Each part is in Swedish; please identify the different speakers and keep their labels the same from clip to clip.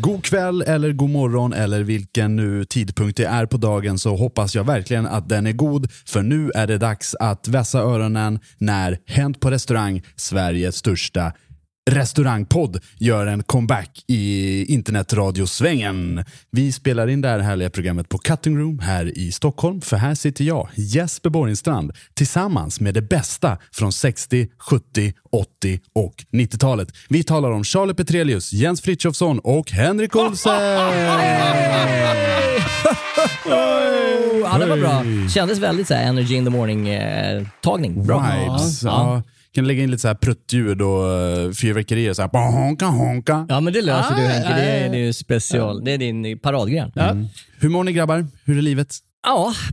Speaker 1: God kväll eller god morgon eller vilken nu tidpunkt det är på dagen så hoppas jag verkligen att den är god för nu är det dags att vässa öronen när Hänt på restaurang, Sveriges största restaurangpodd, gör en comeback i internetradiosvängen. Vi spelar in det här härliga programmet på Cutting Room här i Stockholm för här sitter jag, Jesper Borgenstrand, tillsammans med det bästa från 60, 70, 80 och 90-talet. Vi talar om Charlie Petrelius, Jens Frithiofsson och Henrik Olsen!
Speaker 2: Ja, det var bra. Kändes väldigt så här energy in the morning-tagning. bra.
Speaker 1: vibes.
Speaker 2: Ja.
Speaker 1: Ja. Kan lägga in lite så här pruttljud och eh, fyrverkerier. Så här, bara honka, honka.
Speaker 2: Ah, Ja, men det löser du Henke. Det är,
Speaker 3: ja.
Speaker 2: det är ju special. Det är din paradgren. Ja.
Speaker 4: Mm.
Speaker 1: Hur mår ni grabbar? Hur är livet?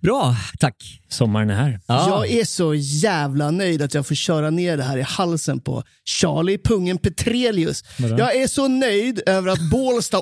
Speaker 2: bra. Tack.
Speaker 3: Sommaren är här.
Speaker 2: Ja.
Speaker 3: Jag-
Speaker 2: Jag...
Speaker 3: är
Speaker 4: är så jävla nöjd att jag får köra ner det här i halsen på Charlie Pungen Petrelius. Jag är så nöjd över att Bålsta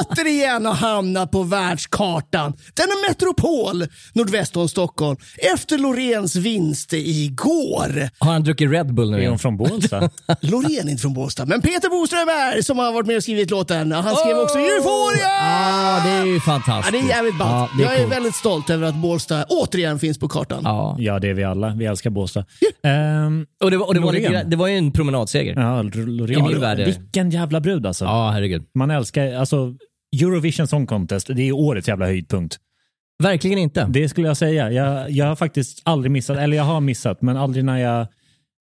Speaker 4: återigen har hamnat på världskartan. Denna metropol nordväst om Stockholm efter Lorens vinst igår.
Speaker 2: Har han druckit Red Bull nu
Speaker 3: Är
Speaker 2: igen?
Speaker 3: hon från Bålsta?
Speaker 4: Loreen är inte från Bålsta, men Peter Boström är som har varit med och skrivit låten. Han skrev också Euphoria!
Speaker 2: Ja, det är ju
Speaker 4: Ja,
Speaker 2: fantastiskt.
Speaker 4: det är jävligt
Speaker 2: Ah,
Speaker 4: ballt.
Speaker 2: Ja, det är
Speaker 4: jag är
Speaker 2: coolt.
Speaker 4: väldigt stolt över att Bålsta återigen finns på kartan.
Speaker 2: Ja.
Speaker 3: ja, det är vi alla. Vi älskar Bålsta. Ehm,
Speaker 2: Och det var, och det, var
Speaker 3: Loreen.
Speaker 2: lite, grann- det var ju en promenadseger. Ja,
Speaker 3: ja, Loreen.
Speaker 2: I min värld är det.
Speaker 3: Vilken jävla brud alltså.
Speaker 2: herregud.
Speaker 3: Man älskar, alltså Eurovision Song Contest, det är årets jävla höjdpunkt.
Speaker 2: Verkligen inte.
Speaker 3: Det skulle jag säga. Jag, jag har faktiskt aldrig missat, eller jag har missat, men aldrig när jag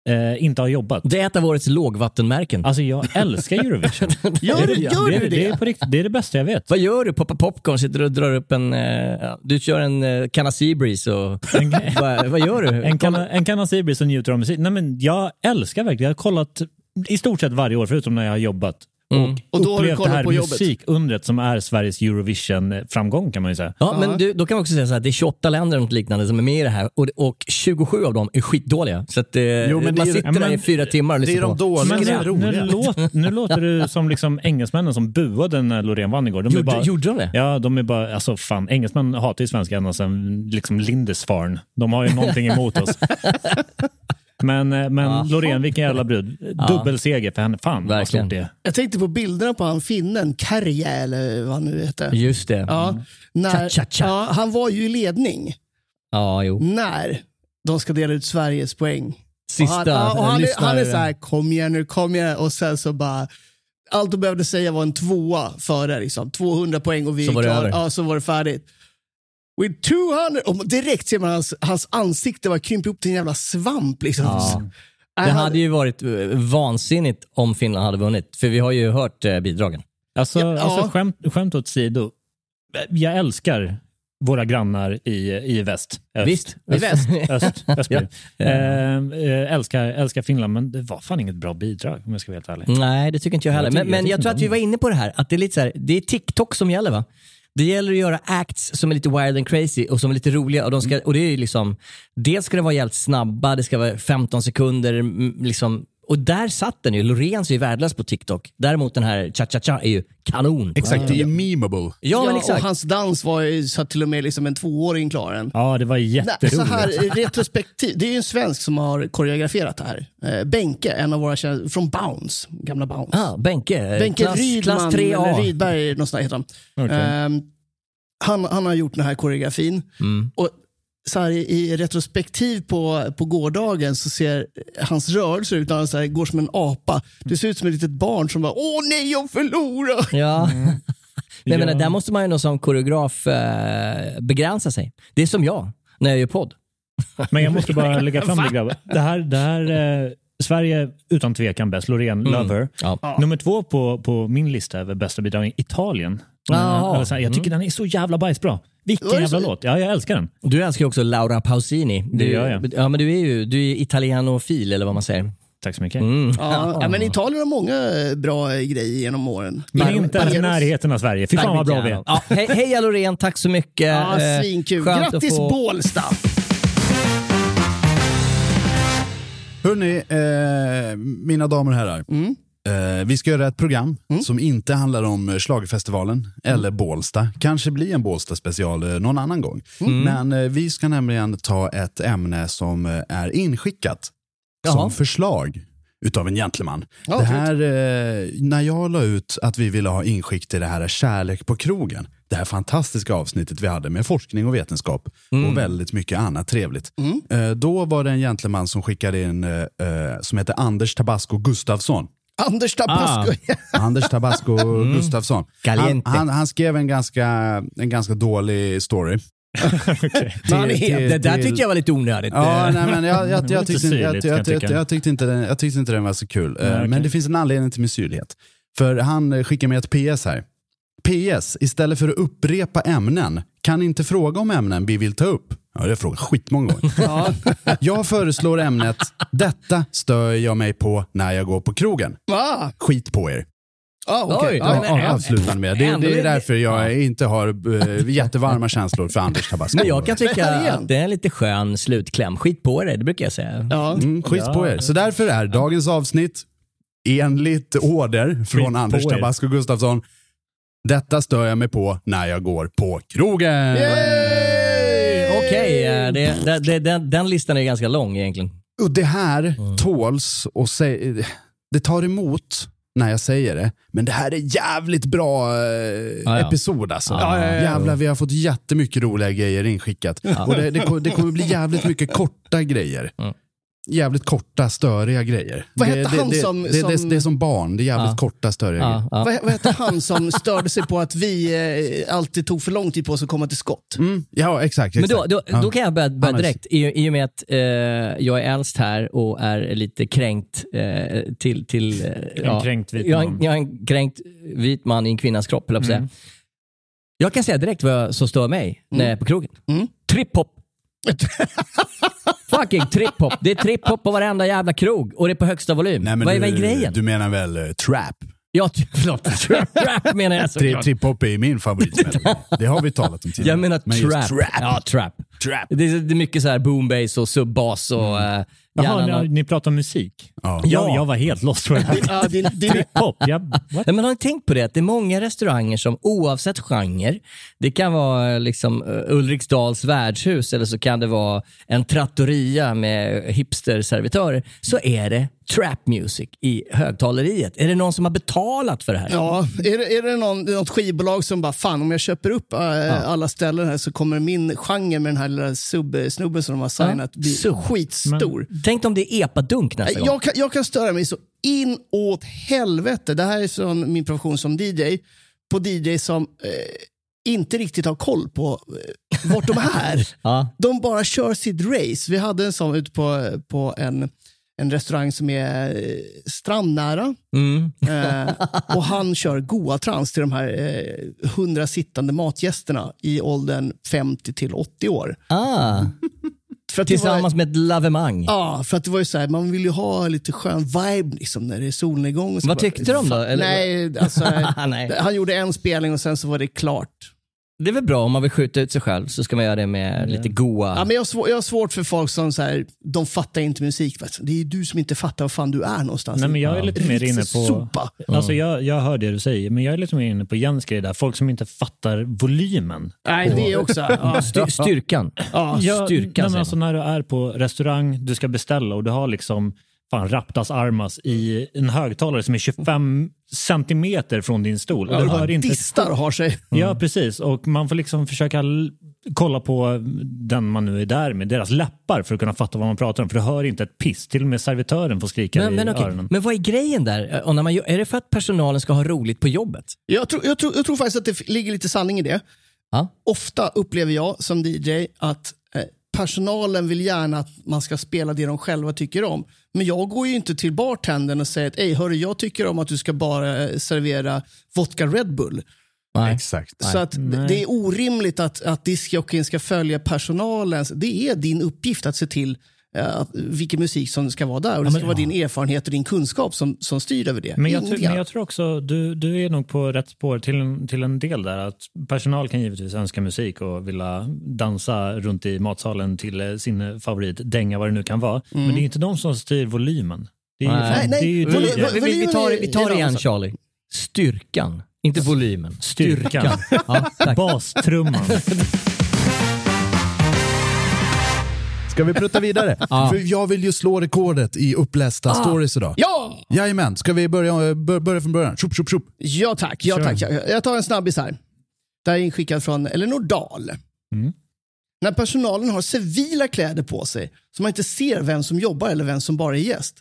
Speaker 3: eh, inte har jobbat.
Speaker 2: Det är ett av årets lågvattenmärken.
Speaker 3: Alltså jag älskar Eurovision.
Speaker 4: Gör du- gör
Speaker 3: det,
Speaker 4: du det?
Speaker 3: Det är, på riktigt, det är det bästa jag vet.
Speaker 2: Vad gör du? Poppar popcorn? Sitter och drar upp en... Eh, ja, du kör en eh, Canna Seabreeze och... vad, vad gör du?
Speaker 3: En kanna- en kanna Seabreeze som njuter av musik. Nej, men jag älskar verkligen, jag har kollat i stort sett varje år förutom när jag har jobbat.
Speaker 2: Mm.
Speaker 4: Och då har
Speaker 3: Upplevt
Speaker 4: du
Speaker 3: det
Speaker 4: kollat
Speaker 3: här
Speaker 4: på jobbet.
Speaker 3: musikundret som är Sveriges Eurovision-framgång kan man ju säga.
Speaker 2: Ja, men du, då kan man också säga så här, det är 28 länder och något liknande som är med i det här och, och 27 av dem är skitdåliga. Så att, eh,
Speaker 1: men det
Speaker 2: man
Speaker 1: är-
Speaker 2: sitter
Speaker 3: ja, men-
Speaker 2: där i fyra timmar och
Speaker 1: Det är
Speaker 2: lyssnar
Speaker 1: de
Speaker 2: på.
Speaker 1: dåliga
Speaker 3: Men
Speaker 1: som är
Speaker 3: nu, nu,
Speaker 1: roliga.
Speaker 3: låt, nu låter du som liksom engelsmännen som buade när Loreen vann igår. De är
Speaker 2: Gjorde,
Speaker 3: bara,
Speaker 2: gjorde de det?
Speaker 3: Ja, de är bara, alltså fan, engelsmän hatar ju svenskar ända sedan liksom Lindisfarne. De har ju någonting emot oss. Men, eh, men Loreen, vilken jävla brud. Dubbelseger för henne. Fan vad
Speaker 2: Verkligen.
Speaker 3: stort det är.
Speaker 4: Jag tänkte på bilderna på han finnen, Kärjä eller vad han nu heter.
Speaker 2: Just det. Ja,
Speaker 4: Ja, när,
Speaker 2: Cha, cha, cha.
Speaker 4: Ja, han var ju i ledning
Speaker 2: jo.
Speaker 4: när de ska dela ut Sveriges poäng.
Speaker 2: Sista
Speaker 4: och han, ja, och han, är, han är
Speaker 2: lyssnare.
Speaker 4: så här, kom igen nu, kom igen. Och sen så bara, allt de behövde säga var en tvåa före. Liksom. 200 poäng och vi
Speaker 2: Så
Speaker 4: är
Speaker 2: var det
Speaker 4: klara.
Speaker 2: över.
Speaker 4: Ja, så var det färdigt. With 200, och direkt ser man hans, hans ansikte bara krympa ihop till en jävla svamp. Liksom.
Speaker 2: Ja.
Speaker 4: Nej,
Speaker 2: Det
Speaker 4: han-
Speaker 2: hade ju varit eh, vansinnigt om Finland hade vunnit, för vi har ju hört eh, bidragen.
Speaker 3: Alltså,
Speaker 4: Ja, ja.
Speaker 3: alltså skämt, skämt åt sido. Jag älskar våra grannar i, i väst. Öst.
Speaker 2: Visst.
Speaker 3: Öst.
Speaker 2: I väst.
Speaker 3: Öst. öst blir det.
Speaker 2: Ja.
Speaker 3: Ehm, eh, älskar, älskar Finland, men det var fan inget bra bidrag om jag ska vara helt ärlig.
Speaker 2: Nej, det tycker inte jag heller.
Speaker 3: Jag
Speaker 2: men
Speaker 3: tycker- jag
Speaker 2: men
Speaker 3: tycker
Speaker 2: jag tror
Speaker 3: inte
Speaker 2: att vi
Speaker 3: om
Speaker 2: var inne på det här, att det är lite så här, det är TikTok som gäller va? Det gäller att göra acts som är lite wild and crazy och som är lite roliga. Och, de ska, och det är ju liksom, dels ska det vara jävligt snabba, det ska vara 15 sekunder, mm, liksom, Och där satt den ju. Loreen är ju värdelös på TikTok. Däremot den här cha-cha-cha är ju kanon.
Speaker 1: Exakt, det är memeable.
Speaker 2: Ja, men exakt.
Speaker 4: och hans dans var ju så att till och med liksom en tvååring klarar den.
Speaker 3: Ja, det var
Speaker 4: Nej, så
Speaker 3: jätteroligt.
Speaker 4: här, retrospektiv. Det är ju en svensk som har koreograferat det här. Eh, Benke, en av våra kära, från Bounce, gamla Bounce.
Speaker 2: Ah, Benke. eh,
Speaker 4: Benke
Speaker 2: klass,
Speaker 4: Rydman,
Speaker 2: klass
Speaker 4: eller
Speaker 2: 3A.
Speaker 4: Rydberg, något sånt där heter han.
Speaker 3: Okej.
Speaker 4: Ehm, han. Han har gjort den här koreografin.
Speaker 3: Mm.
Speaker 4: Och så här, i, I retrospektiv på, på gårdagen så ser hans rörelser ut när han så här, går som en apa. Det ser ut som ett litet barn som bara “Åh nej, jag förlorar!”
Speaker 2: Ja. Men jag
Speaker 3: Ja.
Speaker 2: menar, där måste man ju nog som koreograf eh, begränsa sig. Det är som jag, när jag gör podd.
Speaker 3: Men jag måste bara lägga fram det grabbar. Det här, det här eh, Sverige utan tvekan bäst. Loreen, Lover.
Speaker 2: Mm. Ja.
Speaker 3: Nummer två på, på min lista över bästa bidrag är Italien.
Speaker 2: Jaha. Mm.
Speaker 3: Alltså, jag tycker den är så jävla bajsbra.
Speaker 4: Var
Speaker 3: Vilken
Speaker 4: det
Speaker 3: jävla
Speaker 4: så?
Speaker 3: låt. Ja, jag älskar den.
Speaker 2: Du älskar ju också Laura Pausini. Du,
Speaker 3: Det gör jag.
Speaker 2: Ja, men du är ju du är ju italianofil, eller vad man säger.
Speaker 3: Tack så
Speaker 2: Mm.
Speaker 3: mycket.
Speaker 4: Ja, ja, men Italien har många eh, bra eh, grejer genom åren.
Speaker 3: Men inte ens i
Speaker 4: Barbaros.
Speaker 3: närheten av Sverige. Fy fan vad bra vi är.
Speaker 2: Ja, he heja Loreen, tack så mycket.
Speaker 4: Ja,
Speaker 2: Eh,
Speaker 4: svinkul.
Speaker 2: skönt att
Speaker 4: Grattis
Speaker 2: få-
Speaker 4: Bålsta!
Speaker 1: Hörni, eh, mina damer och herrar. Eh, vi ska göra ett program som inte handlar om eh, Schlagerfestivalen eller Bålsta. Kanske blir en Bålsta-special eh, någon annan gång. Men eh, vi ska nämligen ta ett ämne som eh, är inskickat
Speaker 2: Jaha.
Speaker 1: som förslag utav en gentleman.
Speaker 4: Ja,
Speaker 1: det här, eh, när jag la ut att vi ville ha inskick till det här Kärlek på krogen, det här fantastiska avsnittet vi hade med forskning och vetenskap
Speaker 2: Mm.
Speaker 1: och väldigt mycket annat trevligt. Eh, då var det en gentleman som skickade in, eh, eh, som heter Anders Tabasco Gustafsson.
Speaker 4: Anders Tabasco.
Speaker 2: Ah.
Speaker 1: Anders Tabasco Mm. Gustafsson. Han,
Speaker 2: Caliente.
Speaker 1: han, han skrev en ganska, en ganska dålig story.
Speaker 2: Man är helt- Det där
Speaker 1: till-
Speaker 2: tyckte jag var lite onödigt. Eh,
Speaker 1: Ja, nej, men jag, jag,
Speaker 3: lite
Speaker 1: jag, tyckte, inte- jag,
Speaker 3: syrligt, kan
Speaker 1: jag,
Speaker 3: jag
Speaker 1: jag,
Speaker 3: tycka.
Speaker 1: jag, tyckte inte den, jag tyckte inte den var så kul. Eh,
Speaker 3: okej.
Speaker 1: Men det finns en anledning till min syrlighet. För han eh, skickar med ett PS här. PS, istället för att upprepa ämnen, kan inte fråga om ämnen vi vill ta upp. Ja, det har jag frågat skitmånga gånger. Jag föreslår ämnet, detta stör jag mig på när jag går på krogen.
Speaker 4: Ah,
Speaker 1: Skit på er.
Speaker 4: ah, okej.
Speaker 2: Oj,
Speaker 4: Ah,
Speaker 2: ja, men-
Speaker 1: Ja, avslutar med. Det,
Speaker 2: Ändå
Speaker 1: det är
Speaker 2: är det-
Speaker 1: därför jag inte har eh, jättevarma känslor för Anders Tabasco.
Speaker 2: Men jag kan
Speaker 4: Men
Speaker 2: tycka
Speaker 4: igen.
Speaker 2: att det är en lite skön slutkläm. Skit på det, det brukar jag säga.
Speaker 4: ja.
Speaker 1: Mm, skit på er. Så därför är dagens avsnitt, enligt order från
Speaker 3: på
Speaker 1: Anders
Speaker 3: er.
Speaker 1: Tabasco Gustafsson, detta stör jag mig på när jag går på krogen.
Speaker 2: Okej, eh, det, det, det, den, den listan är ganska lång egentligen.
Speaker 1: Och det här
Speaker 2: Mm.
Speaker 1: tåls och sä- det tar emot när jag säger det, men det här är jävligt bra eh,
Speaker 2: ja.
Speaker 1: episod alltså.
Speaker 2: Ja, ja, ja, ja.
Speaker 1: Jävlar, vi har fått jättemycket roliga grejer inskickat. Och det, det, ko- det kommer bli jävligt mycket korta grejer.
Speaker 2: Mm.
Speaker 1: Jävligt korta, störiga grejer.
Speaker 4: Vad
Speaker 1: det,
Speaker 4: hette
Speaker 1: det,
Speaker 4: han
Speaker 1: det,
Speaker 4: som-
Speaker 1: Det, det,
Speaker 4: som-
Speaker 1: det, är som barn, det är jävligt
Speaker 2: Ja.
Speaker 1: korta, störiga grejer.
Speaker 2: Ja, ja.
Speaker 4: Vad, vad hette han som störde sig på att vi eh, alltid tog för lång tid på oss att komma till skott?
Speaker 1: Mm, ja, exakt.
Speaker 2: Men
Speaker 1: exakt.
Speaker 2: då, då,
Speaker 1: ja.
Speaker 2: då kan jag börja, börja
Speaker 1: Annars-
Speaker 2: direkt, i, i och med att eh, jag är äldst här och är lite kränkt eh, till... till eh, ja,
Speaker 3: kränkt vit
Speaker 2: jag, är-
Speaker 3: man.
Speaker 2: jag är en kränkt vit man i en kvinnas kropp, höll jag på att säga.
Speaker 1: Mm.
Speaker 2: Jag kan säga direkt vad jag- som stör mig när jag är på krogen.
Speaker 4: Mm.
Speaker 2: Trip-hop. Fucking trip-hop. Det är trip-hop på varenda jävla krog och det är på högsta volym.
Speaker 1: Nej, men
Speaker 2: vad är,
Speaker 1: du,
Speaker 2: vad är grejen?
Speaker 1: Du menar väl eh, trap?
Speaker 2: Ja, ty- förlåt. Trap menar jag
Speaker 1: Tri-
Speaker 2: såklart.
Speaker 1: Trip-hop är min favoritmelodi. Det har vi talat om tidigare.
Speaker 2: Jag menar
Speaker 1: Men just
Speaker 2: trap. Ja, trap.
Speaker 1: Trap.
Speaker 2: Det är, det är mycket så här boombass och subbas och...
Speaker 4: Mm.
Speaker 2: eh,
Speaker 3: Jaha,
Speaker 2: gärna
Speaker 3: ni, ni pratar om musik?
Speaker 1: Ja.
Speaker 3: Jag, jag var helt lost. tror jag.
Speaker 4: Ja, din, din,
Speaker 3: Pop, jag, what?
Speaker 2: Nej, men har ni tänkt på det? Att det är många restauranger som oavsett genre, det kan vara eh, liksom, eh, Ulriksdals värdshus eller så kan det vara en trattoria med hipsterservitörer, så är det trap music i högtaleriet. Är det någon som har betalat för det här?
Speaker 4: ja, är det, är det någon, något skivbolag som bara, fan om jag köper upp eh, alla ställen här så kommer min genre med den här lilla sub-snubben som de har signat bli
Speaker 2: Sub.
Speaker 4: skitstor.
Speaker 2: Tänk om det är epadunk nästa gång?
Speaker 4: Jag kan, jag kan störa mig så in åt helvete. Det här är från min profession som DJ. På DJ som eh, inte riktigt har koll på eh, vart de är.
Speaker 2: Ja.
Speaker 4: De bara kör sitt race. Vi hade en sån ute på, på en, en restaurang som är eh, strandnära.
Speaker 2: Mm.
Speaker 4: Eh, och han kör goa trans till de här eh, 100 sittande matgästerna i åldern 50 till 80 år.
Speaker 2: Ah,
Speaker 4: För att det var-
Speaker 2: tillsammans med ett lavemang.
Speaker 4: Ja, för att det var ju så här, man vill ju ha lite skön vibe liksom, när det är solnedgång. Och så
Speaker 2: Vad tyckte de då? Eller-
Speaker 4: Nej, alltså,
Speaker 2: Nej.
Speaker 4: han gjorde en spelning och sen så var det klart.
Speaker 2: det är väl bra om man vill skjuta ut sig själv så ska man göra det med lite goa...
Speaker 4: Mm. Ja, men jag, har svår, jag har svårt för folk som så här, de fattar inte musik. vet du. Det är ju du som inte fattar var fan du är någonstans.
Speaker 3: Nej, men jag är lite mer inne på...
Speaker 4: Sopa.
Speaker 3: Alltså jag, jag hör det du säger, men jag är lite mer inne på Jens grej där. Folk som inte fattar volymen.
Speaker 4: Nej, det är också... Ja,
Speaker 2: Styr, styrkan.
Speaker 4: ja.
Speaker 3: Ja,
Speaker 2: Styrkan,
Speaker 3: nej,
Speaker 2: säger
Speaker 3: men alltså När du är på restaurang, du ska beställa och du har liksom fan Raptas Armas i en högtalare som är 25 centimeter från din stol. Och
Speaker 4: Ja,
Speaker 3: du
Speaker 4: du bara
Speaker 3: hör inte ett
Speaker 4: distar och har sig.
Speaker 2: Mm.
Speaker 3: Ja, precis. Och man får liksom försöka l- kolla på den man nu är där med, deras läppar för att kunna fatta vad man pratar om. För du hör inte ett piss. Till och med servitören får skrika
Speaker 2: Men,
Speaker 3: i
Speaker 2: men, okej.
Speaker 3: öronen.
Speaker 2: men vad är grejen där? Och när man, gör- är det för att personalen ska ha roligt på jobbet?
Speaker 4: Jag tror, jag, tror, jag tror faktiskt att det f- ligger lite sanning i det.
Speaker 2: Ja.
Speaker 4: Ofta upplever jag som DJ att eh, personalen vill gärna att man ska spela det de själva tycker om. Men jag går ju inte till bartendern och säger att Ej, hörru, jag tycker om att du ska bara eh, servera vodka Red Bull.
Speaker 2: Nej.
Speaker 1: Exakt.
Speaker 4: Så att d- det är orimligt att, att diskjockeyn ska följa personalens... Det är din uppgift att se till eh, att- vilken musik som ska vara där. Och det ska vara din erfarenhet och din kunskap som, som styr över det.
Speaker 3: Men jag,
Speaker 4: Ingenting
Speaker 3: tror- men
Speaker 4: annat.
Speaker 3: jag tror också, du, du är nog på rätt spår till en, till en del där. Att personal kan givetvis önska musik och vilja dansa runt i matsalen till eh, sin favorit, dänga vad det nu kan vara. Men det är inte de som styr volymen. Det är ju,
Speaker 2: Mm. Nej.
Speaker 4: Nej, nej.
Speaker 3: Det är ju
Speaker 4: Vol-
Speaker 3: DJ.
Speaker 4: vol-
Speaker 2: Vi, vi, vi tar, vi
Speaker 4: Det
Speaker 2: tar
Speaker 4: är
Speaker 2: det igen
Speaker 4: ramsan.
Speaker 2: Charlie. Styrkan, inte volymen.
Speaker 3: Styrkan.
Speaker 2: Ja, tack.
Speaker 3: Bastrumman.
Speaker 1: Ska vi prutta vidare? För jag vill ju slå rekordet i upplästa
Speaker 2: Ah.
Speaker 1: stories idag.
Speaker 4: Ja!
Speaker 1: Jajamän, ska vi börja, eh, bör, börja från början? Tjup, tjup, tjup.
Speaker 4: Ja tack, ja, tack. Jag- Jag tar en snabbis här. Det här är inskickad från Elinor Dahl. När personalen har civila kläder på sig så man inte ser vem som jobbar eller vem som bara är gäst.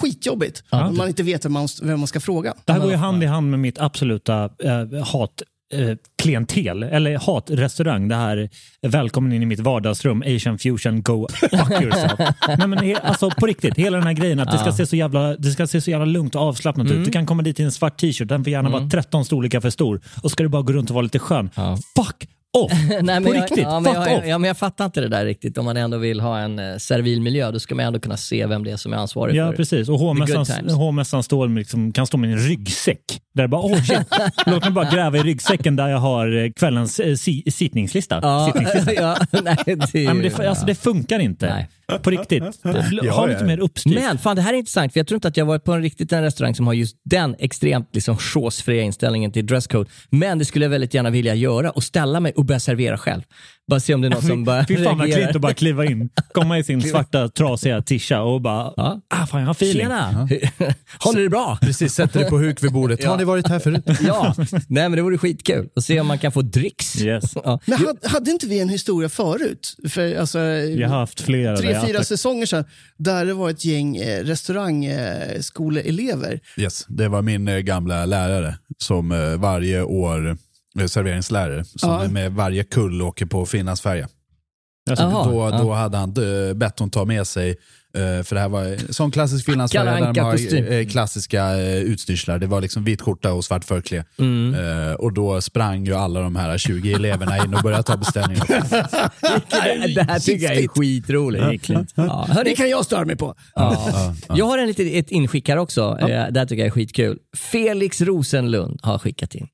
Speaker 4: Skitjobbigt om man inte vet vem man, vem man ska fråga.
Speaker 3: Det här går ju hand i hand med mitt absoluta eh, hat eh, klientel, eller hatrestaurang. Det här eh, välkommen in i mitt vardagsrum, Asian fusion, go fuck yourself. Nej, men, he- alltså på riktigt, hela den här grejen att det ska se så jävla, det ska se så jävla lugnt och avslappnat
Speaker 2: Mm.
Speaker 3: ut. Du kan komma dit i en svart t-shirt, den får gärna vara 13 storlekar för stor. Och ska du bara gå runt och vara lite skön. Fuck off!
Speaker 2: Nej,
Speaker 3: på
Speaker 2: jag,
Speaker 3: riktigt,
Speaker 2: ja, men
Speaker 3: fuck
Speaker 2: jag,
Speaker 3: off!
Speaker 2: ja, men jag fattar inte det där riktigt. Om man ändå vill ha en eh, servil miljö, då ska man ändå kunna se vem det är som är ansvarig
Speaker 3: Ja,
Speaker 2: för
Speaker 3: precis.
Speaker 2: the
Speaker 3: Och
Speaker 2: good
Speaker 3: hovmästaren
Speaker 2: times.
Speaker 3: hovmästaren står med liksom, kan stå med en ryggsäck. Där det bara, oh, shit. Låt mig bara gräva i ryggsäcken där jag har eh, kvällens eh, si sittningslista.
Speaker 2: Ja,
Speaker 3: sittningslista.
Speaker 2: ja, nej, det,
Speaker 3: Nej, men det, alltså, det funkar inte. På riktigt.
Speaker 1: Ja,
Speaker 3: Ha lite
Speaker 1: ja.
Speaker 3: mer uppstyrt.
Speaker 2: Men fan, det här är intressant, för jag tror inte att jag varit på en riktigt en restaurang som har just den extremt liksom chosefria inställningen till dresscode. Men det skulle jag väldigt gärna vilja göra och ställa mig och börja servera själv. Bara se om det är någon som bara
Speaker 3: Fy fan vad klint
Speaker 2: reagerar.
Speaker 3: att bara kliva in, komma i sin svarta trasiga tisha och bara,
Speaker 2: Ja.
Speaker 3: ah, fan jag har feeling.
Speaker 2: Tjena! Har ni det bra?
Speaker 1: Precis, sätter dig på huk vid bordet. Har ni varit här förut?
Speaker 2: Ja, nej men det vore skitkul att se om man kan få dricks.
Speaker 3: Yes.
Speaker 2: Ja.
Speaker 4: Men hade, hade inte vi en historia förut? För, alltså,
Speaker 3: Jag har haft flera. där
Speaker 4: tre,
Speaker 3: jag
Speaker 4: fyra
Speaker 3: attack-
Speaker 4: säsonger sedan där det var ett gäng eh, restaurangskoleelever.
Speaker 1: Yes, det var min eh, gamla lärare som eh, varje år eh, serveringslärare som
Speaker 4: Ja.
Speaker 1: med varje kull åker på Finlandsfärja.
Speaker 2: Jaha,
Speaker 1: Då,
Speaker 2: ja.
Speaker 1: då hade han eh, bett hon ta med sig, eh, för det här var som klassisk
Speaker 2: Kalle
Speaker 1: Finlandsfärja där de
Speaker 2: Anka-kostym.
Speaker 1: har eh, klassiska eh, utstyrslar. Det var liksom vit skjorta och svart förkläde.
Speaker 2: Mm.
Speaker 1: Eh, Och då sprang ju alla de här 20 eleverna in och började ta beställningar.
Speaker 2: Mm. Det här tycker jag är skitroligt. Ja, hörni,
Speaker 4: Det kan jag störa mig på.
Speaker 2: Ja. Jag har en liten, ett inskick här också. Ja. Det här tycker jag är skitkul. Felix Rosenlund har skickat in.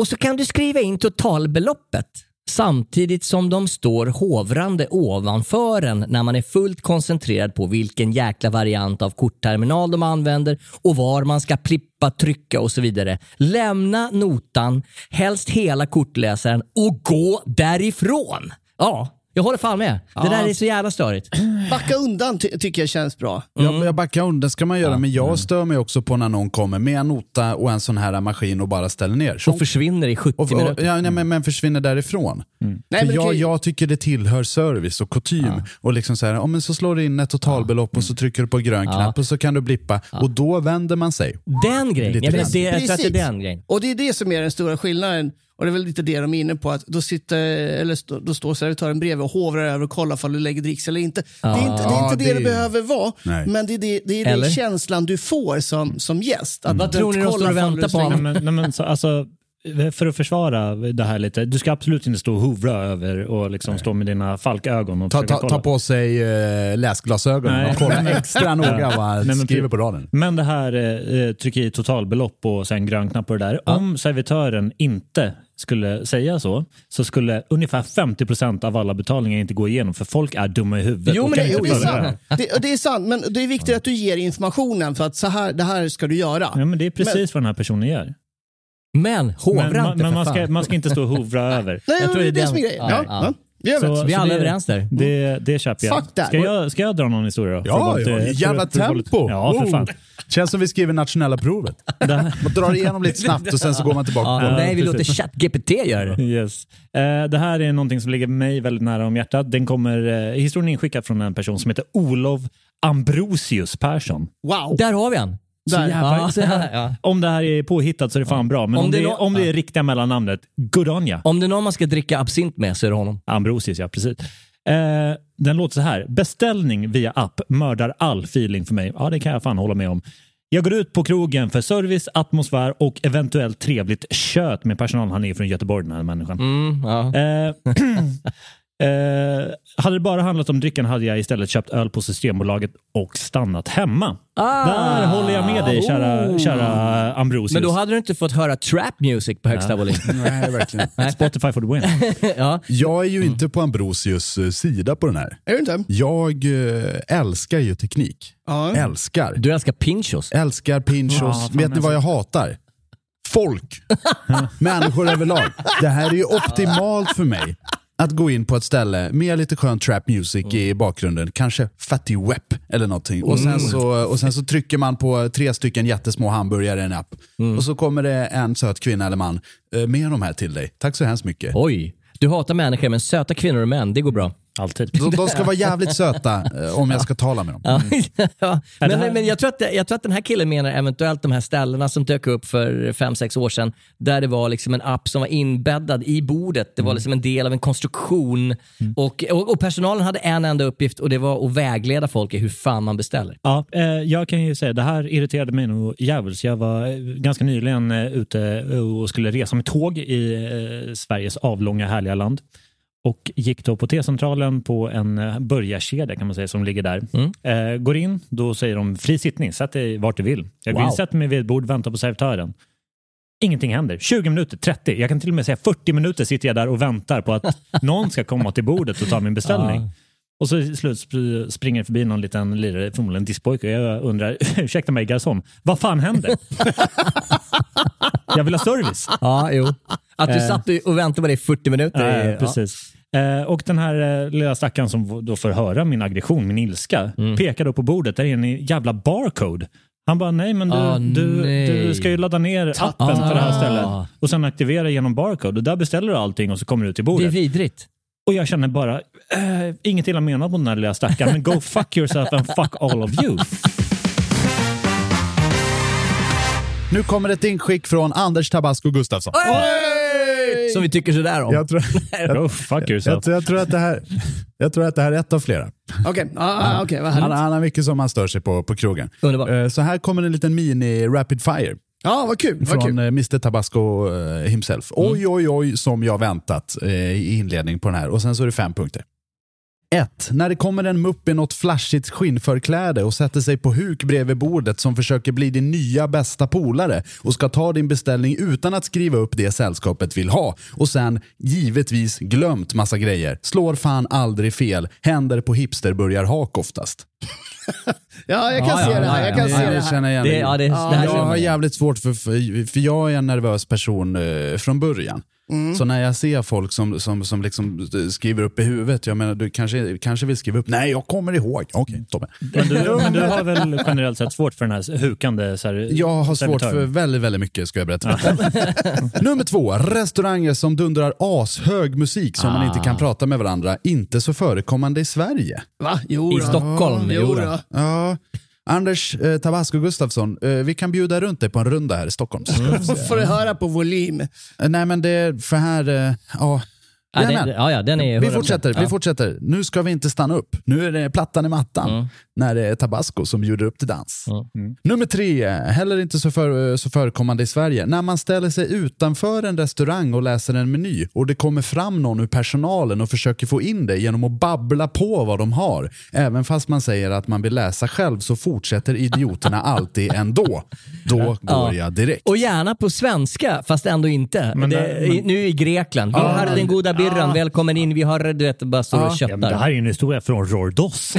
Speaker 2: Och så kan du skriva in totalbeloppet samtidigt som de står hovrande ovanför en när man är fullt koncentrerad på vilken jäkla variant av kortterminal de använder och var man ska plippa, trycka och så vidare. Lämna notan, helst hela kortläsaren och gå därifrån. Ja, jag håller fan med. Det där är så jävla störigt.
Speaker 4: Backa undan ty- tycker jag känns bra.
Speaker 1: Jag, jag backar undan ska man göra, men jag stör mig också på när någon kommer med en nota och en sån här maskin och bara ställer ner.
Speaker 2: och försvinner i 70
Speaker 1: Och, och,
Speaker 2: minuter.
Speaker 1: ja, nej, men,
Speaker 3: Mm.
Speaker 1: men försvinner därifrån.
Speaker 4: Nej,
Speaker 1: För
Speaker 4: men det
Speaker 1: jag,
Speaker 4: kan ju-
Speaker 1: jag tycker det tillhör service och kutym. Och liksom så, här, ja, men så slår du in ett totalbelopp
Speaker 3: Mm.
Speaker 1: och så trycker du på grön knapp och så kan du blippa. Och då vänder man sig.
Speaker 2: Den grejen.
Speaker 1: Lite
Speaker 2: Jag, menar,
Speaker 1: grann.
Speaker 2: det, jag tror att det är
Speaker 4: Precis.
Speaker 2: den grejen.
Speaker 4: Och det är det som är den stora skillnaden. Och det är väl lite det de är inne på, att då, sitter, eller stå, då står servitören bredvid och hovrar över och kollar om du lägger dricks eller inte. Det är inte det, är
Speaker 1: Ja,
Speaker 4: inte det,
Speaker 1: det
Speaker 4: det
Speaker 1: är-
Speaker 4: behöver vara,
Speaker 1: Nej.
Speaker 4: men det är, det, det är
Speaker 2: Eller?
Speaker 4: den känslan du får som, som gäst. Att
Speaker 2: Vad tror ni de står och väntar på?
Speaker 3: Nej, men, nej, men, så, alltså, för att försvara det här lite, du ska absolut inte stå och hovra över och liksom stå med dina falkögon och
Speaker 1: Ta,
Speaker 3: försöka
Speaker 1: ta,
Speaker 3: kolla.
Speaker 1: ta på sig eh, läsglasögonen
Speaker 3: Nej.
Speaker 1: och kolla extra noga vad
Speaker 3: Nej, men typ-
Speaker 1: skriver
Speaker 3: pre-
Speaker 1: på raden.
Speaker 3: Men det här, eh, tryck i totalbelopp och sen grön knapp på det där. Om servitören inte skulle säga så, så skulle ungefär 50 av alla betalningar inte gå igenom, för folk är dumma i huvudet.
Speaker 2: Jo,
Speaker 3: och
Speaker 2: men
Speaker 3: kan
Speaker 2: det-
Speaker 3: inte
Speaker 2: jo,
Speaker 4: Det är
Speaker 3: följa det här.
Speaker 4: sant, det, och det är sant men det är viktigt att du ger informationen för att så här, det här ska du göra.
Speaker 3: Ja, men det är precis vad den här personen gör.
Speaker 2: Men
Speaker 3: Men,
Speaker 2: hovra
Speaker 3: man,
Speaker 2: inte
Speaker 3: men
Speaker 2: för
Speaker 3: man, ska,
Speaker 2: fan.
Speaker 3: man ska inte stå och hovra över.
Speaker 4: Nej,
Speaker 2: Jag tror
Speaker 4: det är
Speaker 2: det är
Speaker 4: det som är
Speaker 2: den-
Speaker 4: grejen.
Speaker 2: ja,
Speaker 4: Ja,
Speaker 2: ja.
Speaker 4: ja. Vi är överens.
Speaker 2: Vi är alla
Speaker 3: det-
Speaker 2: överens där.
Speaker 3: Det, det köper jag.
Speaker 4: Fuck that.
Speaker 3: Ska jag. Ska jag dra någon historia då? För
Speaker 1: Ja,
Speaker 3: att,
Speaker 1: ja
Speaker 3: eh,
Speaker 1: jävla
Speaker 3: för- för- för-
Speaker 1: tempo!
Speaker 3: Ja, för
Speaker 1: Wow.
Speaker 3: fan.
Speaker 1: Känns som vi skriver nationella provet.
Speaker 3: Det här,
Speaker 1: Man drar igenom lite snabbt och sen så går man tillbaka.
Speaker 2: Ja,
Speaker 3: Ja,
Speaker 2: nej, vi låter
Speaker 3: precis.
Speaker 2: ChatGPT göra det.
Speaker 3: Yes. Eh, det här är någonting som ligger mig väldigt nära om hjärtat. Den kommer, eh, historien är inskickad från en person som heter Olof Ambrosius Persson.
Speaker 4: Wow.
Speaker 2: Där har vi han.
Speaker 4: Där.
Speaker 2: Ja, ja.
Speaker 3: Om det här är påhittat så är det fan bra, men om,
Speaker 2: Om
Speaker 3: det,
Speaker 2: det
Speaker 3: är-
Speaker 2: nå-
Speaker 3: om det är riktiga mellannamnet, good on ya.
Speaker 2: Om det är någon man ska dricka absint med så är det honom.
Speaker 3: Ambrosius, ja precis. Eh, den låter så här. Beställning via app mördar all feeling för mig. Ja, det kan jag fan hålla med om. Jag går ut på krogen för service, atmosfär och eventuellt trevligt kött med personal. Han är från Göteborg den här människan.
Speaker 2: Mm, ja.
Speaker 3: Eh, eh, hade det bara handlat om drycken hade jag istället köpt öl på Systembolaget och stannat hemma.
Speaker 2: Ah. Oh.
Speaker 3: Där håller jag med dig, kära, kära Ambrosius.
Speaker 2: Men då hade du inte fått höra trap music på högsta volym.
Speaker 1: Nej, verkligen.
Speaker 3: Spotify for the win.
Speaker 2: Ja.
Speaker 1: Jag är ju
Speaker 3: Mm.
Speaker 1: inte på Ambrosius eh, sida på den här.
Speaker 4: Är du inte?
Speaker 1: Jag eh, älskar ju teknik.
Speaker 4: Ja.
Speaker 1: Älskar.
Speaker 2: Du älskar pinchos.
Speaker 1: Älskar
Speaker 3: Ja,
Speaker 1: pinchos.
Speaker 3: fan, alltså.
Speaker 1: Vet ni vad jag hatar? Folk. Människor överlag. Det här är ju optimalt för mig. Att gå in på ett ställe med lite skön trap music i bakgrunden, kanske Fatty Wep eller någonting. Och sen, så, och sen så trycker man på tre stycken jättesmå hamburgare i en app. Och så kommer det en söt kvinna eller man eh, med de här till dig. Tack så hemskt mycket.
Speaker 2: Oj. Du hatar människor, men söta kvinnor och män, det går bra.
Speaker 3: Alltid.
Speaker 1: De, de ska vara jävligt söta eh, om jag ska tala med dem.
Speaker 2: Ja, ja.
Speaker 3: Mm. det här-
Speaker 2: Men, men jag, tror att, jag tror att den här killen menar eventuellt de här ställena som dök upp för fem sex år sedan, där det var liksom en app som var inbäddad i bordet.
Speaker 3: Mm.
Speaker 2: Det var liksom en del av en konstruktion. Och, och, och personalen hade en enda uppgift och det var att vägleda folk i hur fan man beställer.
Speaker 3: Ja, eh, jag kan ju säga det här irriterade mig nog djävulskt. Jag var eh, ganska nyligen eh, ute och skulle resa med tåg i eh, Sveriges avlånga härliga land och gick då på T-centralen på en eh, burgarkedja kan man säga som ligger där. Eh, går in, då säger de fri sittning, sätt dig vart du vill. Jag går in,
Speaker 2: Wow.
Speaker 3: sätter mig vid ett bord, väntar på servitören. Ingenting händer. 20 minuter, 30, jag kan till och med säga 40 minuter sitter jag där och väntar på att någon ska komma till bordet och ta min beställning. Och så i slut sp- springer förbi någon liten lirare, förmodligen diskpojke, och jag undrar, ursäkta mig garson, vad fan händer? jag vill ha service.
Speaker 2: Ja, jo. Att du satt och väntade på det i 40 minuter. är-
Speaker 3: Eh,
Speaker 2: ja.
Speaker 3: precis. Eh, och den här eh, lilla stackaren som v- då får höra min aggression, min ilska,
Speaker 2: Mm.
Speaker 3: pekar då på bordet, där är en jävla barcode. Han bara, nej men du,
Speaker 2: Ah,
Speaker 3: du,
Speaker 2: nej.
Speaker 3: du ska ju ladda ner appen för det här
Speaker 2: Ah.
Speaker 3: stället. Och sen aktivera genom barcode och där beställer du allting och så kommer du till
Speaker 2: Det är
Speaker 3: bordet.
Speaker 2: vidrigt.
Speaker 3: Och jag känner bara, eh, inget illa menat mot den här lilla stackaren, men go fuck yourself and fuck all of you.
Speaker 1: Nu kommer ett inskick från Anders Tabasco Gustafsson.
Speaker 2: Som vi tycker sådär om.
Speaker 1: Jag tror,
Speaker 3: Go fuck
Speaker 1: jag,
Speaker 3: yourself.
Speaker 1: tror- jag, tror att det här, jag tror att det här är ett av flera.
Speaker 4: Okej, ah, okay, vad
Speaker 1: Han,
Speaker 4: härligt.
Speaker 1: han har mycket som han stör sig på på krogen.
Speaker 2: Underbart.
Speaker 1: Eh, Så här kommer en liten mini-rapid fire
Speaker 4: Ja, vad kul. Vad
Speaker 1: från
Speaker 4: kul.
Speaker 1: eh, Mr Tabasco eh, himself. Oj, oj, oj, som jag väntat eh, i inledning på den här. Och sen så är det fem punkter. 1. När det kommer en mupp i något flashigt skinnförkläde och sätter sig på huk bredvid bordet som försöker bli din nya bästa polare och ska ta din beställning utan att skriva upp det sällskapet vill ha och sen givetvis glömt massa grejer. Slår fan aldrig fel. Händer på hipsterburgarhak oftast.
Speaker 4: Ja, jag kan
Speaker 2: Ja,
Speaker 4: se
Speaker 2: ja,
Speaker 4: det här.
Speaker 2: ja,
Speaker 4: Jag kan
Speaker 2: ja,
Speaker 4: se
Speaker 2: ja.
Speaker 4: det
Speaker 1: Jag
Speaker 4: här.
Speaker 1: känner igen
Speaker 2: Det, ja, det, det här
Speaker 1: jag
Speaker 2: känner
Speaker 1: har
Speaker 2: jag.
Speaker 1: jävligt svårt för, för, för jag är en nervös person eh, från början.
Speaker 4: Mm.
Speaker 1: Så när jag ser folk som, som, som liksom skriver upp i huvudet, jag menar du kanske, kanske vill skriva upp, nej jag kommer ihåg, okej Tobbe.
Speaker 3: Men du, men du har väl generellt sett svårt för den här hukande så här,
Speaker 1: Jag har svårt för
Speaker 3: servitören?
Speaker 1: väldigt, väldigt mycket ska jag berätta. Nummer två, restauranger som dundrar ashög musik som man inte kan
Speaker 2: Ah.
Speaker 1: prata med varandra, inte så förekommande i Sverige.
Speaker 4: Va? Jo,
Speaker 2: I
Speaker 4: då.
Speaker 2: Stockholm,
Speaker 4: Jo,
Speaker 2: jodå.
Speaker 4: då.
Speaker 1: Ja. Anders eh, Tabasco Gustafsson, eh, vi kan bjuda runt dig på en runda här i Stockholm.
Speaker 4: Då får du höra på volym.
Speaker 1: Nej, men det, för här, eh, ja,
Speaker 2: Ja,
Speaker 1: Jajamän.
Speaker 2: den, ja, ja, den är
Speaker 1: Vi
Speaker 2: 100%.
Speaker 1: fortsätter,
Speaker 2: ja.
Speaker 1: vi fortsätter. Nu ska vi inte stanna upp. Nu är det plattan i mattan
Speaker 2: Mm.
Speaker 1: när det är Tabasco som bjuder upp till dans. Nummer tre, heller inte så, för, eh, så förekommande i Sverige. När man ställer sig utanför en restaurang och läser en meny och det kommer fram någon ur personalen och försöker få in det genom att babbla på vad de har. Även fast man säger att man vill läsa själv så fortsätter idioterna alltid ändå. Då går
Speaker 2: Ja.
Speaker 1: jag direkt.
Speaker 2: Och gärna på svenska, fast ändå inte.
Speaker 3: Men
Speaker 2: det,
Speaker 3: där- men-
Speaker 2: i- Nu i Grekland. Vi har den goda birran, välkommen in. Vi har, du vet, bara står och
Speaker 3: Ja, men det
Speaker 2: köttar.
Speaker 3: här är ju en historia från Rordos.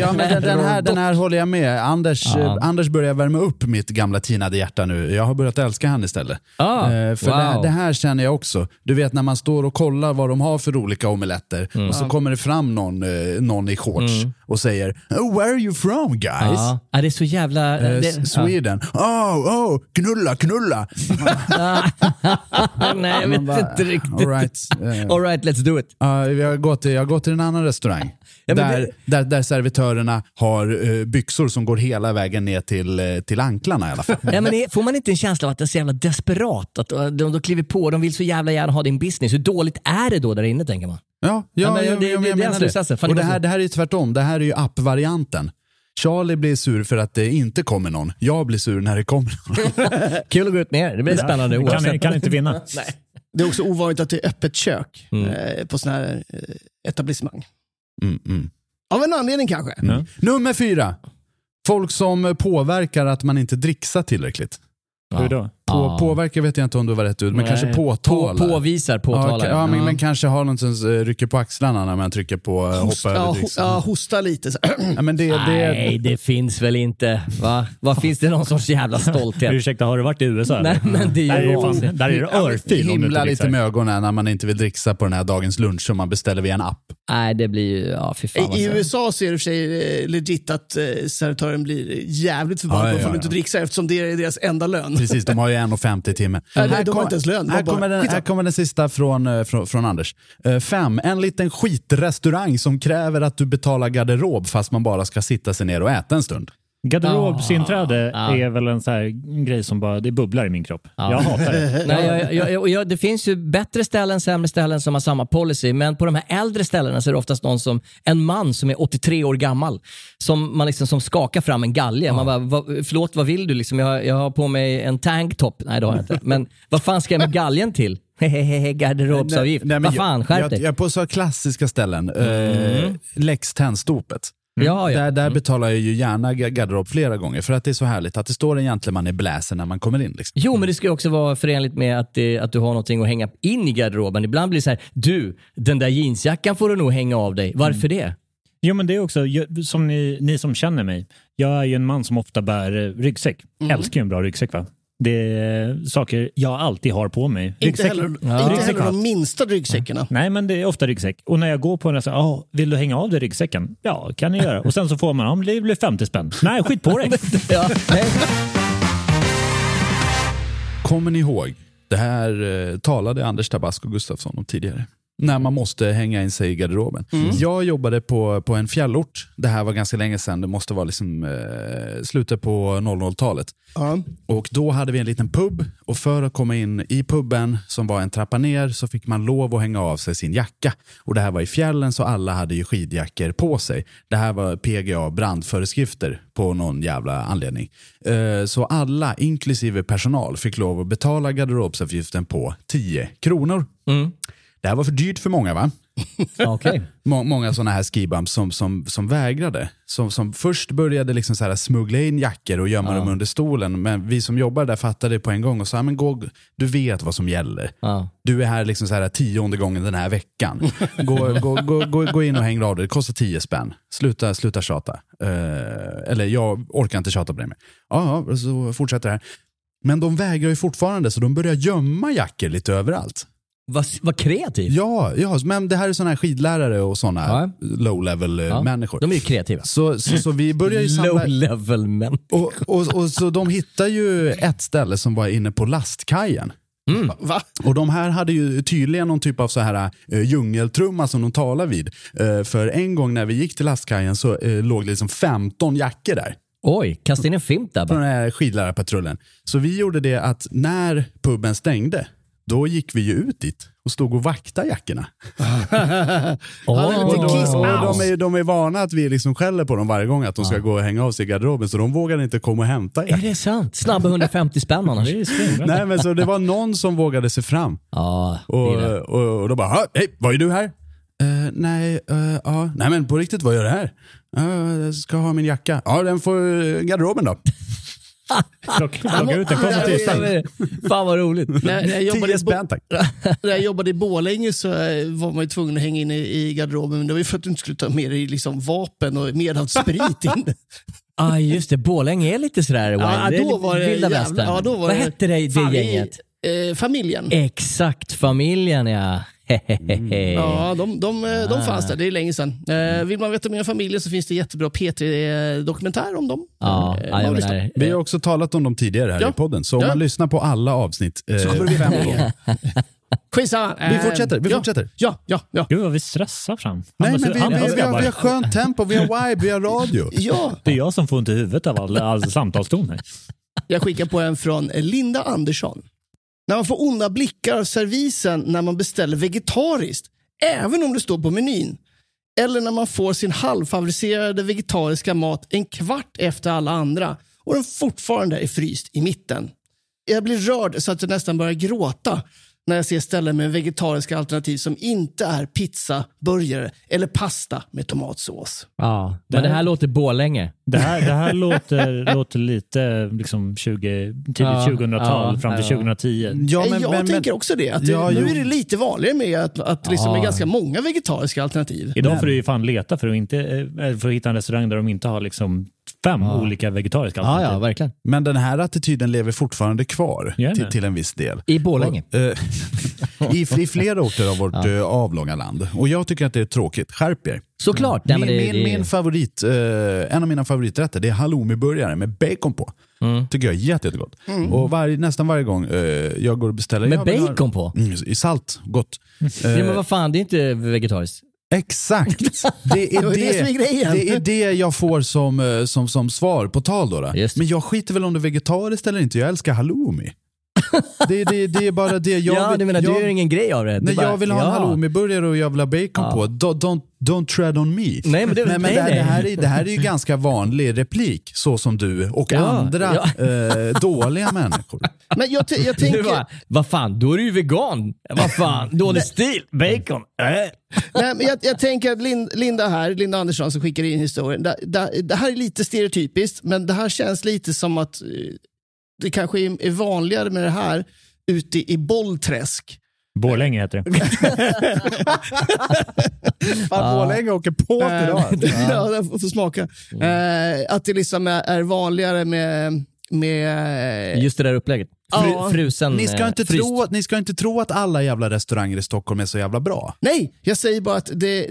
Speaker 1: Ja, men den, den, här, den här håller jag med. Anders, eh, Anders börjar värma upp mitt gamla tinade hjärta nu. Jag har börjat älska han istället.
Speaker 2: Ah,
Speaker 1: Eh, för
Speaker 2: wow.
Speaker 1: det, här- det här känner jag också. Du vet när man står och kollar vad de har för olika omeletter
Speaker 2: Mm.
Speaker 1: och så kommer det fram någon, eh, någon i shorts och säger oh, “Where are you from guys?”
Speaker 2: Ja. ja, det är så jävla...
Speaker 1: Eh,
Speaker 2: det,
Speaker 1: S- Sweden. “Oh, oh, knulla, knulla!”
Speaker 2: ja. Nej, jag vet
Speaker 1: Man bara,
Speaker 2: inte riktigt.
Speaker 1: All right. Eh,
Speaker 2: All right, let's do it.
Speaker 1: Ja, jag, har gått till, jag har gått till en annan restaurang.
Speaker 2: Ja, men
Speaker 1: där, där, där servitörerna har eh, byxor som går hela vägen ner till, eh, till anklarna i alla fall.
Speaker 2: Ja, men är- får man inte en känsla av att det är så jävla desperat? Att eh, de, de kliver på, de vill så jävla gärna ha din business. Hur dåligt är det då där inne, tänker man?
Speaker 1: Ja, ja,
Speaker 2: Ja, men
Speaker 1: ja,
Speaker 2: det-
Speaker 1: ja, jag
Speaker 2: det- det är
Speaker 1: menar
Speaker 2: slutsatsen. Fan,
Speaker 1: Och
Speaker 2: det
Speaker 1: det
Speaker 2: var
Speaker 1: här,
Speaker 2: så-
Speaker 1: det här är ju tvärtom. Det här är ju app-varianten. Charlie blir sur för att det inte kommer någon. Jag blir sur när det kommer någon.
Speaker 2: Kul att gå ut med er. Det blir spännande
Speaker 3: kan,
Speaker 2: oavsett.
Speaker 3: kan inte vinna.
Speaker 4: Det är också ovanligt att det är öppet kök
Speaker 2: Mm.
Speaker 4: eh, på sådana här eh, etablissemang.
Speaker 1: Mm, mm.
Speaker 4: Av en anledning kanske.
Speaker 1: Nummer fyra. Folk som påverkar att man inte dricksar tillräckligt.
Speaker 3: Hur då?
Speaker 1: På, Påverkar vet jag inte om du var rätt ut, men
Speaker 2: Ah. Nej.
Speaker 1: kanske
Speaker 2: Eh, På,
Speaker 1: påtalar.
Speaker 2: påvisar,
Speaker 1: ja,
Speaker 2: påtalar. Mm.
Speaker 1: ja, men, men kanske har någon som eh, rycker på axlarna när man trycker på eh, hoppa
Speaker 4: ja,
Speaker 1: över
Speaker 4: ho,
Speaker 1: dricksan.
Speaker 4: ja, hosta lite. Så.
Speaker 1: Ja, men det, det,
Speaker 2: Nej, det finns väl inte. Va? Vad finns det någon sorts jävla stolthet?
Speaker 3: Ursäkta, har du varit i USA?
Speaker 2: Nej,
Speaker 3: eller?
Speaker 2: men det
Speaker 3: Där
Speaker 2: är
Speaker 3: är
Speaker 2: ju
Speaker 3: det,
Speaker 2: vansinnigt.
Speaker 3: fan, där är det örfil om du
Speaker 1: himla lite
Speaker 3: inte dricksar.
Speaker 1: med ögonen när man inte vill dricksa på den här dagens lunch som man beställer via en app.
Speaker 2: Nej, det blir ju... Ja, fy fan vad
Speaker 4: I, I
Speaker 2: sämst.
Speaker 4: USA så är det i och för sig eh, legit att eh, servitören blir jävligt förbannad
Speaker 1: Ja,
Speaker 4: på
Speaker 1: ja,
Speaker 4: att de
Speaker 1: ja.
Speaker 4: inte dricksar eftersom det är deras enda lön.
Speaker 1: Precis, de har ju 1,50 i timmen.
Speaker 4: Nej, de har inte ens lön. De
Speaker 1: Här,
Speaker 4: bara-
Speaker 1: kommer den, här
Speaker 4: skitsamma.
Speaker 1: kommer den sista från, eh, från, från Anders. Eh, Fem, en liten skitrestaurang som kräver att du betalar garderob fast man bara ska sitta sig ner och äta en stund.
Speaker 3: Garderobsinträde
Speaker 2: Ah.
Speaker 3: är väl en sån här grej som bara, det bubblar i min kropp. Jag hatar det.
Speaker 2: Nej, jag, jag, jag, och jag, det finns ju bättre ställen, sämre ställen som har samma policy, men på de här äldre ställena så är det oftast någon som, en man som är 83 år gammal som, man liksom, som skakar fram en galge. Man bara, "Va- förlåt vad vill du? Liksom, jag, har- jag har på mig en tanktop. Nej det har jag inte. Men vad fan ska jag med galgen till? Hehehe, garderobsavgift.
Speaker 1: Nej, nej, men
Speaker 2: Vad fan,
Speaker 1: jag-
Speaker 2: skärp
Speaker 1: Jag,
Speaker 2: dig. Mm.
Speaker 1: jag på så klassiska ställen. Eh, Lex Tennstopet.
Speaker 2: Ja, ja. Mm.
Speaker 1: Där, där betalar jag ju gärna ga- garderob flera gånger för att det är så härligt att det står en gentleman i bläsen när man kommer in. Liksom.
Speaker 2: Jo, men det ska ju också vara förenligt med att, det, att du har någonting att hänga in i garderoben. Ibland blir det så här, du, den där jeansjackan får du nog hänga av dig. Varför
Speaker 1: Mm.
Speaker 2: det?
Speaker 3: Jo, men det är också, jag- som ni, ni som känner mig, jag är ju en man som ofta bär eh, ryggsäck. Älskar ju en bra ryggsäck va? Det är saker jag alltid har på mig.
Speaker 4: Inte
Speaker 3: Ryggsäck-
Speaker 4: heller,
Speaker 2: Ja.
Speaker 4: inte heller
Speaker 3: Ryggsäck.
Speaker 4: de minsta ryggsäckarna.
Speaker 3: Nej, men det är ofta ryggsäck. Och när jag går på en restaurang, "Ah, vill du hänga av dig ryggsäcken? Ja, kan jag göra. Och sen så får man, om det blir 50 spänn. Nej, skit på dig.
Speaker 2: Ja, nej.
Speaker 1: Kommer ni ihåg? Det här eh, talade Anders Tabasco Gustafsson om tidigare. När man måste hänga in sig i garderoben.
Speaker 2: Mm.
Speaker 1: Jag jobbade på, på en fjällort. Det här var ganska länge sedan. Det måste vara liksom, eh, slutet på 00-talet.
Speaker 4: Ja.
Speaker 1: Och då hade vi en liten pub och för att komma in i puben som var en trappa ner så fick man lov att hänga av sig sin jacka. Och det här var i fjällen så alla hade ju skidjackor på sig. Det här var PGA brandföreskrifter på någon jävla anledning. Eh, Så alla, inklusive personal, fick lov att betala garderobsavgiften på 10 kronor. Det här var för dyrt för många va?
Speaker 2: Okej.
Speaker 1: Må- många sådana här skibums som, som, som vägrade. Som, som först började liksom så här smuggla in jackor och gömma dem under stolen. Men vi som jobbar där fattade på en gång och sa, men gå, du vet vad som gäller.
Speaker 2: Ja.
Speaker 1: Du är här liksom så här tionde gången den här veckan. Gå, gå, gå, gå, gå in och häng av dig. det kostar tio spänn. Sluta, sluta tjata. Eh, eller jag orkar inte tjata på dig mer. Ja, ja, så fortsätter det här. Men de vägrar ju fortfarande så de börjar gömma jackor lite överallt.
Speaker 2: Vad, vad kreativt.
Speaker 1: Ja, ja, men det här är sådana här skidlärare och sådana
Speaker 2: Ja.
Speaker 1: low level eh,
Speaker 2: Ja,
Speaker 1: människor.
Speaker 2: De är ju kreativa.
Speaker 1: så, så, så vi börjar ju samla...
Speaker 2: Low level men.
Speaker 1: Och, och, och så de hittar ju ett ställe som var inne på lastkajen.
Speaker 4: Va?
Speaker 1: Och de här hade ju tydligen någon typ av så här eh, djungeltrumma som de talar vid. Eh, för en gång när vi gick till lastkajen så eh, låg det liksom 15 jackor där
Speaker 2: Oj, kasta in en fimp där
Speaker 1: från
Speaker 2: bara.
Speaker 1: den här skidlärarpatrullen. Så vi gjorde det att när puben stängde, då gick vi ju ut dit och stod och vaktade jackorna.
Speaker 4: Han är lite
Speaker 1: Och
Speaker 4: kiss
Speaker 1: de, är, ju- de är vana att vi liksom skäller på dem varje gång att de ska gå och hänga av sig i garderoben, så de vågar inte komma och hämta
Speaker 2: Är
Speaker 1: jackan.
Speaker 2: det sant? Snabba 150 spänn annars.
Speaker 3: Det är svinbra.
Speaker 1: Nej, men så det var någon som vågade sig fram.
Speaker 2: Ja, det
Speaker 1: Och,
Speaker 2: är det.
Speaker 1: och, och då bara, "Ha, hej, var är du här? "Eh, nej, eh, ja. nej men på riktigt, vad gör du här? "Eh, jag ska ha min jacka. Ja, den får eh, garderoben då.
Speaker 3: Plocka plocka ut den. Kom
Speaker 4: Ja,
Speaker 3: till
Speaker 4: det är-
Speaker 3: stan.
Speaker 2: Fan vad roligt.
Speaker 4: När, när jag jobbade i
Speaker 1: Tio
Speaker 4: Bo-
Speaker 1: spänn tack.
Speaker 4: när jag jobbade i Borlänge så eh, var man ju tvungen att hänga in i, i garderoben. Men det var ju för att du inte skulle ta med dig liksom vapen och medhavssprit in.
Speaker 2: Ja, ah, just det. Borlänge är lite sådär wild.
Speaker 4: Ja,
Speaker 2: det är
Speaker 4: då
Speaker 2: lite
Speaker 4: var det
Speaker 2: vilda
Speaker 4: jävla-
Speaker 2: västern.
Speaker 4: ja, då var
Speaker 2: Vad
Speaker 4: det-
Speaker 2: hette det, det
Speaker 4: Fan, vi-
Speaker 2: gänget?
Speaker 4: Eh, familjen.
Speaker 2: Exakt, familjen ja. Hehehe.
Speaker 4: Ja, de, de, eh, de fanns där. Det är länge sedan. Eh,
Speaker 2: Mm.
Speaker 4: vill man veta mer om familjen så finns det jättebra P3-dokumentär om dem.
Speaker 2: Ja,
Speaker 4: Eh,
Speaker 2: ja,
Speaker 4: man
Speaker 2: jag
Speaker 4: lyssnar.
Speaker 2: menar,
Speaker 1: Vi har också talat om dem tidigare här
Speaker 4: Ja.
Speaker 1: i podden, så om
Speaker 4: Ja.
Speaker 1: man lyssnar på alla avsnitt. eh, fem gånger.
Speaker 4: Skitsamma. Eh,
Speaker 1: Vi fortsätter, vi
Speaker 4: ja,
Speaker 1: fortsätter.
Speaker 4: Ja, ja, ja.
Speaker 3: Gud vad vi stressar fram.
Speaker 1: Nej,
Speaker 3: Annars-
Speaker 1: men vi, vi,
Speaker 3: annars
Speaker 1: vi, har, vi har
Speaker 3: grabbar.
Speaker 1: skönt tempo, vi har vibe, vi har radio.
Speaker 4: Ja,
Speaker 3: Det är jag som får ont i huvudet av all, all samtalstoner.
Speaker 4: jag skickar på en från Linda Andersson. När man får onda blickar av servisen när man beställer vegetariskt, även om det står på menyn. Eller när man får sin halvfabricerade vegetariska mat en kvart efter alla andra och den fortfarande är fryst i mitten. Jag blir rörd så att jag nästan börjar gråta när jag ser ställen med vegetariska alternativ som inte är pizza, burgare eller pasta med tomatsås.
Speaker 2: ja. Men det här låter Borlänge.
Speaker 3: Det här, det här låter, låter lite liksom 20, tidigt
Speaker 2: Ja,
Speaker 3: 2000-tal
Speaker 2: ja,
Speaker 3: fram till
Speaker 2: ja.
Speaker 3: 2010.
Speaker 1: Ja,
Speaker 4: Eh, jag tänker också det. Att det
Speaker 1: Ja,
Speaker 4: nu
Speaker 1: jo. Ah.
Speaker 4: är det lite vanligare med att, att liksom det är ganska många vegetariska alternativ.
Speaker 3: Idag får du ju fan leta för att, inte, eh, för att hitta en restaurang där de inte har liksom fem olika vegetariska
Speaker 2: Ja,
Speaker 3: alternativ.
Speaker 2: ja, verkligen.
Speaker 1: Men den här attityden lever fortfarande kvar
Speaker 3: Gör den
Speaker 1: till,
Speaker 3: det?
Speaker 1: till en viss del.
Speaker 2: I Borlänge.
Speaker 1: Eh, I, I flera orter av vårt eh, avlånga land. Och jag tycker att det är tråkigt. Skärp er.
Speaker 2: Såklart. Nej, men
Speaker 1: min,
Speaker 2: det,
Speaker 1: min,
Speaker 2: det,
Speaker 1: min favorit, eh, en av mina favoriträtter det är halloumiburgare med bacon på.
Speaker 3: Mm.
Speaker 1: Tycker jag är jätte, jättegott. Och varje, nästan varje gång eh, jag går och beställer...
Speaker 2: Mm. Med
Speaker 1: jag vill ha-
Speaker 2: bacon på?
Speaker 1: Mm, I salt, gott.
Speaker 2: ja, men vad fan, det är inte vegetariskt.
Speaker 1: Exakt! Det är
Speaker 4: Det
Speaker 1: det,
Speaker 4: var ju det som är grejen.
Speaker 1: det är det jag får som, eh, som, som svar på tal. Då, då.
Speaker 2: Just det.
Speaker 1: Men jag skiter väl om det är vegetariskt eller inte. Jag älskar halloumi. Det, det, det är bara det jag
Speaker 2: ja,
Speaker 1: vill-
Speaker 2: du menar,
Speaker 1: jag,
Speaker 2: du gör ingen grej av det? Du
Speaker 1: Nej,
Speaker 2: bara,
Speaker 1: jag vill ha en
Speaker 2: ja.
Speaker 1: halloumiburgare och jag vill ha bacon på. Don't, don't, don't tread on me.
Speaker 2: Nej, men det- nej,
Speaker 1: det, här-
Speaker 2: nej.
Speaker 1: Det, här är, det här är ju ganska vanlig replik, så som du och
Speaker 2: Ja,
Speaker 1: andra
Speaker 2: ja.
Speaker 1: Eh, dåliga människor.
Speaker 4: Men jag, t- jag
Speaker 2: Du
Speaker 4: tänker...
Speaker 2: bara, vad fan, då är du ju vegan. Vad fan, dålig stil. Bacon.
Speaker 3: eh!
Speaker 2: Äh.
Speaker 4: Nej, men jag, jag tänker att Lin- Linda här, Linda Andersson som skickar in historien. Det, det, det här är lite stereotypiskt, men det här känns lite som att eh, det kanske är, är vanligare med det här ute i Bollträsk.
Speaker 3: Borlänge heter det.
Speaker 1: Fan, Borlänge åker på
Speaker 4: Eh,
Speaker 1: alltså.
Speaker 4: ja, jag får får smaka.
Speaker 1: Mm.
Speaker 4: Eh, att det liksom är, är vanligare med... med
Speaker 2: Just det där upplägget. Fru,
Speaker 4: Ja.
Speaker 2: Frusen.
Speaker 1: Ni
Speaker 2: eh,
Speaker 1: ska, inte
Speaker 2: fryst.
Speaker 1: tro, att- ni ska inte tro att alla jävla restauranger i Stockholm är så jävla bra.
Speaker 4: Nej, jag säger bara att det,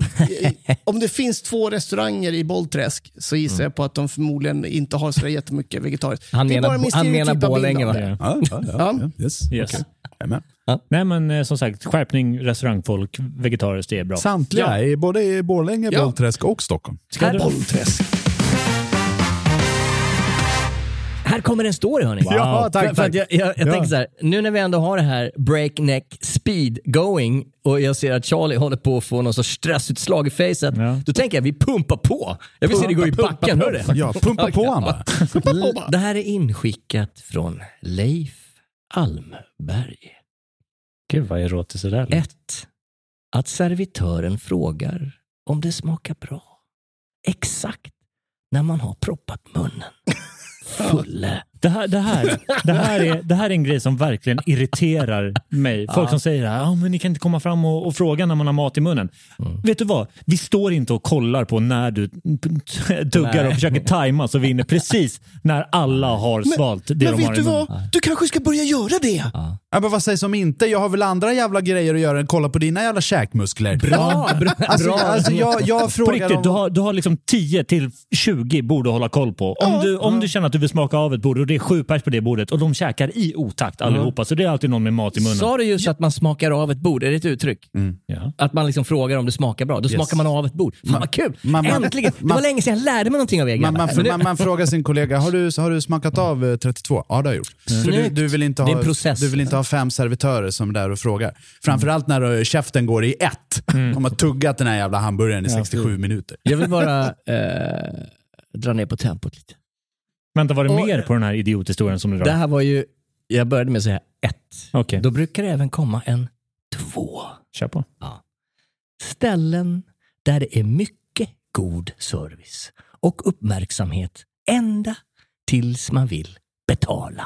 Speaker 4: om det finns två restauranger i Bollträsk så gissar jag på att de förmodligen inte har så där jättemycket vegetariskt.
Speaker 2: Han
Speaker 4: Det är
Speaker 2: menar-
Speaker 4: bara min
Speaker 2: han menar
Speaker 4: stereotypa bild
Speaker 2: Borlänge,
Speaker 4: av
Speaker 2: va?
Speaker 4: det.
Speaker 1: Ja, ja,
Speaker 4: Ja.
Speaker 1: Yes.
Speaker 3: Yes.
Speaker 1: Okej. Jajamän.
Speaker 3: Nej, men eh, som sagt, skärpning, restaurangfolk, vegetariskt, det är bra.
Speaker 1: Samtliga, i både i Borlänge,
Speaker 4: Ja.
Speaker 1: Bollträsk och Stockholm.
Speaker 2: Här,
Speaker 4: Bollträsk.
Speaker 2: Här kommer en story hörni.
Speaker 1: Ja, tack,
Speaker 2: för, För
Speaker 1: tack.
Speaker 2: att jag jag, jag
Speaker 1: Ja.
Speaker 2: tänker så här, nu när vi ändå har det här breakneck speed going och jag ser att Charlie håller på att få någon sorts stressutslag i facet.
Speaker 3: Ja.
Speaker 2: Då tänker jag vi pumpar på. Jag vill se det gå i backen, hör du det?
Speaker 1: Ja, pumpa på han bara.
Speaker 4: på bara.
Speaker 2: Det här är inskickat från Leif Almberg.
Speaker 3: Gud vad erotiskt det där låter.
Speaker 2: 1. Att servitören frågar om det smakar bra. Exakt när man har proppat munnen. Fulle.
Speaker 3: Det här, det, här, det, här är, det här är en grej som verkligen irriterar mig. Folk som säger att men ni kan inte komma fram och, och fråga när man har mat i munnen.
Speaker 2: Mm.
Speaker 3: Vet du vad? Vi står inte och kollar på när du tuggar
Speaker 2: Nej.
Speaker 3: och försöker tajma så vi hinner precis när alla har svalt det
Speaker 4: Men
Speaker 3: de har
Speaker 4: vet
Speaker 3: i
Speaker 4: du
Speaker 3: munnen.
Speaker 4: vad? Du kanske ska börja göra det.
Speaker 1: Ja, men vad sägs om inte? Jag har väl andra jävla grejer att göra än kolla på dina jävla käkmuskler.
Speaker 2: Bra, bra,
Speaker 1: Alltså,
Speaker 2: bra.
Speaker 1: alltså jag, jag
Speaker 3: På
Speaker 1: frågar
Speaker 3: riktigt, du har, du har liksom 10 till 20 bord att hålla koll på. Om, du, om du känner att du vill smaka av ett bord och det det är sju pers på det bordet och de käkar i otakt allihopa. Så det är alltid någon med mat i munnen.
Speaker 2: Sa du just att man smakar av ett bord? Är det ett uttryck?
Speaker 3: Ja.
Speaker 2: Att man liksom frågar om det smakar bra. Då smakar man av ett bord. Fan vad kul!
Speaker 1: Mm. man- man-
Speaker 2: Äntligen! Det var
Speaker 1: man-
Speaker 2: länge sedan jag lärde mig någonting av er
Speaker 1: Man,
Speaker 2: grabbar.
Speaker 1: man,
Speaker 2: Men det-
Speaker 1: man, man frågar sin kollega, har du, har du smakat av eh, 32? Ja, det har jag gjort. För du,
Speaker 2: Snyggt.
Speaker 1: du, vill inte
Speaker 2: Det
Speaker 1: ha,
Speaker 2: är en process.
Speaker 1: du vill inte ha fem servitörer som är där och frågar. Framförallt när eh, käften går i ett.
Speaker 2: Mm.
Speaker 1: De har tuggat den här jävla hamburgaren i 67 minuter.
Speaker 2: Jag vill bara eh, dra ner på tempot lite.
Speaker 3: Vänta, var det
Speaker 2: Och-
Speaker 3: mer på den här idiothistorien som du
Speaker 2: Det
Speaker 3: drar?
Speaker 2: här var ju... Jag började med att säga ett.
Speaker 3: Okej,
Speaker 2: Då brukar det även komma en två.
Speaker 3: kör på.
Speaker 2: Ställen där det är mycket god service och uppmärksamhet ända tills man vill betala.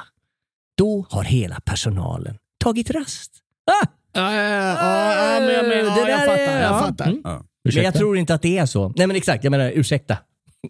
Speaker 2: Då har hela personalen tagit rast. Ah!
Speaker 4: Ja, ja, ja, ja, ja, men jag men-
Speaker 2: Det
Speaker 4: ja,
Speaker 2: där
Speaker 4: jag fattar.
Speaker 2: är-
Speaker 4: Jag
Speaker 2: ja.
Speaker 4: fattar.
Speaker 2: Mm. Men
Speaker 3: Ursäkta?
Speaker 2: jag tror inte att det är så. Nej men exakt, jag menar ursäkta.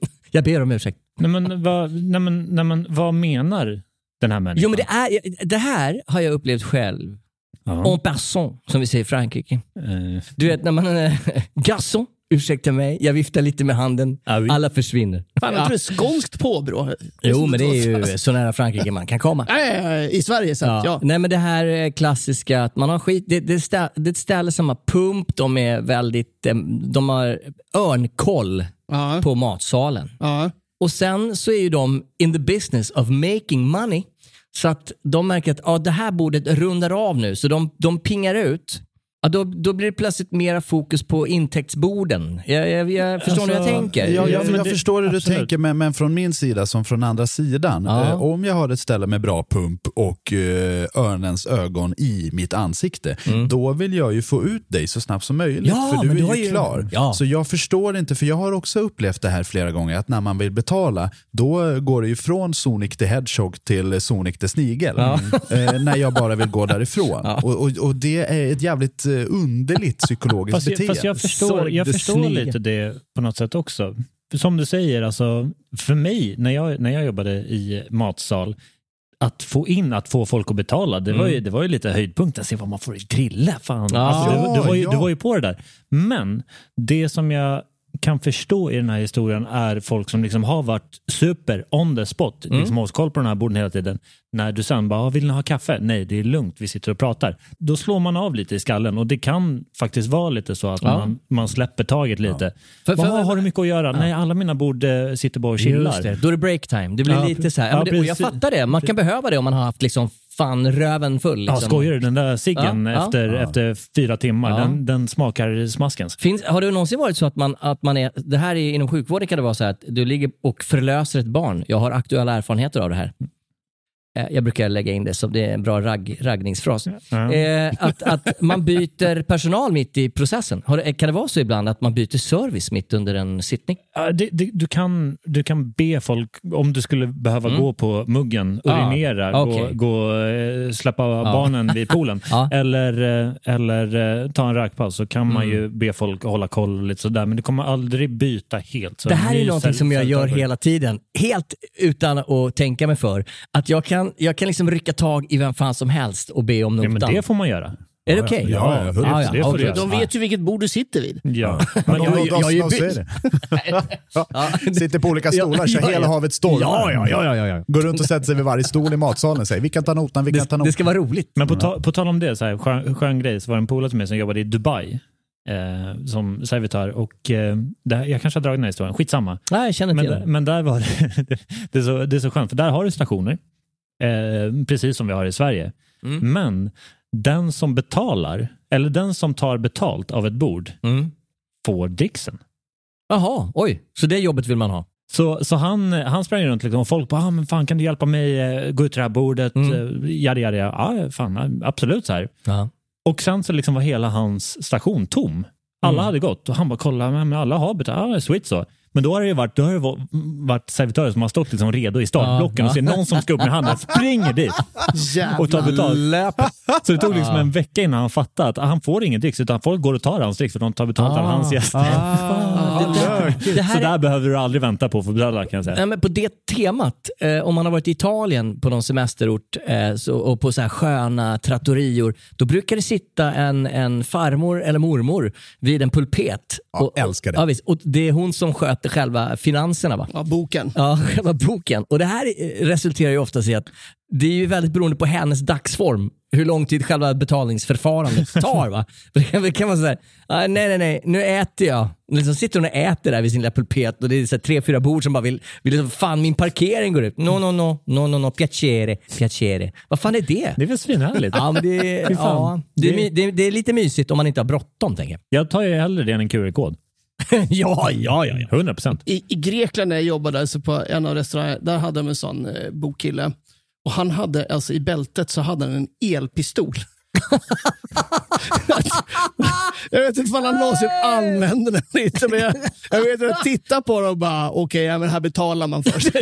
Speaker 2: Jag ber om ursäkt.
Speaker 3: Nej, men, vad, nej, men, nej, men, vad menar den här människan?
Speaker 2: Jo men det, är, det här har jag upplevt själv.
Speaker 3: Ja.
Speaker 2: En person, som vi säger i Frankrike.
Speaker 3: Eh,
Speaker 2: Du vet när man... Äh, garçon, ursäkta mig, jag viftar lite med handen.
Speaker 3: Ah, oui.
Speaker 2: Alla försvinner.
Speaker 4: Fan, jag tror det är skånskt påbrå.
Speaker 2: Jo, men det är ju så nära Frankrike man kan komma.
Speaker 4: Nej, ja, ja, I Sverige så att, ja.
Speaker 2: Nej, men det här eh, klassiska att man har skit. Det, det, är stä, det är ett ställe som har pump, de är väldigt... eh, De har örnkoll
Speaker 4: Ja.
Speaker 2: på matsalen.
Speaker 4: ja.
Speaker 2: Och sen så är ju de in the business of making money. Så att de märker att ah, det här bordet rundar av nu, så de, de pingar ut. Ja, då, då blir det plötsligt mera fokus på intäktsborden. Jag, jag, jag förstår ni hur jag
Speaker 3: Alltså,
Speaker 2: tänker?
Speaker 1: Jag, jag,
Speaker 3: men
Speaker 1: jag
Speaker 3: det-
Speaker 1: förstår hur du
Speaker 3: absolut.
Speaker 1: tänker, men, men från min sida som från andra sidan.
Speaker 2: Ja.
Speaker 1: Eh, om jag har ett ställe med bra pump och eh, örnens ögon i mitt ansikte, då vill jag ju få ut dig så snabbt som möjligt.
Speaker 2: Mm. Ja,
Speaker 1: för du
Speaker 2: men du
Speaker 1: är
Speaker 2: har
Speaker 1: ju
Speaker 2: ju-
Speaker 1: klar.
Speaker 2: Ja.
Speaker 1: Så jag förstår inte, för jag har också upplevt det här flera gånger, att när man vill betala, då går det ju från Sonic the Hedgehog till Sonic the Snigel. Eh, när jag bara vill gå därifrån. Och, och, och det är ett jävligt eh, underligt psykologiskt
Speaker 3: Fast jag,
Speaker 1: beteende.
Speaker 3: fast jag förstår,
Speaker 2: Sorg,
Speaker 3: jag
Speaker 2: det
Speaker 3: förstår
Speaker 2: snigel.
Speaker 3: lite det på något sätt också. För Som du säger, alltså, för mig när jag, när jag jobbade i matsal, att få in, att få folk att betala, det var ju, det var ju lite höjdpunkten. Se vad man får i grilla, fan.
Speaker 2: Mm. Ja.
Speaker 3: Alltså, du, du, var ju,
Speaker 1: Ja, ja.
Speaker 3: du var ju på det där. Men det som jag kan förstå i den här historien är folk som liksom har varit super on the spot,
Speaker 2: Mm.
Speaker 3: liksom har koll på den här borden hela tiden. När du sen bara, "Ah, vill ni ha kaffe? Nej, det är lugnt, vi sitter och pratar. Då slår man av lite i skallen och det kan faktiskt vara lite så att
Speaker 2: Ja.
Speaker 3: man, man släpper taget lite.
Speaker 2: För-
Speaker 3: Bara,
Speaker 2: för-
Speaker 3: "Ah, har du mycket att göra? Nej, alla mina bord eh, sitter bara och chillar.
Speaker 2: Just det. Då är det break time. Det blir
Speaker 3: Ja,
Speaker 2: lite så här. Ja,
Speaker 3: ja,
Speaker 2: men det, och jag
Speaker 3: precis.
Speaker 2: fattar det. Man kan behöva det om man har haft liksom fan röven full. Liksom.
Speaker 3: Ja, skojar du? Den där ciggen
Speaker 2: Ja, ja.
Speaker 3: efter, efter fyra timmar,
Speaker 2: Ja.
Speaker 3: den, den smakar smaskens.
Speaker 2: Finns, har det någonsin varit så att man, att man är, det här är, inom sjukvården kan det vara så här att du ligger och förlöser ett barn. Jag har aktuella erfarenheter av det här. Eh, Jag brukar lägga in det som det är en bra ragg, raggningsfras.
Speaker 3: Ja.
Speaker 2: Eh, att, att man byter personal mitt i processen. Har, det- kan det vara så ibland att man byter service mitt under en sittning?
Speaker 3: Ja, det, det, du, kan, du kan be folk, om du skulle behöva gå på muggen,
Speaker 2: Mm. Ah,
Speaker 3: urinera,
Speaker 2: okej. Ah.
Speaker 3: gå, gå, eh, släppa barnen vid poolen
Speaker 2: Ja.
Speaker 3: eller, eh, eller eh, ta en rökpaus så kan man ju
Speaker 2: Mm.
Speaker 3: be folk hålla koll och lite sådär. Men du kommer aldrig byta helt. Så
Speaker 2: Det här
Speaker 3: ny
Speaker 2: är någonting
Speaker 3: cell-
Speaker 2: som jag gör
Speaker 3: celltavla.
Speaker 2: hela tiden, helt utan att tänka mig för. Att jag kan, jag kan liksom rycka tag i vem fan som helst och be om
Speaker 3: Ja, men
Speaker 2: notan.
Speaker 3: det får man göra.
Speaker 2: Är det okej?
Speaker 1: Ja, ja,
Speaker 2: Ah, ja,
Speaker 3: det får du
Speaker 2: okej.
Speaker 3: göra.
Speaker 4: De vet ju vilket bord du sitter vid.
Speaker 3: Ja.
Speaker 1: Ja,
Speaker 3: Men
Speaker 1: de-
Speaker 3: jag,
Speaker 1: de-
Speaker 3: jag,
Speaker 1: de-
Speaker 2: jag är ju
Speaker 1: de- så
Speaker 2: by-
Speaker 1: är det. Ja. Sitter på olika stolar, kör
Speaker 2: Ja, ja.
Speaker 1: hela havet stormar.
Speaker 2: Ja, ja, ja, ja, ja, ja.
Speaker 1: Går runt och sätter sig vid varje stol i matsalen och säger vi kan ta notan, vi kan ta
Speaker 2: Det, det
Speaker 1: notan.
Speaker 2: ska vara roligt.
Speaker 3: Men på, ta, på tal om det, så här, skön, skön grej, så var det en polare till mig som jobbade i Dubai eh, som servitör. Och, eh, det här, jag kanske har dragit den här historien, skitsamma.
Speaker 2: Nej, jag känner till
Speaker 3: men,
Speaker 2: det.
Speaker 3: men där var det, det, är så, det är så skönt, för där har du stationer, eh, precis som vi har i Sverige. Men den som betalar, eller den som tar betalt av ett bord,
Speaker 2: Mm.
Speaker 3: får dricksen.
Speaker 2: Jaha, oj. Så det jobbet vill man ha?
Speaker 3: Så, så han, han sprang runt liksom, och folk bara, ah, men fan kan du hjälpa mig eh, gå ut till det här bordet? Mm. Jada, jada, jada. Ja, fan, absolut så här.
Speaker 2: Ja.
Speaker 3: Och sen så liksom var hela hans station tom. Alla
Speaker 2: Mm.
Speaker 3: hade gått och han bara kolla, men men alla har betalat, ah, sweet så. Men då har det ju varit, då har det va- varit servitörer som har stått liksom redo i startblocken
Speaker 2: Ja.
Speaker 3: och ser någon som ska upp med handen, springer dit och tar betalt. Så det tog liksom en vecka innan han fattade att ah, han får ingen dricks utan folk går och tar hans dricks för de tar betalt av
Speaker 2: Ah.
Speaker 3: hans gäster.
Speaker 2: Det där- det
Speaker 3: Så
Speaker 2: här
Speaker 3: där
Speaker 2: är,
Speaker 3: behöver du aldrig vänta på för att betala kan jag säga.
Speaker 2: Nej, men på det temat, eh, om man har varit i Italien på någon semesterort eh, så, och på så här sköna trattorior, då brukar det sitta en, en farmor eller mormor vid en pulpet.
Speaker 1: Ja, älskar det.
Speaker 2: Ja, visst, och det är hon som sköter sköter själva finanserna. Va?
Speaker 4: Ja, boken.
Speaker 2: Ja, själva boken. Och det här eh, resulterar ju oftast i att det är ju väldigt beroende på hennes dagsform hur lång tid själva betalningsförfarandet tar. Va? För Det kan, det kan vara såhär, nej nej nej, nu äter jag. Liksom sitter hon och äter där vid sin lilla pulpet och det är så här tre, fyra bord som bara vill, vill liksom, fan min parkering går ut. No, no, no, no, no, no, piacere, piacere. Vad fan är det?
Speaker 3: Det är väl svinhärligt?
Speaker 2: Ja, men det,
Speaker 3: Fy fan.
Speaker 2: ja, det, är,
Speaker 3: Det-
Speaker 2: my- det, det är lite mysigt om man inte har bråttom, tänker jag.
Speaker 3: Jag tar ju hellre det än en QR-kod.
Speaker 2: ja, ja, ja, ja.
Speaker 3: 100 procent.
Speaker 4: I, I Grekland när jag jobbade så på en av restaurangerna, där hade de en sån eh, bokkille. Och han hade, alltså i bältet så hade han en elpistol. jag vet inte om han någonsin använde den inte, men jag, jag vet att jag tittade på den och bara, okej, ja, men här betalar man för sig.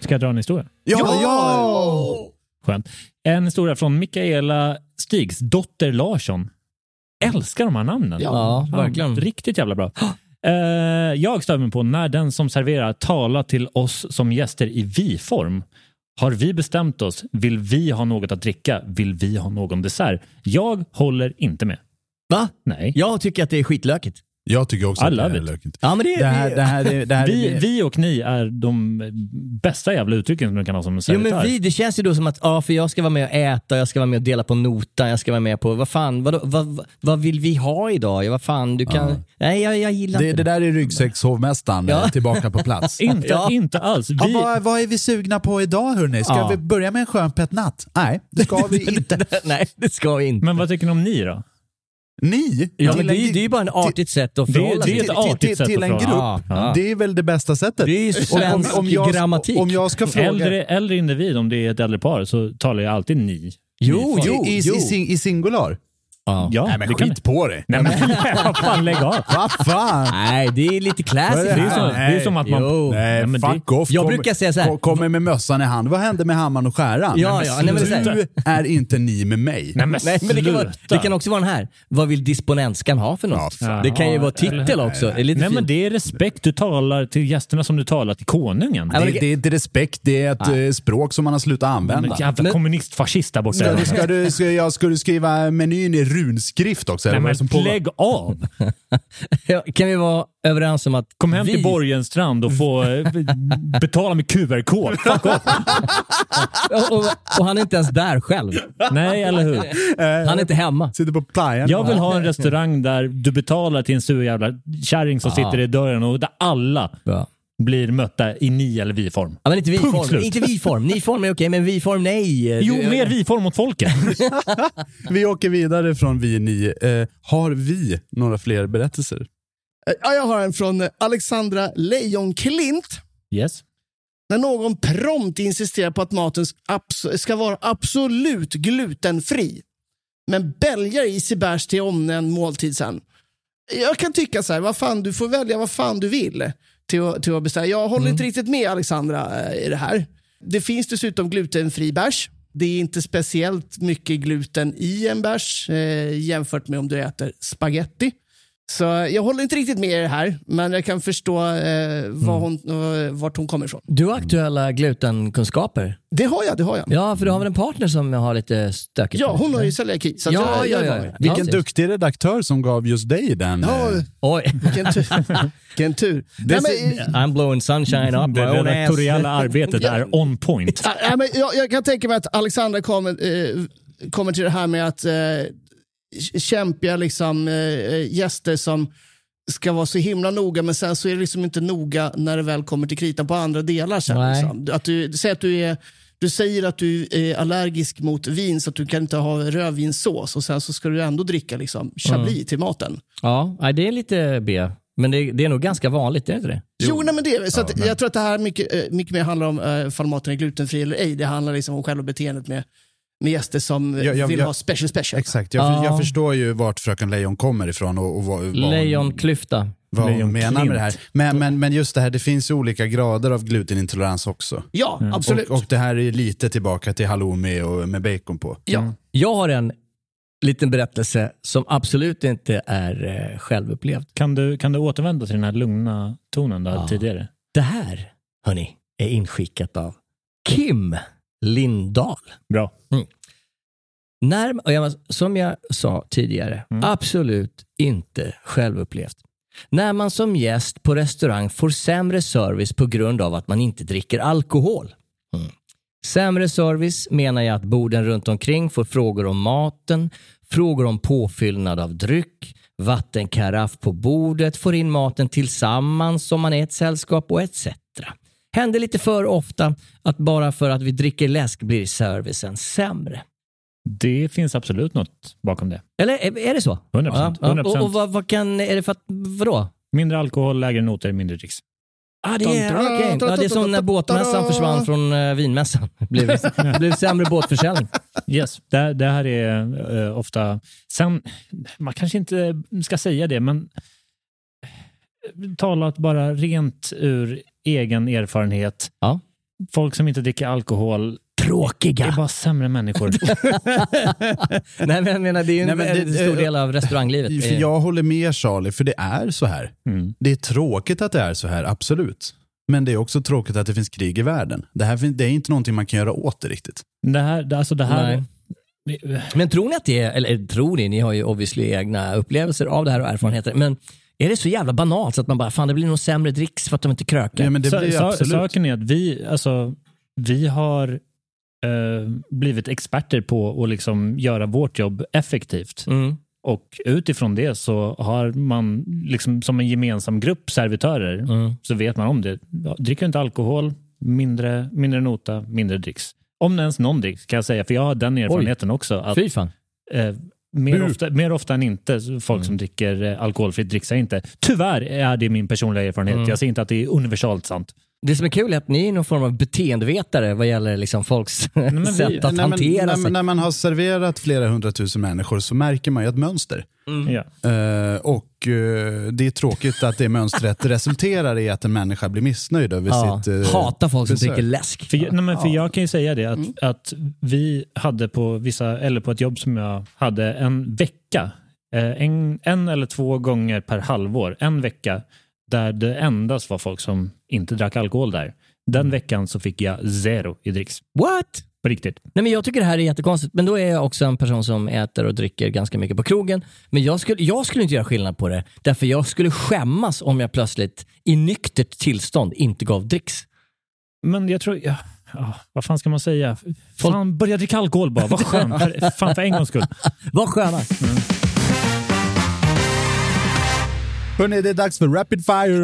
Speaker 3: Ska jag dra en historia?
Speaker 1: Ja!
Speaker 3: Skönt. En historia från Mikaela Stigsdotter Larsson. Älskar de här namnen.
Speaker 2: Ja, verkligen.
Speaker 3: Riktigt jävla bra. Eh, jag stör mig på när den som serverar talar till oss som gäster i vi-form. Har vi bestämt oss? Vill vi ha något att dricka? Vill vi ha någon dessert? Jag håller inte med.
Speaker 2: Va?
Speaker 3: Nej.
Speaker 2: Jag tycker att det är skitlökigt.
Speaker 1: Jag tycker också
Speaker 3: I
Speaker 1: att det
Speaker 3: love
Speaker 1: här är
Speaker 3: it.
Speaker 1: lökigt.
Speaker 2: Ja, men det,
Speaker 1: Det här, det här, är- det här
Speaker 3: Vi,
Speaker 1: är-
Speaker 3: vi och ni är de bästa jävla uttrycken som du kan ha som
Speaker 2: Jo,
Speaker 3: servitör.
Speaker 2: men vi, det känns ju då som att ja, för jag ska vara med och äta, jag ska vara med och dela på notan, jag ska vara med på vad fan, vad, vad, vad vill vi ha idag? Ja, vad fan, du kan... Nej, jag, jag gillar
Speaker 1: det,
Speaker 2: inte
Speaker 1: det där är ryggsäckshovmästaren eh, tillbaka på plats.
Speaker 3: Inte,
Speaker 2: Ja.
Speaker 3: inte alls. Vi,
Speaker 1: Ja, vad, vad är vi sugna på idag hörni? Ska
Speaker 2: Ja.
Speaker 1: vi börja med en skön petnatt? Nej, det ska vi inte.
Speaker 2: Nej, det ska vi inte.
Speaker 3: Men vad tycker ni om ni då?
Speaker 1: Ni?
Speaker 2: Ja,
Speaker 1: till
Speaker 2: men det,
Speaker 1: en-
Speaker 2: är ju- det är ju bara ett artigt sätt att förhålla
Speaker 3: det är
Speaker 2: sig till.
Speaker 3: ett
Speaker 1: till- till-
Speaker 3: artigt
Speaker 1: till-
Speaker 3: sätt
Speaker 1: till en
Speaker 3: att fråga.
Speaker 1: grupp.
Speaker 2: Ja, ja.
Speaker 1: Det är väl det bästa sättet?
Speaker 2: Det är ju svensk grammatik.
Speaker 1: Om jag ska fråga...
Speaker 3: Äldre, äldre individ, om det är ett äldre par, så talar jag alltid ni.
Speaker 2: Jo,
Speaker 1: I,
Speaker 2: jo,
Speaker 1: i,
Speaker 2: jo.
Speaker 1: i, sing, I singular?
Speaker 3: Ja, det kan
Speaker 1: på dig.
Speaker 3: Nej, men vad fan, lägg av.
Speaker 1: Vad fan?
Speaker 2: Nej, det är lite
Speaker 1: Vad
Speaker 2: classy.
Speaker 1: är
Speaker 3: Det är, så, det är som att man...
Speaker 2: Jo.
Speaker 1: Nej,
Speaker 3: Nej, men
Speaker 1: fuck
Speaker 3: det,
Speaker 1: off.
Speaker 2: Jag
Speaker 1: Kommer-
Speaker 2: brukar säga så här.
Speaker 1: kom- Kommer med mössan i hand. Vad hände med hammaren och skäran?
Speaker 2: Ja, ja, nej, men det är så här.
Speaker 1: du är inte ni med mig.
Speaker 3: Nej, men,
Speaker 2: Nej, men det, kan vara,
Speaker 3: sluta.
Speaker 2: det kan också vara den här. Vad vill disponentskan ha för något?
Speaker 1: Ja, fan.
Speaker 2: det kan ju
Speaker 3: Ja,
Speaker 2: vara
Speaker 3: eller
Speaker 2: titel
Speaker 3: hur?
Speaker 2: också. Det är lite
Speaker 3: Nej, men
Speaker 2: fint.
Speaker 3: det är respekt. Du talar till gästerna som du talar till konungen.
Speaker 2: Ja, men
Speaker 1: Det, det är inte respekt, det är ett eh, språk som man har slutat
Speaker 3: Men
Speaker 1: använda.
Speaker 3: jävla
Speaker 2: Men-
Speaker 3: kommunistfascist där borta.
Speaker 1: Ska du, ska, du, ska, jag, ska du skriva menyn i runskrift också?
Speaker 3: Nej,
Speaker 1: eller vad är det som
Speaker 3: men
Speaker 1: pågår?
Speaker 3: lägg av!
Speaker 2: Ja, Kan vi vara överens om att
Speaker 3: Kom hem
Speaker 2: vi...
Speaker 3: till Borgenstrand och få eh, betala med QR-kod. Fuck off!
Speaker 2: och, och, och han är inte ens där själv.
Speaker 3: Nej, eller hur?
Speaker 2: Han är inte hemma.
Speaker 1: Sitter på playan.
Speaker 3: Jag vill ha en restaurang där du betalar till en sur jävla kärring som sitter i dörren och där alla
Speaker 2: Ja.
Speaker 3: blir mötta i ni eller vi-form.
Speaker 2: Ja, men inte
Speaker 3: Punkt
Speaker 2: vi-form.
Speaker 3: slut.
Speaker 2: Inte vi-form. Ni-form är okej, men vi-form nej.
Speaker 3: Jo,
Speaker 2: Det-
Speaker 3: mer vi-form mot folket.
Speaker 1: Vi åker vidare från vi ni. Eh, har vi några fler berättelser?
Speaker 4: Ja, jag har en från eh, Alexandra Lejonklint.
Speaker 3: Yes.
Speaker 4: När någon prompt insisterar på att maten sk- abs- ska vara absolut glutenfri, men bälgar i sig bärs till omnämnd måltid sen. Jag kan tycka så här, vad fan, du får välja vad fan du vill till att, till att beställa. Jag håller inte riktigt med Alexandra eh, i det här. Det finns dessutom glutenfri bärs. Det är inte speciellt mycket gluten i en bärs eh, jämfört med om du äter spaghetti. Så jag håller inte riktigt med i det här, men jag kan förstå eh, vad hon, eh, vart hon kommer ifrån.
Speaker 2: Du har aktuella glutenkunskaper.
Speaker 4: Det har jag, det har jag. Ja,
Speaker 2: Ja, för du har väl en partner som har lite stökigt?
Speaker 4: hon har ju celiaki. Så att
Speaker 2: Ja,
Speaker 4: jag,
Speaker 2: ja,
Speaker 4: jag
Speaker 2: ja.
Speaker 4: var-
Speaker 2: ja.
Speaker 1: Vilken
Speaker 2: Ja,
Speaker 1: duktig redaktör som gav just dig den. eh,
Speaker 4: Ja,
Speaker 2: Oj,
Speaker 4: vilken tur. Vilken tur. Nej, men, eh,
Speaker 2: I'm blowing sunshine up my
Speaker 3: Det
Speaker 2: own ass.
Speaker 3: redaktoriella arbetet är on point.
Speaker 4: ah, nej, men jag, jag kan tänka mig att Alexandra kommer, eh, kommer till det här med att eh, k- kämpiga liksom, eh, gäster som ska vara så himla noga, men sen så är det liksom inte noga när det väl kommer till kritan på andra delar. Sen,
Speaker 2: Nej.
Speaker 4: liksom. att du, säg att du är du säger att du är allergisk mot vin så att du kan inte ha
Speaker 2: Mm.
Speaker 4: rödvinssås och sen så ska du ändå dricka liksom, chablis till maten.
Speaker 2: Ja, nej, det är lite B. Men det, det är nog ganska vanligt, är det inte det?
Speaker 4: Jo, nej, men det är det. Så att, Jag tror att det här mycket, eh, mycket mer handlar om eh, ifall maten är glutenfri eller ej. Det handlar liksom om själva beteendet med, med gäster som eh,
Speaker 1: Ja, ja,
Speaker 4: vill
Speaker 1: ja.
Speaker 4: ha special special.
Speaker 1: Exakt, jag,
Speaker 2: Ja.
Speaker 1: jag förstår ju vart Fröken Lejon kommer ifrån och, och vad, vad hon-
Speaker 2: Lejonklyfta.
Speaker 1: vad hon
Speaker 3: Lejon
Speaker 1: menar med det här.
Speaker 3: Klint.
Speaker 1: Men, men, men just det här, det finns ju olika grader av glutenintolerans också.
Speaker 4: Ja,
Speaker 2: Mm.
Speaker 4: absolut.
Speaker 1: Och, och det här är lite tillbaka till halloumi och med bacon på.
Speaker 4: ja.
Speaker 2: Jag har en liten berättelse som absolut inte är eh, självupplevd.
Speaker 3: Kan du, kan du återvända till den här lugna tonen du hade
Speaker 2: Ja.
Speaker 3: tidigare?
Speaker 2: Det här, hörni, är inskickat av Kim Lindahl.
Speaker 3: Bra.
Speaker 2: Närm och jag, som jag sa tidigare, absolut inte självupplevt. När man som gäst på restaurang får sämre service på grund av att man inte dricker alkohol. Sämre service menar jag att borden runt omkring får frågor om maten, frågor om påfyllnad av dryck, vattenkaraff på bordet, får in maten tillsammans om man är ett sällskap och etc. Händer lite för ofta att bara för att vi dricker läsk blir servicen sämre.
Speaker 3: Det finns absolut något bakom det.
Speaker 2: Eller är, är det så?
Speaker 3: 100%,
Speaker 2: Ja, ja.
Speaker 3: 100%.
Speaker 2: Och, och vad, vad kan, är det för att, vadå?
Speaker 3: Mindre alkohol, lägre noter, mindre dricks.
Speaker 2: Ah, det, är,
Speaker 4: Tantra,
Speaker 2: okej. ja, det är som när båtmässan försvann från eh, vinmässan. Det blev, det blev sämre båtförsäljning.
Speaker 3: Yes, det, det här är eh, ofta... Sen, man kanske inte ska säga det, men eh, talat bara rent ur egen erfarenhet.
Speaker 2: Ja.
Speaker 3: Folk som inte dricker alkohol
Speaker 2: Tråkiga!
Speaker 3: är bara sämre människor.
Speaker 2: Nej, men jag menar, det är ju en
Speaker 1: Nej, men det-
Speaker 2: väldigt stor del av restauranglivet.
Speaker 1: För
Speaker 2: Det är-
Speaker 1: jag håller med Charlie, för det är så här.
Speaker 3: Mm.
Speaker 1: Det är tråkigt att det är så här, absolut. Men det är också tråkigt att det finns krig i världen. Det här fin- det är inte någonting man kan göra åt det riktigt.
Speaker 3: Det här, det- alltså det här...
Speaker 2: Nej. Men tror ni att det är, eller tror ni, ni har ju obviously egna upplevelser av det här och erfarenheter, men är det så jävla banalt så att man bara, fan det blir nog sämre dricks för att de inte krökar?
Speaker 1: Ja, men det
Speaker 3: Sa-
Speaker 1: blir ju
Speaker 3: sa-
Speaker 1: absolut.
Speaker 3: Saken är att vi, alltså, vi har eh, blivit experter på att liksom göra vårt jobb effektivt.
Speaker 2: Mm.
Speaker 3: Och utifrån det så har man liksom, som en gemensam grupp servitörer
Speaker 2: Mm.
Speaker 3: så vet man om det. Ja, Dricker inte alkohol, mindre, mindre nota, mindre dricks. Om det ens någon dricks kan jag säga, för jag har den erfarenheten också. Att,
Speaker 2: Fy fan.
Speaker 3: eh, mer, ofta, mer ofta än inte, så folk
Speaker 2: Mm.
Speaker 3: som dricker eh, alkoholfritt dricks jag inte. Tyvärr är det min personliga erfarenhet.
Speaker 2: Mm.
Speaker 3: Jag säger inte att det är universalt sant.
Speaker 2: Det som är kul är att ni är någon form av beteendevetare vad gäller liksom folks
Speaker 3: men vi-
Speaker 2: sätt att
Speaker 1: när, man,
Speaker 2: hantera
Speaker 1: när,
Speaker 2: sig.
Speaker 1: när man har serverat flera hundratusen människor så märker man ju ett mönster.
Speaker 3: Ja.
Speaker 1: Eh, och eh, det är tråkigt att det mönstret resulterar i att en människa blir missnöjd över
Speaker 2: ja.
Speaker 1: sitt... eh,
Speaker 2: Hata folk som
Speaker 1: besök.
Speaker 2: dricker läsk.
Speaker 3: För, jag- nej, men för jag kan ju säga det att, att vi hade på vissa, eller på ett jobb som jag hade, en vecka. eh, En, en eller två gånger per halvår, en vecka, där det endast var folk som inte drack alkohol där. Den veckan så fick jag zero i dricks.
Speaker 2: What?
Speaker 3: På riktigt.
Speaker 2: Nej, men jag tycker det här är jättekonstigt, men då är jag också en person som äter och dricker ganska mycket på krogen. Men jag skulle, jag skulle inte göra skillnad på det, därför jag skulle skämmas om jag plötsligt i nyktert tillstånd inte gav dricks.
Speaker 3: Men jag tror... Ja, ja, vad fan ska man säga? Fan, börja dricka alkohol bara. Vad skönt. För, fan, för en gångs skull.
Speaker 2: Vad sköna.
Speaker 1: Hörrni, det är dags för Rapid Fire!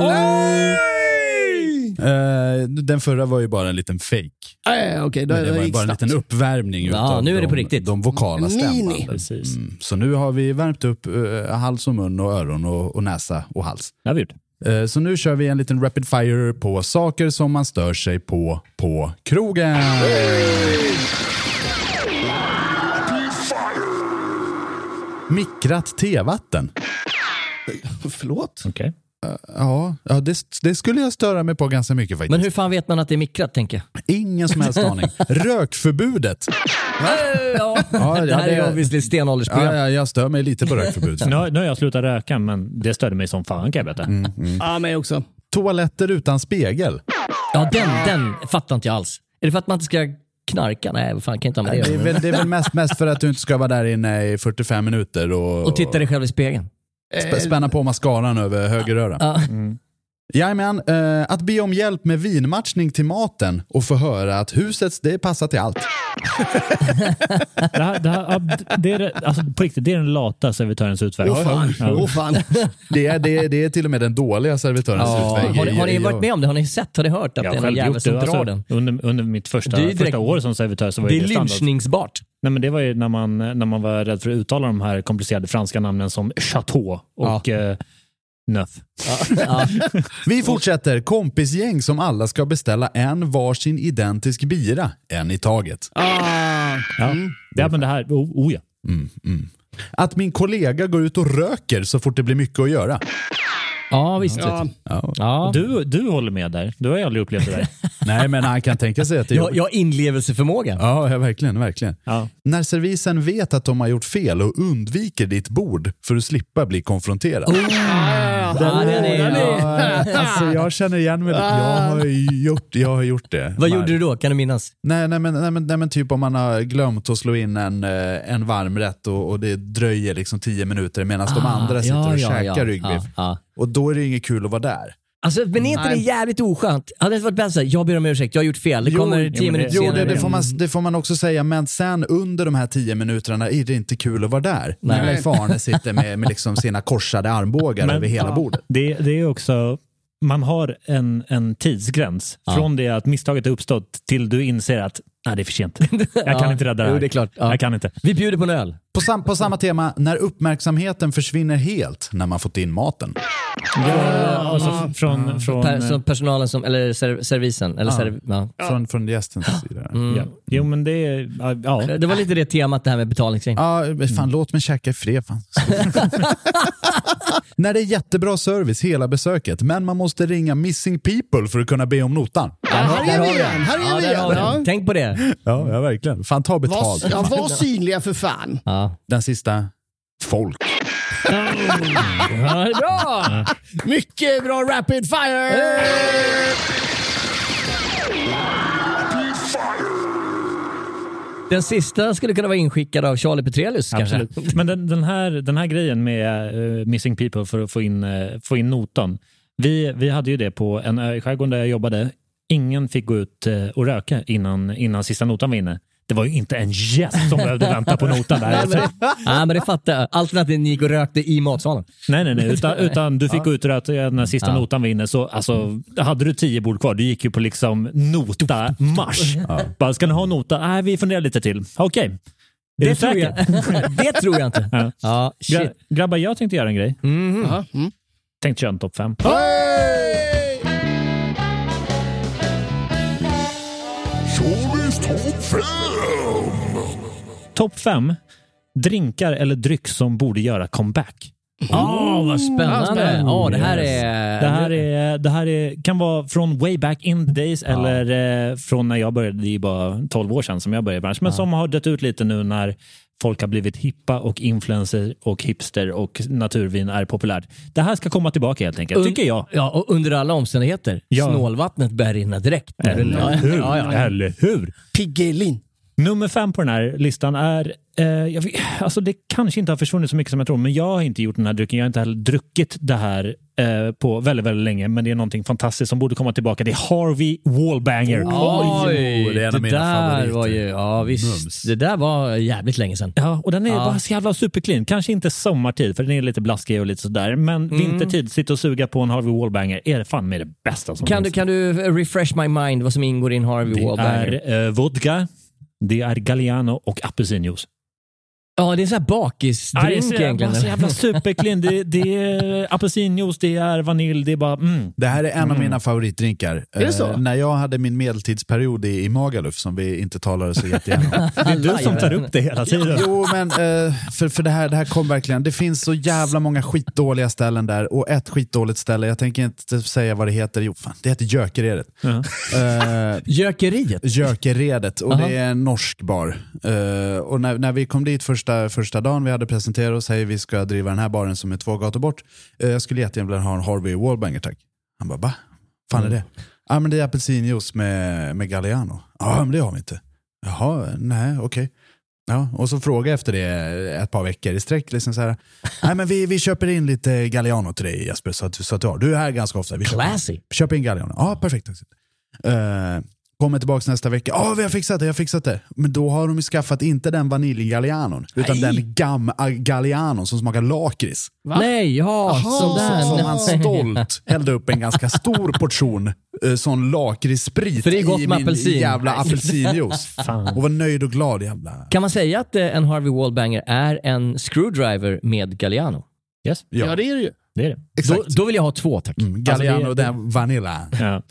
Speaker 1: Eh, den förra var ju bara en liten fake.
Speaker 4: Ah, ja, ja, okej, då
Speaker 1: Men det
Speaker 4: då
Speaker 1: var ju
Speaker 4: gick
Speaker 1: bara en
Speaker 4: snabbt.
Speaker 1: liten uppvärmning utav
Speaker 2: nu är det på
Speaker 1: de,
Speaker 2: riktigt.
Speaker 1: de vokala
Speaker 4: Mini.
Speaker 1: stämbanden.
Speaker 3: Precis.
Speaker 1: Mm. Så nu har vi värmt upp eh, hals och mun och öron och, och näsa och hals.
Speaker 3: Jag vet.
Speaker 1: Eh, så nu kör vi en liten rapid fire på saker som man stör sig på på krogen. Mikrat tevatten.
Speaker 4: Förlåt?
Speaker 3: Okej.
Speaker 1: Ja, ja det, det skulle jag störa mig på ganska mycket faktiskt.
Speaker 2: Men hur fan vet man att det är mikrat, tänker jag?
Speaker 1: Ingen som helst aning. Rökförbudet.
Speaker 2: Ja,
Speaker 1: Ja,
Speaker 2: det
Speaker 1: ja,
Speaker 2: här är
Speaker 1: det-
Speaker 2: obviously stenåldersprogram.
Speaker 1: Ja, ja, jag stör mig lite på rökförbud.
Speaker 3: Nu, har- nu har jag slutat röka, men det störde mig som fan kan jag berätta.
Speaker 2: Mm.
Speaker 4: Ja, mig också.
Speaker 1: Toaletter utan spegel.
Speaker 2: Ja, den, den fattar inte jag alls. Är det för att man inte ska knarka? Nej, vad fan, kan inte ha med det att
Speaker 1: Det är
Speaker 2: göra.
Speaker 1: väl, det är väl mest, mest för att du inte ska vara där inne i 45 minuter och,
Speaker 2: Och titta dig själv i spegeln.
Speaker 1: sp- spänna på mascaran över högeröra.
Speaker 2: Eh, Ja.
Speaker 1: Jajamän, eh, att be om hjälp med vinmatchning till maten och få höra att huset det passar till allt.
Speaker 3: Det, här, det, här, ja, d- det är, det- alltså, på riktigt, det är den lata servitörens utväg.
Speaker 4: Åh fan.
Speaker 3: Ja.
Speaker 4: Åh, fan.
Speaker 1: Det är, det, är, det är till och med den dåliga servitörens utväg.
Speaker 2: Har, ni- har ni
Speaker 1: Jag-
Speaker 2: varit med om det? Har ni sett? Har ni hört att
Speaker 3: Jag
Speaker 2: det är
Speaker 3: har
Speaker 2: någon
Speaker 3: själv
Speaker 2: jävel
Speaker 3: gjort det.
Speaker 2: som drar
Speaker 3: Alltså,
Speaker 2: den?
Speaker 3: under, under mitt första,
Speaker 2: Det är ju direkt-
Speaker 3: första år som servitör så var
Speaker 2: Det
Speaker 3: ju
Speaker 2: är
Speaker 3: det standard.
Speaker 2: lynchningsbart.
Speaker 3: Nej, men det var ju när man, när man var rädd för att uttala de här komplicerade franska namnen som chateau och eh, Nuff.
Speaker 1: Vi fortsätter. Kompisgäng som alla ska beställa en varsin identisk bira. En i taget.
Speaker 3: Ja.
Speaker 2: Mm.
Speaker 3: ja, men det här... Oh, oh ja.
Speaker 1: Att min kollega går ut och röker så fort det blir mycket att göra.
Speaker 2: Ja, visst. Ja. Ja.
Speaker 3: Du, du håller med där. Du har ju aldrig upplevt det där.
Speaker 1: Nej, men han kan tänka sig att det är
Speaker 2: Jag, jag har inlevelseförmåga.
Speaker 1: Ja, ja, verkligen. verkligen.
Speaker 3: Ja.
Speaker 1: När servisen vet att de har gjort fel och undviker ditt bord för att slippa bli konfronterad.
Speaker 2: Ja, den Oh, är-
Speaker 1: Ja, alltså, jag känner igen mig. Jag har ju gjort, jag har gjort det.
Speaker 2: Vad
Speaker 1: Mar-
Speaker 2: gjorde du då? Kan du minnas?
Speaker 1: Nej, nej, men, nej, men, nej, men typ om man har glömt att slå in en, eh, en varmrätt och, och det dröjer liksom tio minuter medan de andra sitter och käkar ryggbiff.
Speaker 2: Ah, ja. Ah,
Speaker 1: Och då är det ju inget kul att vara där.
Speaker 2: Alltså, men är inte det jävligt oskönt? Hade det inte varit bättre såhär, jag ber om ursäkt, jag har gjort fel. Det
Speaker 1: Jo,
Speaker 2: kommer
Speaker 3: jo,
Speaker 2: tio
Speaker 3: men det-
Speaker 2: minuter
Speaker 1: Jo,
Speaker 2: senare.
Speaker 1: det, det, får
Speaker 2: igen.
Speaker 1: man, det får man också säga, men sen under de här tio minuterna är det inte kul att vara där. När Leif Arne sitter med, med liksom sina korsade armbågar
Speaker 3: Men-
Speaker 1: över hela
Speaker 3: ja.
Speaker 1: bordet.
Speaker 3: Det, det är också... Man har en, en tidsgräns från det att misstaget har uppstått till du inser att nej, det är för sent. Jag kan
Speaker 2: Ja.
Speaker 3: inte rädda det här.
Speaker 2: Jo, det är klart. Ja.
Speaker 3: Jag kan inte.
Speaker 2: Vi bjuder på en öl.
Speaker 1: På, sam, på samma tema, när uppmärksamheten försvinner helt när man fått in maten.
Speaker 3: Alltså, f- från, från, eh,
Speaker 2: Per, så personalen som, eller ser, servisen. Eller serv, ja.
Speaker 1: Från, från gästens sida.
Speaker 2: Mm.
Speaker 3: ja. Mm. Jo, men det är... Ja.
Speaker 2: Det var lite det temat det här med betalningsring.
Speaker 1: Ja, men fan låt mig käka i fred. Fan. När det är jättebra service hela besöket, men man måste ringa missing people för att kunna be om notan.
Speaker 4: här
Speaker 2: där
Speaker 4: är
Speaker 2: har
Speaker 4: vi
Speaker 2: vi
Speaker 4: igen! Här är
Speaker 2: Ja,
Speaker 4: vi
Speaker 2: där har
Speaker 4: igen!
Speaker 2: vi den.
Speaker 4: Ja.
Speaker 2: Tänk på det.
Speaker 1: Ja, ja verkligen. Fan ta
Speaker 4: Var,
Speaker 1: betalt.
Speaker 4: ja, var synliga för fan.
Speaker 2: Ja.
Speaker 1: Den sista, folk.
Speaker 2: Ja, det är bra!
Speaker 4: Mycket bra rapid fire!
Speaker 2: Den sista skulle kunna vara inskickad av Charlie Petrelius kanske.
Speaker 3: Absolut. Men den, den, här, den här grejen med eh, Missing People för att få in, eh, få in notan. Vi, vi hade ju det på en ö i skärgården där jag jobbade. Ingen fick gå ut eh, och röka innan, innan sista notan var inne. Det var ju inte en gäst som behövde vänta på notan där. Alltså,
Speaker 2: Ja, men det fattar jag. Alternativt ni gick och rökte i matsalen.
Speaker 3: nej, nej, nej. Utan, utan du fick gå ut och röka eh, när sista notan var inne. Så, alltså, hade du tio bord kvar, du gick ju på liksom nota-marsch. Bara, ska ni ha nota? Nej, vi funderar lite till. Okej. Är du
Speaker 2: Det tror,
Speaker 3: säker?
Speaker 2: jag, det tror jag inte.
Speaker 3: Ja.
Speaker 2: Ja, shit.
Speaker 3: Gra- grabbar, jag tänkte göra en grej.
Speaker 4: Ja, mm.
Speaker 3: Tänkte köra en topp fem. Topp fem. Drinkar eller dryck som borde göra comeback.
Speaker 2: Åh, Ah, vad spännande.
Speaker 3: spännande.
Speaker 2: Åh, det här
Speaker 3: Yes.
Speaker 2: är...
Speaker 3: Det här, är, det här är, kan vara från way back in the days eller eh, från när jag började. Det är bara 12 år sedan som jag började i branschen. Men som har dött ut lite nu när folk har blivit hippa och influencer och hipster och naturvin är populärt. Det här ska komma tillbaka helt enkelt,
Speaker 2: Un-
Speaker 3: tycker jag.
Speaker 2: Ja, och under alla omständigheter.
Speaker 3: Ja.
Speaker 2: Snålvattnet börjar rinna direkt.
Speaker 3: Eller hur?
Speaker 2: Ja, ja, ja.
Speaker 3: Eller hur?
Speaker 4: Piggelin.
Speaker 3: Nummer fem på den här listan är, eh, jag vet, alltså det kanske inte har försvunnit så mycket som jag tror, men jag har inte gjort den här drycken. Jag har inte heller druckit det här eh, på väldigt, väldigt länge, men det är någonting fantastiskt som borde komma tillbaka. Det är Harvey Wallbanger.
Speaker 2: Oj,
Speaker 1: Oj, det är en
Speaker 2: det,
Speaker 1: av mina
Speaker 2: där
Speaker 1: favoriter.
Speaker 2: var ju... Ja, visst.
Speaker 1: Mums.
Speaker 2: Det där var jävligt länge sedan.
Speaker 3: Ja, och den är
Speaker 2: Ja.
Speaker 3: bara så jävla superclean. Kanske inte sommartid, för den är lite blaskig och lite sådär, men
Speaker 2: Mm.
Speaker 3: vintertid, sitta och suga på en Harvey Wallbanger är det fan med det bästa som
Speaker 2: Kan du,
Speaker 3: finns.
Speaker 2: kan du eh, refresh my mind vad som ingår i en Harvey
Speaker 3: det
Speaker 2: Wallbanger?
Speaker 3: är eh, vodka, det är Galliano och apelsinjuice.
Speaker 2: Ja, det är en sån här
Speaker 3: Ja, det är
Speaker 2: bakisdrink
Speaker 3: så jävla-
Speaker 2: egentligen.
Speaker 3: Så jävla superclean. Det, det är apelsinjuice, det är vanilj, det är bara... Mm.
Speaker 1: Det här är en av mina favoritdrinkar.
Speaker 4: Är det så?
Speaker 1: Eh, när jag hade min medeltidsperiod i, i Magaluf, som vi inte talade så jättegärna om.
Speaker 3: Det är du som tar upp det hela tiden.
Speaker 1: Jo, men eh, för, för det, här, det här kom verkligen. Det finns så jävla många skitdåliga ställen där och ett skitdåligt ställe, jag tänker inte säga vad det heter. Jo, fan, det heter Gökeredet. Eh,
Speaker 2: Gökeriet.
Speaker 1: Gökeredet och det är en norsk bar. Eh, och när, när vi kom dit första, första dagen vi hade presenterat oss, hej vi ska driva den här baren som är två gator bort. Eh, jag skulle jättegärna vilja ha en Harvey Wallbanger tack. Han bara, va? fan är det? Ja ah, men det är apelsinjuice med, med Galliano. Ja men det har vi inte. Jaha, nej okej. Ja, och så fråga efter det ett par veckor i sträck. Liksom så här, nej men vi, vi köper in lite Galliano till dig Jesper, så att, så att du har. Du är här ganska ofta. Vi köper-
Speaker 2: Classy.
Speaker 1: Köp in galliano. Ja, perfekt. Uh, kommer tillbaka nästa vecka. Ja, vi har fixat det, jag har fixat det. Men då har de ju skaffat inte den vaniljgallianon, utan
Speaker 2: Nej.
Speaker 1: den gam gallianon som smakar lakrits.
Speaker 2: Nej, ja.
Speaker 1: Som,
Speaker 2: sådär.
Speaker 1: som han stolt hällde upp en ganska stor portion eh, sån lakritssprit
Speaker 2: För det är gott
Speaker 1: i
Speaker 2: med
Speaker 1: min
Speaker 2: apelsin.
Speaker 1: jävla apelsinjuice.
Speaker 3: Fan.
Speaker 1: och var nöjd och glad jävla.
Speaker 2: Kan man säga att eh, en Harvey Wallbanger är en screwdriver med Galliano?
Speaker 3: Yes.
Speaker 4: Ja. det är det ju.
Speaker 3: Det är det.
Speaker 1: Exakt.
Speaker 5: Då, då vill jag ha två, tack.
Speaker 1: Mm, Galliano
Speaker 3: Alltså, det-
Speaker 1: den Vanilla.
Speaker 3: Ja.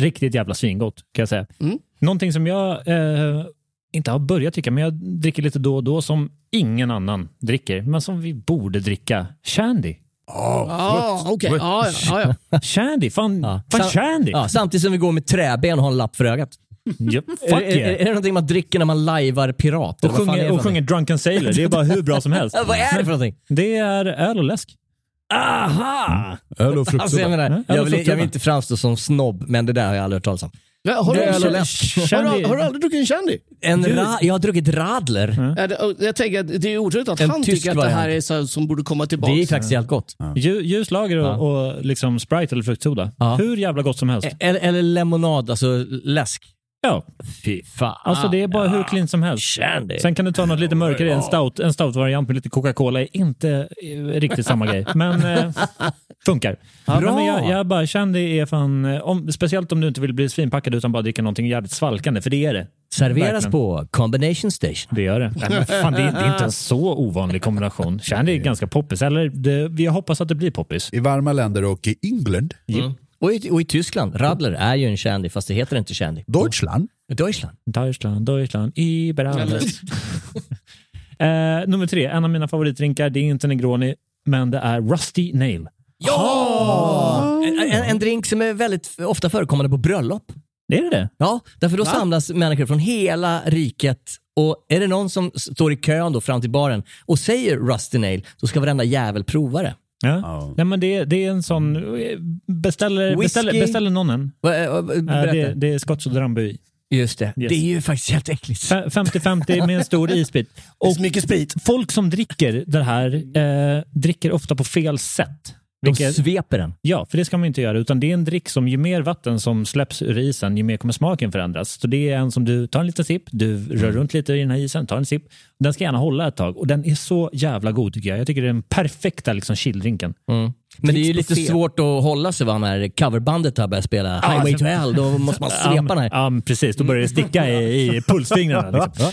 Speaker 3: Riktigt jävla svingott kan jag säga.
Speaker 4: Mm.
Speaker 3: Någonting som jag eh, inte har börjat tycka, men jag dricker lite då och då som ingen annan dricker, men som vi borde dricka. Shandy.
Speaker 4: Ja, okej. Ja, ja, ja, ja.
Speaker 3: Shandy, fan,
Speaker 2: Ja.
Speaker 3: fan
Speaker 2: Sam-
Speaker 3: shandy!
Speaker 2: Alltså, Ja, samtidigt som vi går med träben och har en lapp för ögat.
Speaker 3: Ja,
Speaker 2: Är, är,
Speaker 3: fuck
Speaker 2: är
Speaker 3: yeah.
Speaker 2: det någonting man dricker när man lajvar pirat?
Speaker 3: Och
Speaker 2: Eller vad fan är
Speaker 3: sjunger,
Speaker 2: det
Speaker 3: och
Speaker 2: för
Speaker 3: sjunger Drunken Sailor, det är bara hur bra som helst.
Speaker 2: någonting? Vad är det för någonting?
Speaker 3: Det är öl och läsk. Mm. Aha!
Speaker 1: Öl och
Speaker 2: Alltså, jag,
Speaker 1: fruktsoppa.
Speaker 2: menar,
Speaker 3: Ja,
Speaker 2: jag, vill, jag
Speaker 3: fruktsoppa.
Speaker 2: vill inte framstå som snobb, men det där har jag aldrig hört talas om.
Speaker 4: Men Har du,
Speaker 2: Det är
Speaker 4: har,
Speaker 2: väl
Speaker 4: du,
Speaker 2: lätt.
Speaker 4: har, du, har du aldrig druckit en Shandy?
Speaker 2: En ra- jag har druckit radler.
Speaker 4: Ja, det- och Jag tänker att det är otroligt att
Speaker 2: En
Speaker 4: han
Speaker 2: tysk
Speaker 4: tycker att det här
Speaker 2: variant.
Speaker 4: är så här som borde komma tillbaka.
Speaker 2: Det är faktiskt jävligt gott.
Speaker 3: Lju- Ljus lager och,
Speaker 2: Ja.
Speaker 3: och liksom Sprite eller fruktsoda.
Speaker 2: Ja. Eh.
Speaker 3: Hur jävla gott som helst.
Speaker 2: Eller, eller lemonad, alltså läsk.
Speaker 3: Ja,
Speaker 2: Fy fan.
Speaker 3: alltså det är bara hur klint som helst.
Speaker 2: Shandy.
Speaker 3: Sen kan du ta något lite mörkare, en stout, en stout-variant med lite Coca-Cola. är Inte eh, riktigt samma grej, men eh, funkar.
Speaker 2: Bra.
Speaker 3: Men jag, jag bara kände det är fan, eh, om, speciellt om du inte vill bli svinpackad utan bara dricka någonting jävligt svalkande, för det är det.
Speaker 2: Serveras
Speaker 3: Verkligen.
Speaker 2: på Combination Station.
Speaker 3: Det gör det. Nej, men fan, det, är, det är inte en så ovanlig kombination. Shandy är ganska poppis, eller det, vi hoppas att det blir poppis.
Speaker 1: I varma länder och i England,
Speaker 3: Mm.
Speaker 2: Och i, och i Tyskland, radler är ju en shandy, fast det heter inte shandy.
Speaker 1: Deutschland.
Speaker 2: Deutschland.
Speaker 3: Deutschland, Deutschland, über alles. eh, nummer tre, en av mina favoritdrinkar, det är inte Negroni, men det är Rusty Nail.
Speaker 2: Ja! En, en, en drink som är väldigt f- ofta förekommande på bröllop.
Speaker 3: Det är det.
Speaker 2: Ja, därför då samlas människor från hela riket och är det någon som står i kön då fram till baren och säger Rusty Nail, då ska varenda jävel prova det.
Speaker 3: Ja. Nej, men det, det är en sån... eh, Beställer,
Speaker 2: Whisky.
Speaker 3: beställer, beställer någon en?
Speaker 2: Va- eh,
Speaker 3: Eh,
Speaker 2: Berätta.
Speaker 3: det, det är skotsk och drambu i.
Speaker 2: Just det.
Speaker 3: Yes. Äh,
Speaker 2: Det är ju faktiskt helt äckligt.
Speaker 3: Fe- 50-50 med en stor isbit. Och
Speaker 4: mycket sprit.
Speaker 3: folk som dricker det här eh, dricker ofta på fel sätt.
Speaker 2: De
Speaker 3: Vilket-
Speaker 2: sveper den.
Speaker 3: Ja, för det ska man inte göra. Utan det är en dryck som ju mer vatten som släpps ur isen, ju mer kommer smaken förändras. Så det är en som du tar en liten sipp, du rör runt lite i den här isen, tar en sipp. Den ska gärna hålla ett tag och den är så jävla god tycker jag. Jag tycker det är den perfekta liksom, chilldrinken.
Speaker 2: Men det är ju
Speaker 3: Tricks
Speaker 2: lite
Speaker 3: på fel.
Speaker 2: svårt att hålla sig va, när coverbandet här börjar spela Highway to Hell. Då måste man svepa den här.
Speaker 3: alltså- Ja, men precis. Då börjar det sticka i, i pulsfingrarna. Liksom.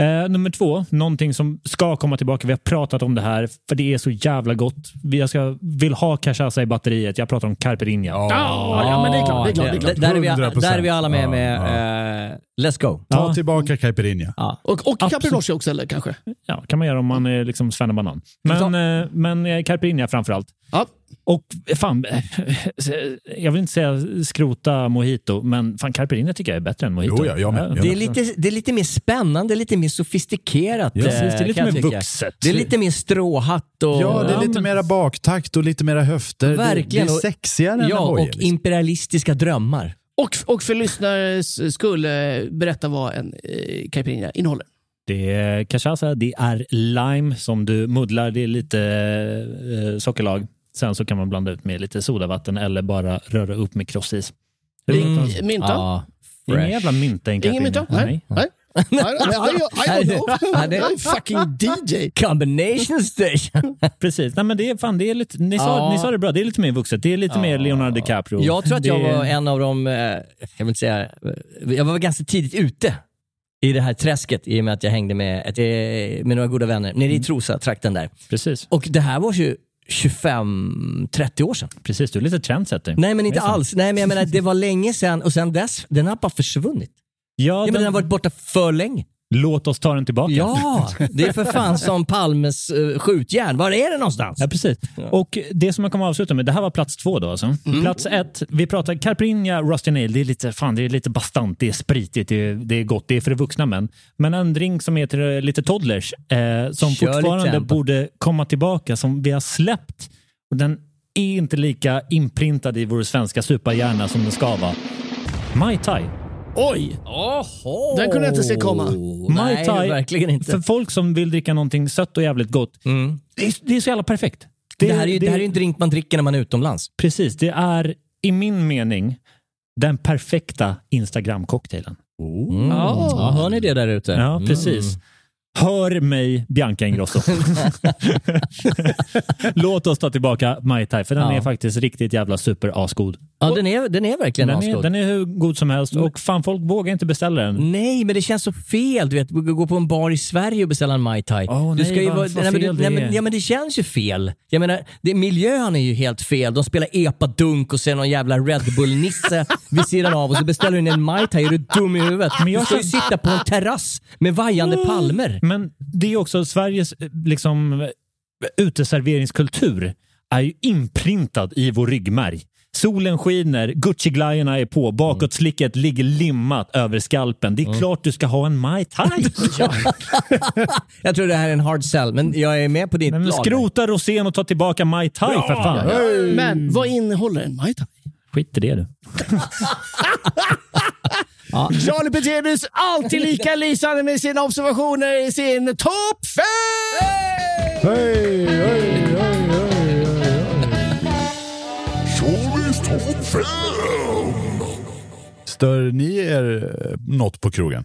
Speaker 3: Eh, nummer två, någonting som ska komma tillbaka. Vi har pratat om det här, för det är så jävla gott. Vi- Jag ska, vill ha cachaça i batteriet. Jag pratar om carpe Linea.
Speaker 4: ja, men det är klart. Det är klart, det är klart.
Speaker 2: Där- Där, är vi,
Speaker 1: 100%.
Speaker 2: där är vi alla med med eh, Let's Go.
Speaker 1: Ta tillbaka caipirinha.
Speaker 4: Och, och
Speaker 3: Absolut.
Speaker 4: Caprinoche också, eller kanske?
Speaker 3: Ja, kan man göra om man är liksom banan. Men, eh, men eh, Carpinia framför allt.
Speaker 4: Ja.
Speaker 3: Och eh, fan, eh, jag vill inte säga skrota mojito, men fan Carpinia tycker jag är bättre än mojito.
Speaker 1: Jo, ja, jag med.
Speaker 2: Det är, lite, det är lite mer spännande, lite mer sofistikerat.
Speaker 3: Ja, precis. Det är
Speaker 2: eh,
Speaker 3: lite
Speaker 2: kan jag
Speaker 3: mer
Speaker 2: tycka.
Speaker 3: vuxet.
Speaker 2: Det är lite mer stråhatt och...
Speaker 1: Ja, det är
Speaker 3: Ja,
Speaker 1: lite
Speaker 3: men-
Speaker 1: mera baktakt och lite mera höfter.
Speaker 2: Verkligen.
Speaker 1: Det, det är
Speaker 2: Och-
Speaker 1: sexigare än
Speaker 2: Ja,
Speaker 1: en
Speaker 2: och
Speaker 1: hoj, liksom.
Speaker 2: imperialistiska drömmar.
Speaker 4: Och, och för lyssnares skull, eh, berätta vad en eh, caipirinha innehåller.
Speaker 2: Mm.
Speaker 3: Det är cachaça, det är lime som du muddlar, det är lite eh, sockerlag. Sen så kan man blanda ut med lite sodavatten eller bara röra upp med krossis. Mm.
Speaker 4: Eh, Mynta?
Speaker 2: Ja,
Speaker 3: Ingen
Speaker 2: fresh.
Speaker 3: jävla mynta i en
Speaker 4: Ingen mynta?
Speaker 3: caipirinha.
Speaker 4: Nej. Nej. I, I, I, don't know.
Speaker 2: Nej, det-
Speaker 4: I'm fucking DJ.
Speaker 2: Combination station.
Speaker 3: Precis. Nej, men det är, fan, det är lite, ni, sa,
Speaker 2: Ja.
Speaker 3: ni sa det bra, det är lite mer vuxet. Det är lite mer Leonardo DiCaprio.
Speaker 2: Jag tror att jag
Speaker 3: Det-
Speaker 2: var en av de, eh, jag vill inte säga, eh, jag var ganska tidigt ute i det här träsket i och med att jag hängde med, ett, eh, med några goda vänner nere i Trosa-trakten där.
Speaker 3: Precis.
Speaker 2: Och det här var ju 25-30 år sedan.
Speaker 3: Precis, du är lite trendsetter.
Speaker 2: Nej men inte
Speaker 3: Det är sant.
Speaker 2: alls. Nej men jag menar det var länge sedan och sen dess, den har bara försvunnit.
Speaker 3: Ja,
Speaker 2: Ja, men
Speaker 3: den,
Speaker 2: den har varit borta för länge.
Speaker 3: Låt oss ta den tillbaka.
Speaker 2: Ja, det är för fan som Palmes eh, skjutjärn. Var är det någonstans?
Speaker 3: Ja, precis. Och det som jag kommer att avsluta med, det här var plats två då alltså.
Speaker 2: Mm.
Speaker 3: Plats ett, vi pratar Carprinja, Rusty Nail, det är lite, fan, det är lite bastant, det är spritigt, det är, det är gott, det är för vuxna män. Men en drink som heter eh, lite Toddlers, eh, som
Speaker 2: Kör lite
Speaker 3: fortfarande
Speaker 2: tempo.
Speaker 3: borde komma tillbaka, som vi har släppt. Och den är inte lika inprintad i vår svenska superhjärna som den ska vara. Mai Tai.
Speaker 4: Oj!
Speaker 2: Oho.
Speaker 4: Den kunde jag inte se komma.
Speaker 2: Nej,
Speaker 3: Thai-
Speaker 2: verkligen inte. Mm.
Speaker 3: För folk som vill dricka någonting sött och jävligt gott, det, är, det är så jävla perfekt.
Speaker 2: det, här är ju, det, här är ju en drink man dricker när man är utomlands.
Speaker 3: Precis, det är i min mening den perfekta Instagram-cocktailen.
Speaker 2: Ja, hör Mm. ni det där ute? Mm.
Speaker 3: Ja, precis. Hör mig, Bianca Ingrosso. Låt oss ta tillbaka Mai Tai, för den
Speaker 2: Ja.
Speaker 3: är faktiskt riktigt jävla super asgod.
Speaker 2: Ja, den är, den är verkligen
Speaker 3: Den är,
Speaker 2: asgod. Mm.
Speaker 3: den är hur god som helst och fan, folk vågar inte beställa den.
Speaker 2: Nej, men det känns så fel. Du vet, gå på en bar i Sverige och beställa en Mai Tai.
Speaker 3: Åh,
Speaker 2: du
Speaker 3: nej, vad- vad
Speaker 2: nej, men, du-
Speaker 3: fel det
Speaker 2: nej,
Speaker 3: är.
Speaker 2: men, ja, men det känns ju fel. Jag menar, det, miljön är ju helt fel. De spelar epadunk och sen någon jävla Red Bull-nisse vid sidan av och så beställer du in en Mai Tai. Är du dum i huvudet?
Speaker 3: Men jag Mm.
Speaker 2: du ska ju
Speaker 3: känner-
Speaker 2: sitta på en terrass med vajande palmer.
Speaker 3: Men det är också Sveriges eh, liksom, eh, uteserveringskultur är ju inprintad i vår ryggmärg. Solen skiner, Gucci-glajjorna är på, bakåtslicket ligger limmat över skalpen. Det är klart du ska ha en Mai Tai. Ja.
Speaker 2: Jag tror det här är en hard sell, men jag är med på ditt
Speaker 3: Nej, men
Speaker 2: lag.
Speaker 3: skrota rosén och ta tillbaka Mai Tai för fan.
Speaker 4: Men vad innehåller en Mai Tai?
Speaker 3: Skit i det du.
Speaker 4: Charlie Petelius, alltid lika lysande med sina observationer i sin topp fem!
Speaker 1: Stör ni er eh, något på krogen?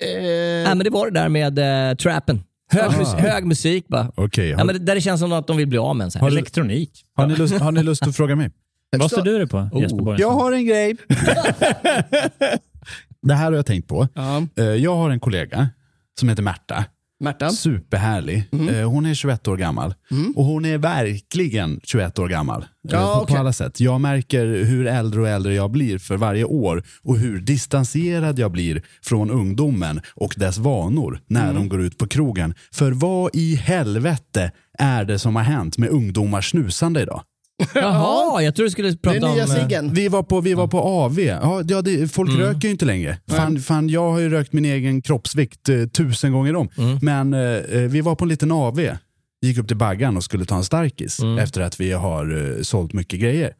Speaker 2: Nej, men det var det där med eh, trappen. Hög, mus- hög musik bara.
Speaker 1: Okej,
Speaker 2: Ja,
Speaker 1: har-
Speaker 2: men det, där det känns som att de vill bli av med en. så här.
Speaker 3: Elektronik.
Speaker 1: Har ni, lust, har ni lust att fråga mig?
Speaker 3: Vad står du det på
Speaker 1: Oh,
Speaker 3: Jesper Borgensson?
Speaker 1: Jag har en grej. det här har jag tänkt på.
Speaker 4: Ja.
Speaker 1: Eh, Jag har en kollega som heter Märta.
Speaker 4: Märta?
Speaker 1: Superhärlig.
Speaker 4: Mm.
Speaker 1: Eh, Hon är 21 år gammal. Och hon är verkligen 21 år gammal. Eh,
Speaker 4: Ja,
Speaker 1: på,
Speaker 4: okej.
Speaker 1: på alla sätt. Jag märker hur äldre och äldre jag blir för varje år och hur distanserad jag blir från ungdomen och dess vanor när
Speaker 4: Mm.
Speaker 1: de går ut på krogen. För vad i helvete är det som har hänt med ungdomars snusande idag?
Speaker 2: Jaha, jag tror du skulle
Speaker 4: Det
Speaker 2: prata
Speaker 4: är
Speaker 2: om...
Speaker 4: nya
Speaker 2: eh,
Speaker 4: ciggen.
Speaker 1: Vi var på, vi var på AV. Ja, ja, det, folk röker ju inte längre. Fan, fan, jag har ju rökt min egen kroppsvikt eh, tusen gånger om. Men eh, vi var på en liten AV. Gick upp till Baggan och skulle ta en starkis efter att vi har eh, sålt mycket grejer.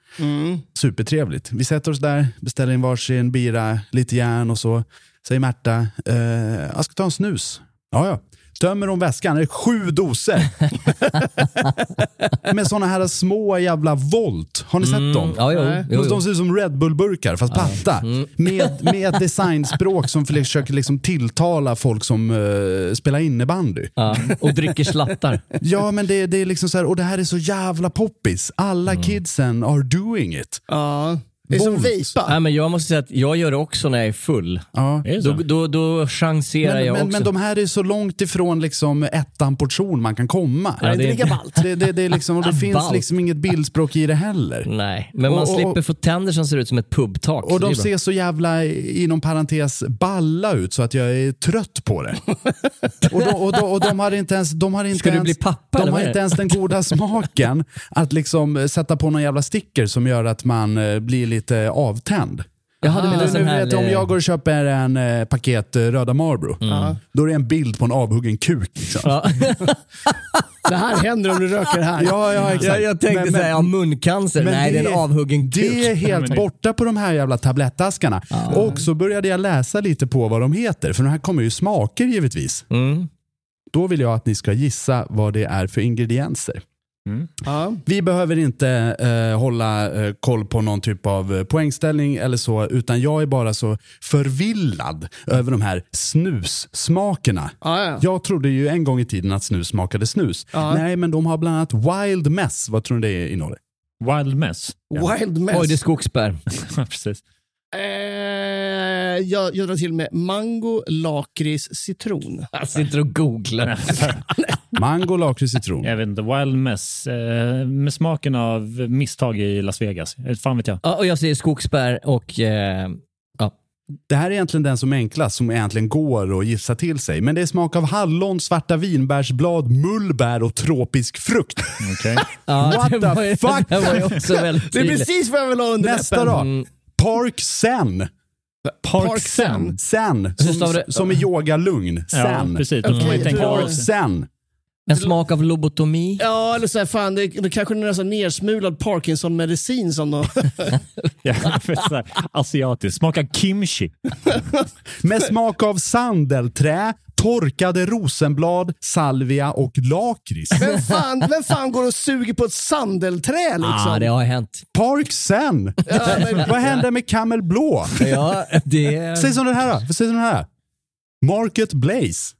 Speaker 1: Supertrevligt. Vi sätter oss där, beställer in varsin bira, lite järn och så. Säger Märta, eh, jag ska ta en snus. Ja, ja. Tömmer hon väskan, det är sju doser. Med sådana här små jävla volt. Har ni sett dem?
Speaker 2: Mm. Ja, jo, jo,
Speaker 1: de,
Speaker 2: jo. Mm.
Speaker 1: de ser ut som Red Bull-burkar, fast platta. Med, med ett designspråk som försöker liksom tilltala folk som eh, spelar innebandy.
Speaker 2: Ja, och dricker slattar.
Speaker 1: Ja, men det, det är liksom så här, och det här är så jävla poppis. Alla
Speaker 2: Mm.
Speaker 1: kidsen are doing it.
Speaker 4: Ja. Det är som
Speaker 1: Volt.
Speaker 4: vejpa.
Speaker 2: Nej, men jag måste säga att jag gör det också när jag är full.
Speaker 1: Ja.
Speaker 3: Är det så?
Speaker 2: Då, då, då chanserar
Speaker 1: Men,
Speaker 2: jag
Speaker 1: men,
Speaker 2: också.
Speaker 1: men de här är så långt ifrån liksom ettan portion man kan komma.
Speaker 2: Ja, det-
Speaker 4: Det är lika ballt.
Speaker 1: Det, det, det, är liksom, och det finns
Speaker 2: Ballt.
Speaker 1: liksom inget bildspråk i det heller.
Speaker 2: Nej, men man
Speaker 1: Och- och-
Speaker 2: slipper få tänder som ser ut som ett pubtak.
Speaker 1: Och
Speaker 2: så det
Speaker 1: de
Speaker 2: är bra.
Speaker 1: ser så jävla, inom parentes, balla ut så att jag är trött på det. och, de, och, de, och de har inte ens... De har inte
Speaker 2: Ska du
Speaker 1: ens,
Speaker 2: bli
Speaker 1: De
Speaker 2: pappa, eller
Speaker 1: har
Speaker 2: vad är
Speaker 1: inte
Speaker 2: det?
Speaker 1: ens den goda smaken att liksom eh, sätta på någon jävla sticker som gör att man eh, blir lite avtänd. Ah,
Speaker 2: Jaha, du menar
Speaker 1: Nu
Speaker 2: sån här...
Speaker 1: vet, om
Speaker 2: eh, Mm.
Speaker 1: jag går och köper en eh, paket eh, röda Marlboro, då är det en bild på en avhuggen kuk. Liksom.
Speaker 2: Ja,
Speaker 4: Det här händer om du röker det här.
Speaker 1: Ja, ja, exakt.
Speaker 2: jag, jag tänkte
Speaker 1: Men- men-
Speaker 2: säga ja, muncancer.
Speaker 1: men
Speaker 2: Nej, det, är en avhuggen kuk.
Speaker 1: Det är helt borta på de här jävla tablettaskarna. Och så började jag läsa lite på vad de heter, för de här kommer ju smaker givetvis.
Speaker 2: Mm.
Speaker 1: Då vill jag att ni ska gissa vad det är för ingredienser.
Speaker 4: Ja.
Speaker 1: Vi behöver inte eh, hålla eh, koll på någon typ av eh, poängställning eller så, utan jag är bara så förvillad över de här snussmakerna.
Speaker 4: Ja, ja.
Speaker 1: Jag trodde ju en gång i tiden att snus smakade snus. Nej, men de har bland annat Wild Mess. Vad tror ni det innehåller?
Speaker 3: Wild mess.
Speaker 4: Wild mess.
Speaker 2: Oj, det är skogsbär.
Speaker 3: Ja, Precis.
Speaker 4: eh, jag, jag drar till med mango, lakrits, citron.
Speaker 2: Jag sitter och googlar.
Speaker 1: Mango, lakrits, citron.
Speaker 3: Jag vet inte. Wild mess. Eh, med smaken av misstag i Las Vegas. Eh, Fan vet jag.
Speaker 2: Ja, och jag säger skogsbär och... Eh, ja.
Speaker 1: Det här är egentligen den som är enklast, som egentligen går att gissa till sig. Men det är smak av hallon, svarta vinbärsblad, mullbär och tropisk frukt.
Speaker 3: Okej.
Speaker 2: Ja,
Speaker 1: What
Speaker 2: det
Speaker 1: the
Speaker 2: var ju-
Speaker 1: fuck?
Speaker 2: Det var ju också väldigt
Speaker 4: Det är
Speaker 2: tydligt.
Speaker 4: precis vad jag vill ha under
Speaker 1: Nästa
Speaker 4: läppen.
Speaker 1: då. Park Sen.
Speaker 4: Park Sen.
Speaker 1: Sen.
Speaker 2: Hur stavar
Speaker 1: Som,
Speaker 2: det?
Speaker 1: som i yogalugn.
Speaker 3: Ja,
Speaker 1: Sen.
Speaker 3: precis. Då får man ju
Speaker 4: Okej,
Speaker 3: tänka
Speaker 4: jag
Speaker 1: Park
Speaker 4: tror-
Speaker 3: på
Speaker 1: Sen.
Speaker 2: En smak av lobotomi.
Speaker 4: Ja, eller så här, fan, det, det kanske är en sån nersmulad Parkinson-medicin som de...
Speaker 3: Ja, för så här, asiatiskt. Smaka kimchi.
Speaker 1: Med smak av sandelträ, torkade rosenblad, salvia och lakrits.
Speaker 4: Vem fan, vem fan går och suger på ett sandelträ liksom?
Speaker 2: Ja, ah, det har hänt.
Speaker 1: Park Sen. Vad hände med Camel Blå?
Speaker 2: Ja, det...
Speaker 1: Säg som den här då. Säg som den här. Market Blaze.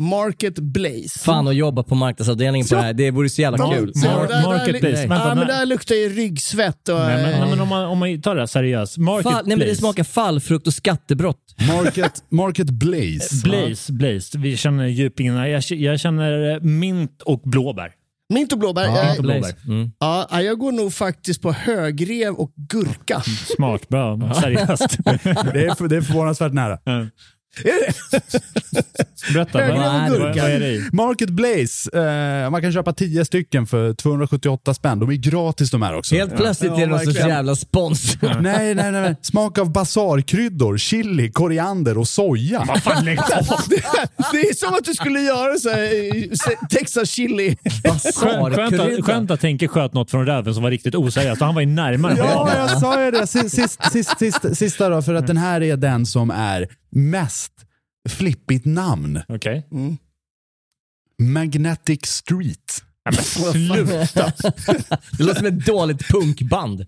Speaker 4: Market Blaze.
Speaker 2: Fan att jobba på marknadsavdelningen på det här. Det vore så jävla
Speaker 4: Ja,
Speaker 2: kul.
Speaker 4: så
Speaker 3: Mar-
Speaker 4: där- där
Speaker 3: Market
Speaker 4: li-
Speaker 3: Blaze. Vänta,
Speaker 4: Ja, men
Speaker 3: nej.
Speaker 4: där luktar ju ryggsvett och...
Speaker 3: Nej, men,
Speaker 4: eh,
Speaker 3: nej, men om, man, om man tar det här seriöst. Market
Speaker 2: Fall, nej men det
Speaker 3: Blaze.
Speaker 2: smakar fallfrukt och skattebrott.
Speaker 1: Market, market Blaze.
Speaker 3: Blaze, Blaze. Vi känner djupingarna. Jag, jag känner eh, mint och blåbär.
Speaker 4: Mint och blåbär.
Speaker 3: Mint och
Speaker 4: jag,
Speaker 3: blåbär. Mm.
Speaker 4: ja, ja, jag går nog faktiskt på högrev och gurka.
Speaker 3: Mm. Smart, bra, seriöst.
Speaker 1: Det är, för, det är förvånansvärt nära.
Speaker 3: Berätta, vad,
Speaker 4: Högre än
Speaker 3: vad, vad
Speaker 4: gurka.
Speaker 3: är det i?
Speaker 1: Market Blaze. Eh, man kan köpa 10 stycken för 278 spänn. De är gratis de här också.
Speaker 2: Helt plötsligt är det någon sorts
Speaker 1: verkligen.
Speaker 2: jävla spons.
Speaker 1: Nej, nej, nej, nej. Smak av basarkryddor, chili, koriander och soja.
Speaker 3: Fan, lägg av.
Speaker 4: Det är som att du skulle göra så här, eh, se- Texas chili.
Speaker 3: Skönt, skönt,
Speaker 2: Basarkrydda.
Speaker 3: att, skönt att Henke sköt något från röven som var riktigt oseriöst. och Han var ju närmare.
Speaker 1: Ja, jag sa ju det. Sist, sist, sist, sist, sista då, för att den här är den som är mest flippigt namn.
Speaker 3: Okej.
Speaker 1: Magnetic Street.
Speaker 3: Sluta!
Speaker 2: Det låter som ett dåligt punkband.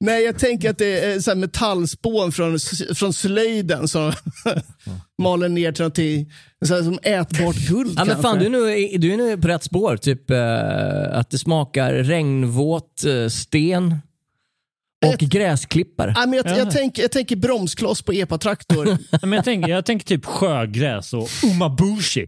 Speaker 4: Nej, jag tänker att det är så här metallspån från, från slöjden som maler ner till någonting så här, som ätbart guld
Speaker 2: Ja, men
Speaker 4: kanske.
Speaker 2: fan, du, är nu, du är nu på rätt spår. Typ eh, att det smakar regnvåt eh, sten och gräsklippare.
Speaker 4: Ja, men jag,
Speaker 3: Ja.
Speaker 4: jag, tänker, jag tänker bromskloss på epatraktor.
Speaker 3: Men jag, tänker, jag tänker typ sjögräs och umabushi.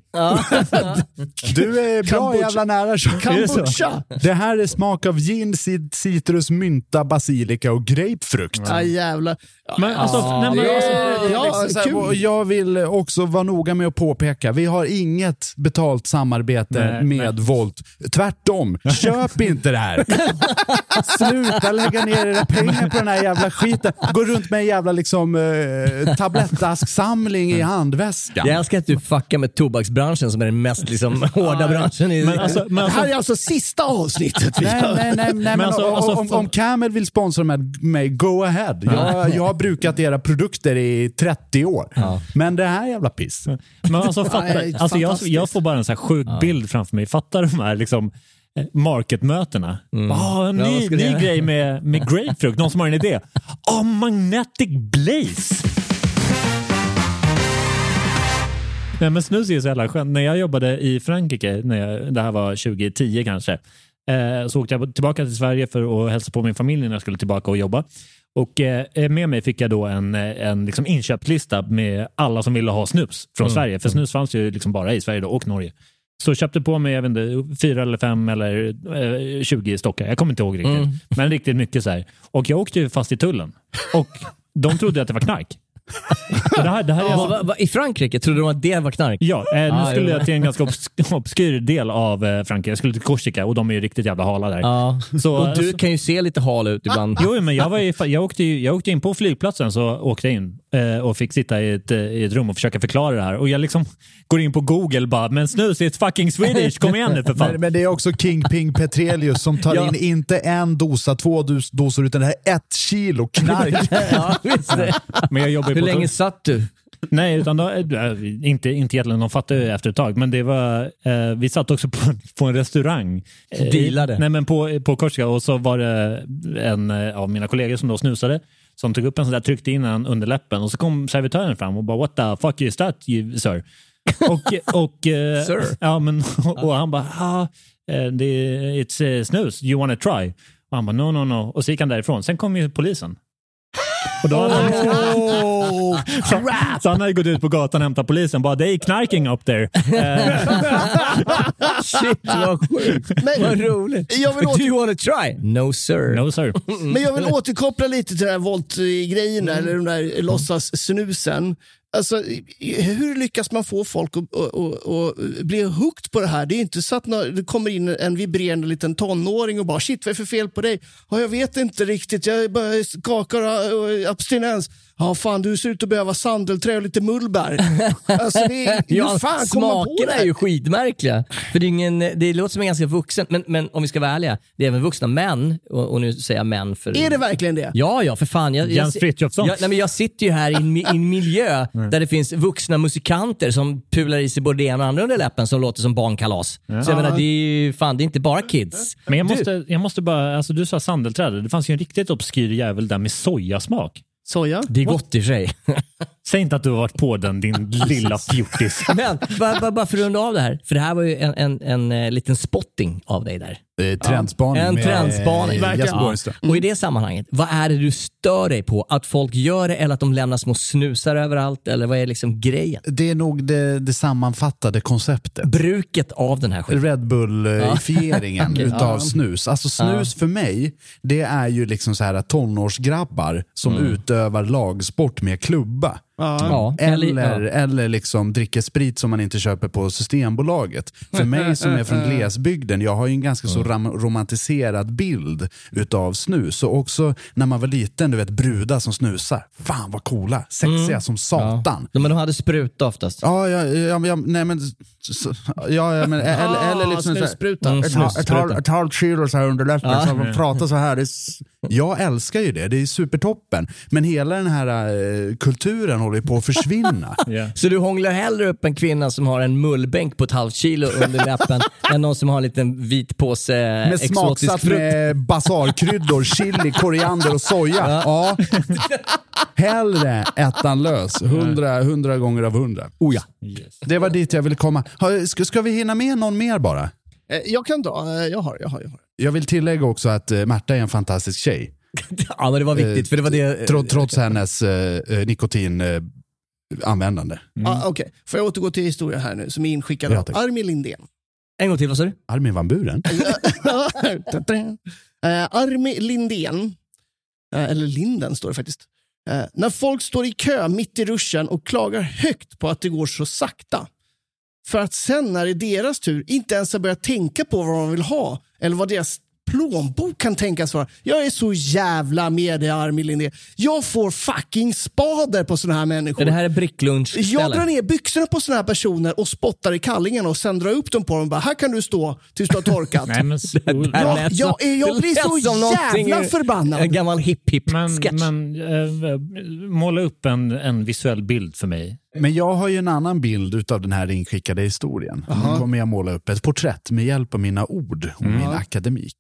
Speaker 1: Du är bra
Speaker 4: Kombucha.
Speaker 1: jävla nära. Sean.
Speaker 4: Kombucha!
Speaker 1: Det här är smak av gin, cit- citrus, mynta, basilika och grapefrukt.
Speaker 4: Ja, Ah, jävlar.
Speaker 3: Men alltså, nej, men,
Speaker 2: det-
Speaker 3: alltså,
Speaker 4: Ja,
Speaker 1: Liksom så här,
Speaker 4: kul.
Speaker 1: och jag vill också vara noga med att påpeka, vi har inget betalt samarbete
Speaker 3: Nej,
Speaker 1: med Volt. Tvärtom, köp inte det här! Sluta lägga ner era pengar på den här jävla skiten. Gå runt med en jävla liksom, eh, tablettasksamling i handväskan.
Speaker 2: Jag älskar att du fuckar med tobaksbranschen som är den mest liksom, hårda branschen. I,
Speaker 3: men, alltså, men
Speaker 4: Det
Speaker 3: alltså,
Speaker 4: här är alltså sista avsnittet. vi
Speaker 1: Nej,
Speaker 4: gör.
Speaker 1: nej, nej. nej men
Speaker 3: alltså,
Speaker 1: om-
Speaker 3: alltså,
Speaker 1: om, om Camel vill sponsra med mig, go ahead. Jag, jag har brukat era produkter i 30 år. Men det här jävla piss.
Speaker 3: men alltså, fattar,
Speaker 4: Nej,
Speaker 3: alltså jag,
Speaker 4: fantastiskt.
Speaker 3: jag får bara en så här sjuk bild framför mig. Fattar de här liksom, eh, marketmötena?
Speaker 1: Mm.
Speaker 3: Ah, en
Speaker 2: Ja, vad
Speaker 3: ny,
Speaker 2: ska det
Speaker 3: ny
Speaker 2: göra?
Speaker 3: grej med, med grapefrukt. Någon som har en idé? Ah, magnetic blaze! Nej, men snus är ju så jävla skönt. När jag jobbade i Frankrike, när jag, det här var 2010 kanske, eh, så åkte jag tillbaka till Sverige för att hälsa på min familj när jag skulle tillbaka och jobba. Och eh, med mig fick jag då en, eh, en liksom inköpslista med alla som ville ha snus från Sverige. För snus fanns ju liksom bara i Sverige då, och Norge. Så köpte på mig, jag vet inte, fyra eller fem eller eh, 20 stockar. Jag kommer inte ihåg riktigt. Men riktigt mycket så här. Och jag åkte ju fast i tullen. Och de trodde att det var knark. Så det här, det här är alltså-
Speaker 2: Va- va- va- I Frankrike, trodde de att det var knark?
Speaker 3: Ja, eh, nu
Speaker 2: Ah,
Speaker 3: skulle
Speaker 2: jo.
Speaker 3: jag till en ganska obs- obskyr del av eh, Frankrike. Jag skulle till Korsika och de är ju riktigt jävla hala där.
Speaker 2: Ja.
Speaker 3: Så,
Speaker 2: Och du
Speaker 3: så-
Speaker 2: kan ju se lite hal ut ibland.
Speaker 3: Jo, men jag, var ju, jag, åkte ju, jag åkte in på flygplatsen så åkte jag in eh, och fick sitta i ett, eh, i ett rum och försöka förklara det här. Och jag liksom går in på Google bara, men snus är ett fucking Swedish, kom igen nu för fan.
Speaker 1: Men, men det är också King Ping Petrelius som tar
Speaker 2: Ja.
Speaker 1: in inte en dosa, två dos- dosor, utan det här är ett kilo knark.
Speaker 2: Ja, visst.
Speaker 3: Men jag jobbar ju
Speaker 2: Hur
Speaker 3: på
Speaker 2: länge satt du?
Speaker 3: Nej, utan då, äh, inte, inte egentligen. De fattade ju efter ett tag. Men det var, eh, vi satt också på, på en restaurang. Eh,
Speaker 2: Dealade.
Speaker 3: Nej, men på, på Korsika. Och så var det en eh, av mina kollegor som då snusade. Som tog upp en sån där, tryckte in den under läppen. Och så kom servitören fram och bara “What the fuck is that you, sir?” Och, och, eh,
Speaker 2: Sir?
Speaker 3: Ja, men, och, och han bara ah, eh, det, “It's eh, snus, you wanna try?” Och han bara “No, no, no”. Och så gick han därifrån. Sen kom ju polisen. Och då hade han
Speaker 4: Oh,
Speaker 3: så, så han hade gått ut på gatan och hämtat polisen. Bara, they knarking up there.
Speaker 2: Shit vad sjukt.
Speaker 4: Men-
Speaker 2: vad roligt.
Speaker 4: Jag vill åter-
Speaker 2: Do you wanna try? No sir.
Speaker 3: No sir.
Speaker 4: Men jag vill återkoppla lite till den här Volt-grejen, där,
Speaker 2: Mm.
Speaker 4: eller de där låtsas-snusen. Alltså, hur lyckas man få folk att, att, att, att bli hooked på det här? Det är ju inte så att nå- det kommer in en vibrerande liten tonåring och bara “shit, vad är det för fel på dig?” ja, “Jag vet inte riktigt, jag bara skakar och och abstinens.” “Ja, fan, du ser ut att behöva sandelträ och lite mullbär.” alltså, det är, Hur fan kommer man på det
Speaker 2: smakerna
Speaker 4: här?
Speaker 2: är ju skitmärkliga. För det, är ingen, det låter som en ganska vuxen, men, men om vi ska vara ärliga, det är även vuxna män, och, och nu säger jag män för...
Speaker 4: Är det verkligen det?
Speaker 2: Ja, ja, för fan. Jag,
Speaker 3: Jens
Speaker 2: jag,
Speaker 3: Frithiofsson.
Speaker 2: jag, nej, men jag sitter ju här i en, mi- i en miljö där det finns vuxna musikanter som pular i sig både det ena och det andra under läppen som låter som barnkalas. Så jag menar, det är ju fan, det är inte bara kids.
Speaker 3: Men jag måste, jag måste bara, alltså du sa sandelträd. Det fanns ju en riktigt obskyr jävel där med sojasmak.
Speaker 4: Soja?
Speaker 2: Det är gott i sig.
Speaker 3: Säg inte att du har varit på den, din lilla fjortis.
Speaker 2: Men bara, bara, bara för att runda av det här, för det här var ju en, en, en eh, liten spotting av dig där.
Speaker 1: Det är trendspaning.
Speaker 2: En
Speaker 1: med,
Speaker 2: trendspaning.
Speaker 1: eh, Jesper Borgström.
Speaker 2: Och i det sammanhanget, vad är det du stör dig på? Att folk gör det eller att de lämnar små snusar överallt? Eller vad är liksom grejen?
Speaker 1: Det är nog det, det sammanfattade konceptet.
Speaker 2: Bruket av den här skiten.
Speaker 1: Red Bull-ifieringen
Speaker 2: Okej,
Speaker 1: utav
Speaker 2: ja.
Speaker 1: snus. Alltså snus för mig, det är ju liksom så här tonårsgrabbar som utövar lagsport med klubba.
Speaker 2: Mm. Ja,
Speaker 1: Eller,
Speaker 2: ja.
Speaker 1: eller liksom dricker sprit som man inte köper på Systembolaget. För mig som är från glesbygden, jag har ju en ganska så ram- romantiserad bild utav snus. Så också när man var liten, du vet brudar som snusar. Fan vad coola, sexiga som satan.
Speaker 2: Ja, Men de hade spruta oftast.
Speaker 1: Ja, ja, ja, ja, nej men... s- Ja, ja, men eller, eller liksom... så här-
Speaker 4: snusspruta.
Speaker 2: Mm,
Speaker 1: Ett, ha- ett,
Speaker 2: snusspruta.
Speaker 1: halv, ett halvt kilo så här under läppen, så man pratar så här. Det är, s- jag älskar ju det, det är supertoppen. Men hela den här eh, kulturen håller ju på att försvinna.
Speaker 3: Ja.
Speaker 2: Så du hånglar hellre upp en kvinna som har en mullbänk på ett halvt kilo under läppen än någon som har en liten vit påse eh,
Speaker 1: Med
Speaker 2: exotisk
Speaker 1: smaksatt
Speaker 2: frukt?
Speaker 1: med basarkryddor, chili, koriander och soja. Ja. Hellre ettan lös, hundra, hundra gånger av hundra. Oh ja. Det var dit jag ville komma. Ha, Ska, ska vi hinna med någon mer bara?
Speaker 4: Eh, Jag kan dra. eh, Jag har, jag har, jag har.
Speaker 1: Jag vill tillägga också att eh, Märta är en fantastisk tjej.
Speaker 2: Ja, men det var viktigt för det var det...
Speaker 1: Eh, Tro, trots hennes eh, eh, nikotin... Eh, användande.
Speaker 4: Ah, Okej, får jag återgå till historien här nu som är inskickad
Speaker 1: Mm. Ja,
Speaker 4: av
Speaker 1: tack.
Speaker 4: Armin Lindén.
Speaker 2: En gång till, vad sa du?
Speaker 1: Armin van Buren?
Speaker 4: Eh, Armin Lindén, eh, eller Linden står det faktiskt. Eh, när folk står i kö mitt i ruschen och klagar högt på att det går så sakta. För att sen när det är deras tur inte ens har börjat tänka på vad de vill ha eller vad deras plånbok kan tänkas vara. Jag är så jävla med dig Armin Lindén. Jag får fucking spader på såna här människor.
Speaker 2: Det här är bricklunch
Speaker 4: Jag drar ner byxorna på såna här personer och spottar i kallingarna och sen drar jag upp dem på dem och bara, här kan du stå tills du har torkat.
Speaker 3: Nej, men,
Speaker 2: Det här
Speaker 4: Ja,
Speaker 2: lät
Speaker 4: jag
Speaker 2: som-
Speaker 4: är- jag
Speaker 2: det
Speaker 4: blir
Speaker 2: lät
Speaker 4: så
Speaker 2: som någonting
Speaker 4: jävla
Speaker 2: ur
Speaker 4: förbannad.
Speaker 2: En gammal
Speaker 3: men,
Speaker 2: hipp-hipp-sketch.
Speaker 3: men eh, måla upp en, en visuell bild för mig.
Speaker 1: Men jag har ju en annan bild utav den här inskickade historien. Nu kommer jag måla upp ett porträtt med hjälp av mina ord och min akademik.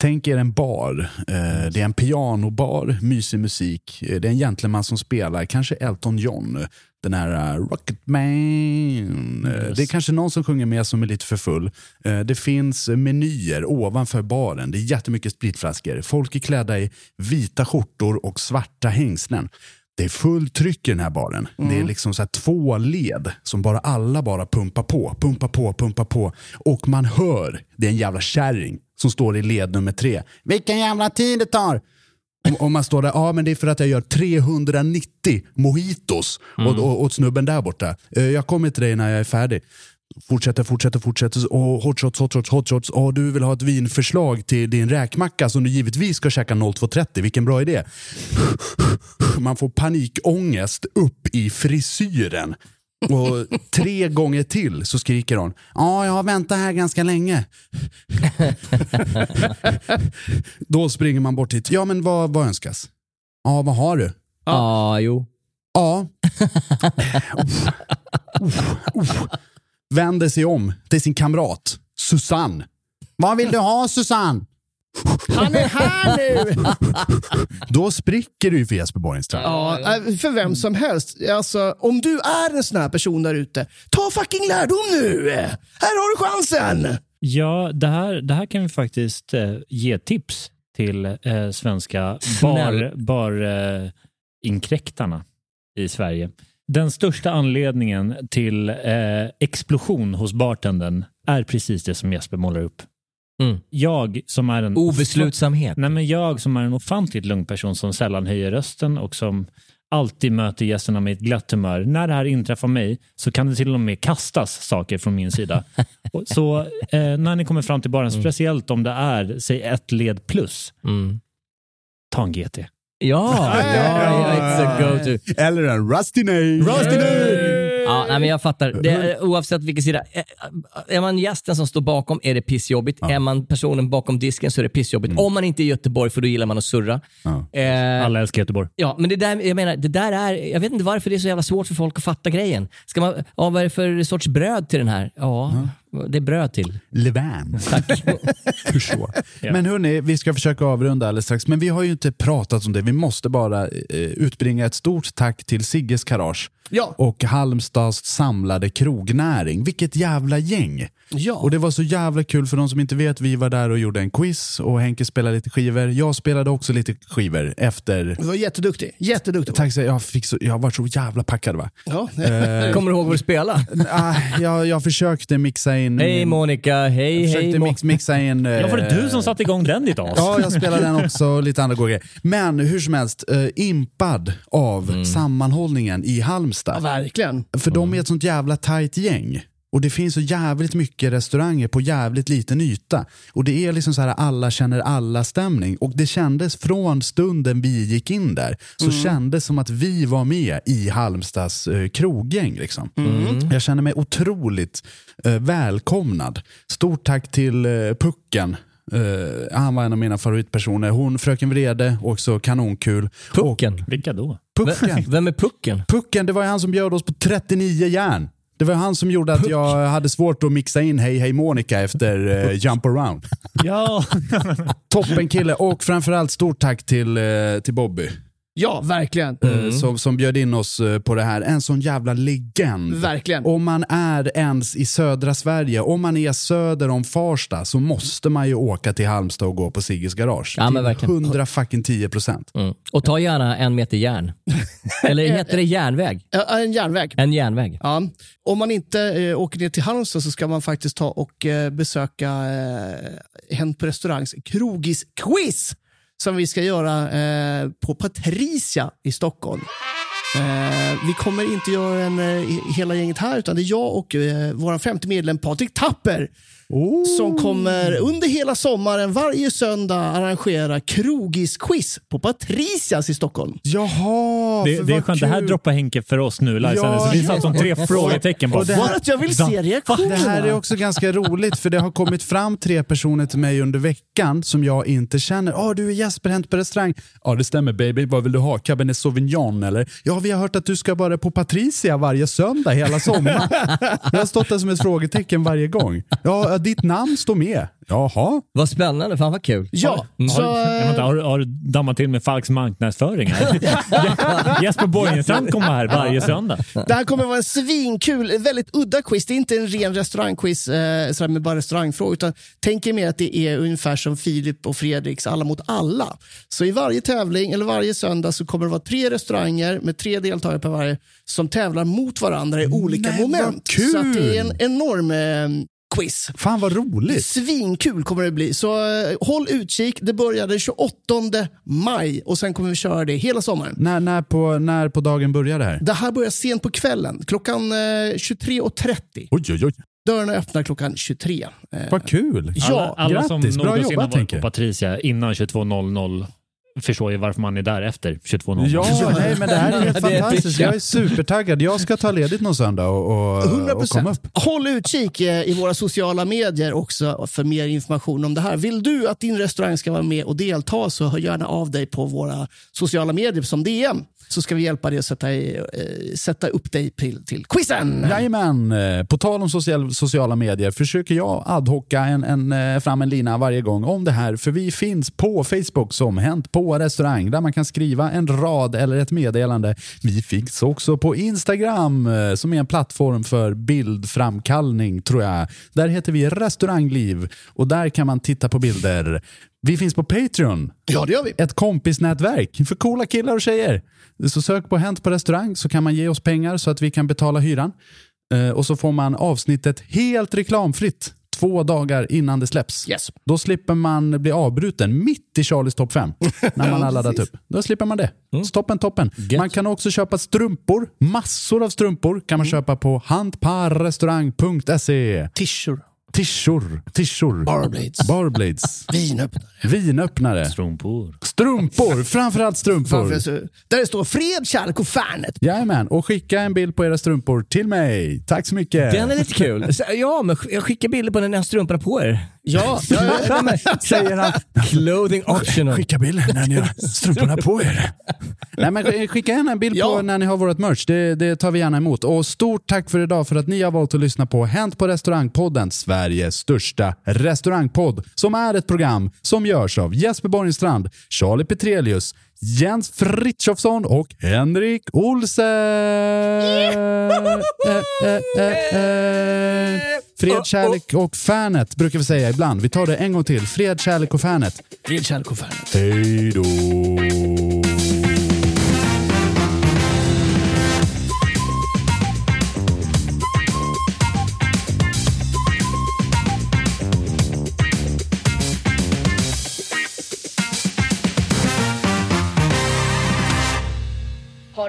Speaker 1: Tänk er en bar. Eh, Det är en pianobar, mysig musik. Eh, Det är en gentleman som spelar, kanske Elton John. Den här eh, Rocketman. Eh, Det är kanske någon som sjunger med som är lite för full. Eh, Det finns eh, menyer ovanför baren. Det är jättemycket spritflaskor. Folk är klädda i vita skjortor och svarta hängslen. Det är fullt tryck i den här baren. Det är liksom så här två led som bara alla bara pumpar på, pumpar på, pumpar på. Och man hör, det är en jävla kärring som står i led nummer tre. Vilken jävla tid det tar! Om- Om man står där, ja men det är för att jag gör 390 mojitos åt, å- åt snubben där borta. Eh, Jag kommer till dig när jag är färdig. Fortsätter, fortsätter, fortsätter. Oh, hot shots, hot shots, hot shots. Åh, du vill ha ett vinförslag till din räkmacka som du givetvis ska käka 02.30. Vilken bra idé. Man får panikångest upp i frisyren. Och tre gånger till så skriker hon. Ja, jag har väntat här ganska länge. Då springer man bort hit. Ja, men vad, vad önskas? Ja, vad har du?
Speaker 2: Ja, ah, jo.
Speaker 1: Ja. Uff, uff, uff. Vänder sig om till sin kamrat Susanne. Vad vill du ha Susanne?
Speaker 4: Han är här nu!
Speaker 1: Då spricker du ju för Jesper Borgenstrand.
Speaker 4: Ja, eh, för vem som helst. Alltså, om du är en sån här person där ute, ta fucking lärdom nu! Här har du chansen!
Speaker 3: Ja, det här, det här kan vi faktiskt eh, ge tips till eh, svenska
Speaker 2: Snäll.
Speaker 3: bar, bar, eh, inkräktarna i Sverige. Den största anledningen till eh, explosion hos bartendern är precis det som Jesper målar upp.
Speaker 2: Mm.
Speaker 3: Jag som är en
Speaker 2: Obeslutsamhet.
Speaker 3: Nej, men jag som är en ofantligt lugn person som sällan höjer rösten och som alltid möter gästerna med ett glatt humör. När det här inträffar mig så kan det till och med kastas saker från min sida. Och så eh, när ni kommer fram till
Speaker 1: Mm.
Speaker 3: baren, speciellt om det är säg ett led plus,
Speaker 2: Mm.
Speaker 3: ta en GT.
Speaker 1: Eh.
Speaker 2: Ja, ja, ja, it's a go-to.
Speaker 1: Eller en Rusty Nail.
Speaker 2: Ja, nej, men jag fattar. Det, är-
Speaker 4: Mm.
Speaker 2: oavsett vilken sida. Ä- Är man gästen som står bakom är det pissjobbigt. Är man personen bakom disken så är det pissjobbigt.
Speaker 4: Mm.
Speaker 2: Om man inte är i Göteborg, för då gillar man att surra.
Speaker 1: Ja.
Speaker 2: Eh,
Speaker 3: Alla älskar Göteborg.
Speaker 2: Ja, men det där, jag menar, det där är, jag vet inte varför det är så jävla svårt för folk att fatta grejen. Ska man, ja, vad är det för sorts bröd till den här? Ja, Det är bröd till.
Speaker 1: Levan. Tack. Hur så? Men hörni, vi ska försöka avrunda alldeles strax, men vi har ju inte pratat om det. Vi måste bara eh, utbringa ett stort tack till Sigges Garage
Speaker 4: Ja.
Speaker 1: och Halmstads samlade krognäring. Vilket jävla gäng!
Speaker 4: Ja.
Speaker 1: Och det var så jävla kul för de som inte vet. Vi var där och gjorde en quiz och Henke spelade lite skivor. Jag spelade också lite skivor efter...
Speaker 4: Du var jätteduktig. Jätteduktig.
Speaker 1: Tack så jag, fick så, jag var så jävla packad va?
Speaker 4: Ja.
Speaker 2: Kommer du ihåg vad du spelade?
Speaker 1: Ah, jag, jag försökte mixa in...
Speaker 2: Hej Monica, hej
Speaker 1: jag
Speaker 2: hej
Speaker 1: försökte
Speaker 2: Mo-
Speaker 1: mix, mixa in...
Speaker 3: Ja, var det
Speaker 1: eh,
Speaker 3: du som satte igång den ditt as?
Speaker 1: Ja, jag spelar den också och lite andra goa grejer. Men hur som helst, eh, impad av sammanhållningen i
Speaker 4: ja,
Speaker 1: Halmstad.
Speaker 4: verkligen.
Speaker 1: För de är ett sånt jävla tajt gäng. Och det finns så jävligt mycket restauranger på jävligt liten yta. Och det är liksom så här alla känner alla stämning. Och det kändes från stunden vi gick in där, så kändes som att vi var med i Halmstads eh, kroggäng. Liksom. Jag känner mig otroligt eh, välkomnad. Stort tack till eh, Pucken. Eh, han var en av mina favoritpersoner. Hon, Fröken Vrede, också kanonkul.
Speaker 2: Pucken.
Speaker 3: Vilka då?
Speaker 1: Och
Speaker 2: Vem,
Speaker 1: Pucken.
Speaker 2: vem är Pucken?
Speaker 1: Pucken, det var ju han som bjöd oss på 39 järn. Det var han som gjorde att jag hade svårt att mixa in Hej Hej Monica efter eh, Jump Around.
Speaker 3: Ja,
Speaker 1: Alltså, Toppen kille och framförallt stort tack till, eh, till Bobby
Speaker 4: Ja, verkligen.
Speaker 1: eh,
Speaker 2: Mm.
Speaker 1: som, som bjöd in oss eh, på det här. En sån jävla legend.
Speaker 4: Verkligen.
Speaker 1: Om man är ens i södra Sverige, om man är söder om Farsta så måste man ju åka till Halmstad och gå på Sigges garage.
Speaker 2: Ja, men
Speaker 1: till
Speaker 2: verkligen.
Speaker 1: 100 fucking 10 procent.
Speaker 2: Mm. Och ta gärna en meter järn. Eller heter det järnväg?
Speaker 4: Ja, En järnväg.
Speaker 2: En järnväg.
Speaker 4: Ja. Om man inte eh, åker ner till Halmstad så ska man faktiskt ta och eh, besöka eh, Hänt på restaurangs krogis-quiz som vi ska göra eh, på Patricia i Stockholm. Eh, vi kommer inte göra en, eh, hela gänget här, utan det är jag och eh, vår femte medlem Patrik Tapper som kommer under hela sommaren, varje söndag, arrangera krogis-quiz på Patricias i Stockholm.
Speaker 1: Jaha,
Speaker 3: det,
Speaker 1: för
Speaker 3: det är
Speaker 1: vad
Speaker 3: skönt. Det här
Speaker 1: kul.
Speaker 3: droppar Henke för oss nu. Ja,
Speaker 1: Ja,
Speaker 3: så vi satt som tre frågetecken bara.
Speaker 1: Och det här-
Speaker 4: Bara att jag vill se reaktionerna.
Speaker 1: Det här är också ganska roligt för det har kommit fram tre personer till mig under veckan som jag inte känner. Ja, du är Jesper Hänt på restaurang. Ja, det stämmer baby. Vad vill du ha? Cabernet Sauvignon eller? Ja, vi har hört att du ska vara på Patricia varje söndag hela sommaren. jag har stått där som ett frågetecken varje gång. Ja, ditt namn står med. Jaha.
Speaker 2: Vad spännande, fan vad kul.
Speaker 4: Ja, så,
Speaker 3: Har, jag vet inte, har, du- har du dammat till med falsk marknadsföring? här? Je- Jesper Borgenstrand kommer här varje söndag.
Speaker 4: Det här kommer vara en svinkul, väldigt udda quiz. Det är inte en ren restaurangquiz eh, sådär med bara restaurangfrågor. Utan tänk er mer att det är ungefär som Filip och Fredriks Alla mot alla. Så i varje tävling, eller varje söndag, så kommer det vara tre restauranger med tre deltagare per varje som tävlar mot varandra i olika
Speaker 1: Nej, vad
Speaker 4: moment.
Speaker 1: kul!
Speaker 4: Så att det är en enorm eh, quiz.
Speaker 1: Fan vad roligt.
Speaker 4: Svinkul kommer det bli. Så eh, håll utkik. Det börjar den 28 maj och sen kommer vi köra det hela sommaren.
Speaker 1: När, när, på, när på dagen börjar det här?
Speaker 4: Det här börjar sent på kvällen, klockan eh, 23.30.
Speaker 1: Oj, oj, oj.
Speaker 4: Dörrarna öppnar klockan 23. Eh,
Speaker 1: Vad kul.
Speaker 3: Alla, alla
Speaker 1: grattis.
Speaker 3: som
Speaker 1: Bra
Speaker 3: någonsin
Speaker 1: jobbat,
Speaker 3: har varit
Speaker 1: Henke.
Speaker 3: på Patricia innan 22.00 förstår ju varför man är där efter 22.00.
Speaker 1: Ja, nej, men det här är helt
Speaker 2: Det är
Speaker 1: fantastiskt.
Speaker 2: pitchen.
Speaker 1: Jag är supertaggad. Jag ska ta ledigt någon söndag och, och,
Speaker 4: 100
Speaker 1: och komma upp.
Speaker 4: Håll utkik eh, i våra sociala medier också för mer information om det här. Vill du att din restaurang ska vara med och delta så hör gärna av dig på våra sociala medier som DM så ska vi hjälpa dig att sätta, i, eh, sätta upp dig till, till quizen.
Speaker 1: Jajamän, Eh, på tal om social, sociala medier försöker jag adhocka en, en, eh, fram en lina varje gång om det här. För vi finns på Facebook som Hänt på restaurang där man kan skriva en rad eller ett meddelande. Vi finns också på Instagram eh, som är en plattform för bildframkallning tror jag. Där heter vi Restaurangliv och där kan man titta på bilder. Vi finns på Patreon
Speaker 4: Ja, det gör vi.
Speaker 1: ett kompisnätverk för coola killar och tjejer. Så sök på Hänt på restaurang så kan man ge oss pengar så att vi kan betala hyran. Eh, och så får man avsnittet helt reklamfritt två dagar innan det släpps.
Speaker 4: Yes.
Speaker 1: Då slipper man bli avbruten mitt i Charlies topp 5 när man har laddat upp. Då slipper man det. Toppen, toppen. Man kan också köpa strumpor. Massor av strumpor kan man köpa på handparrestaurang.se.
Speaker 4: Tishor,
Speaker 1: Tishor, tishor,
Speaker 4: Barblades.
Speaker 1: barblades,
Speaker 4: vinöppnare.
Speaker 1: vinöppnare.
Speaker 3: Strumpor.
Speaker 1: Strumpor, framförallt strumpor.
Speaker 4: Varför så- Där det står fred, kärlek och Fernet.
Speaker 1: Jajamän, och skicka en bild på era strumpor till mig. Tack så mycket.
Speaker 2: Den är lite kul. Så- Ja, men sk- jag skickar bilder på när ni har strumporna på er.
Speaker 4: Ja, ja, ja, ja, men-
Speaker 2: Säger han. Clothing optional.
Speaker 6: Skicka bilden när ni har strumporna på er.
Speaker 1: Nej, men sk- skicka gärna en bild
Speaker 4: Ja.
Speaker 1: på när ni har vårt merch. Det, det tar vi gärna emot. Och stort tack för idag för att ni har valt att lyssna på Hänt på restaurangpodden, Sveriges största restaurangpodd, som är ett program som görs av Jesper Borgenstrand, Charlie Petrelius, Jens Frithiofsson och Henrik Olsen. Eh, eh, eh, eh. Fred, kärlek och fanet brukar vi säga ibland. Vi tar det en gång till. Fred, kärlek och fanet.
Speaker 4: Fred, kärlek och fanet.
Speaker 1: Hej då!
Speaker 5: Ha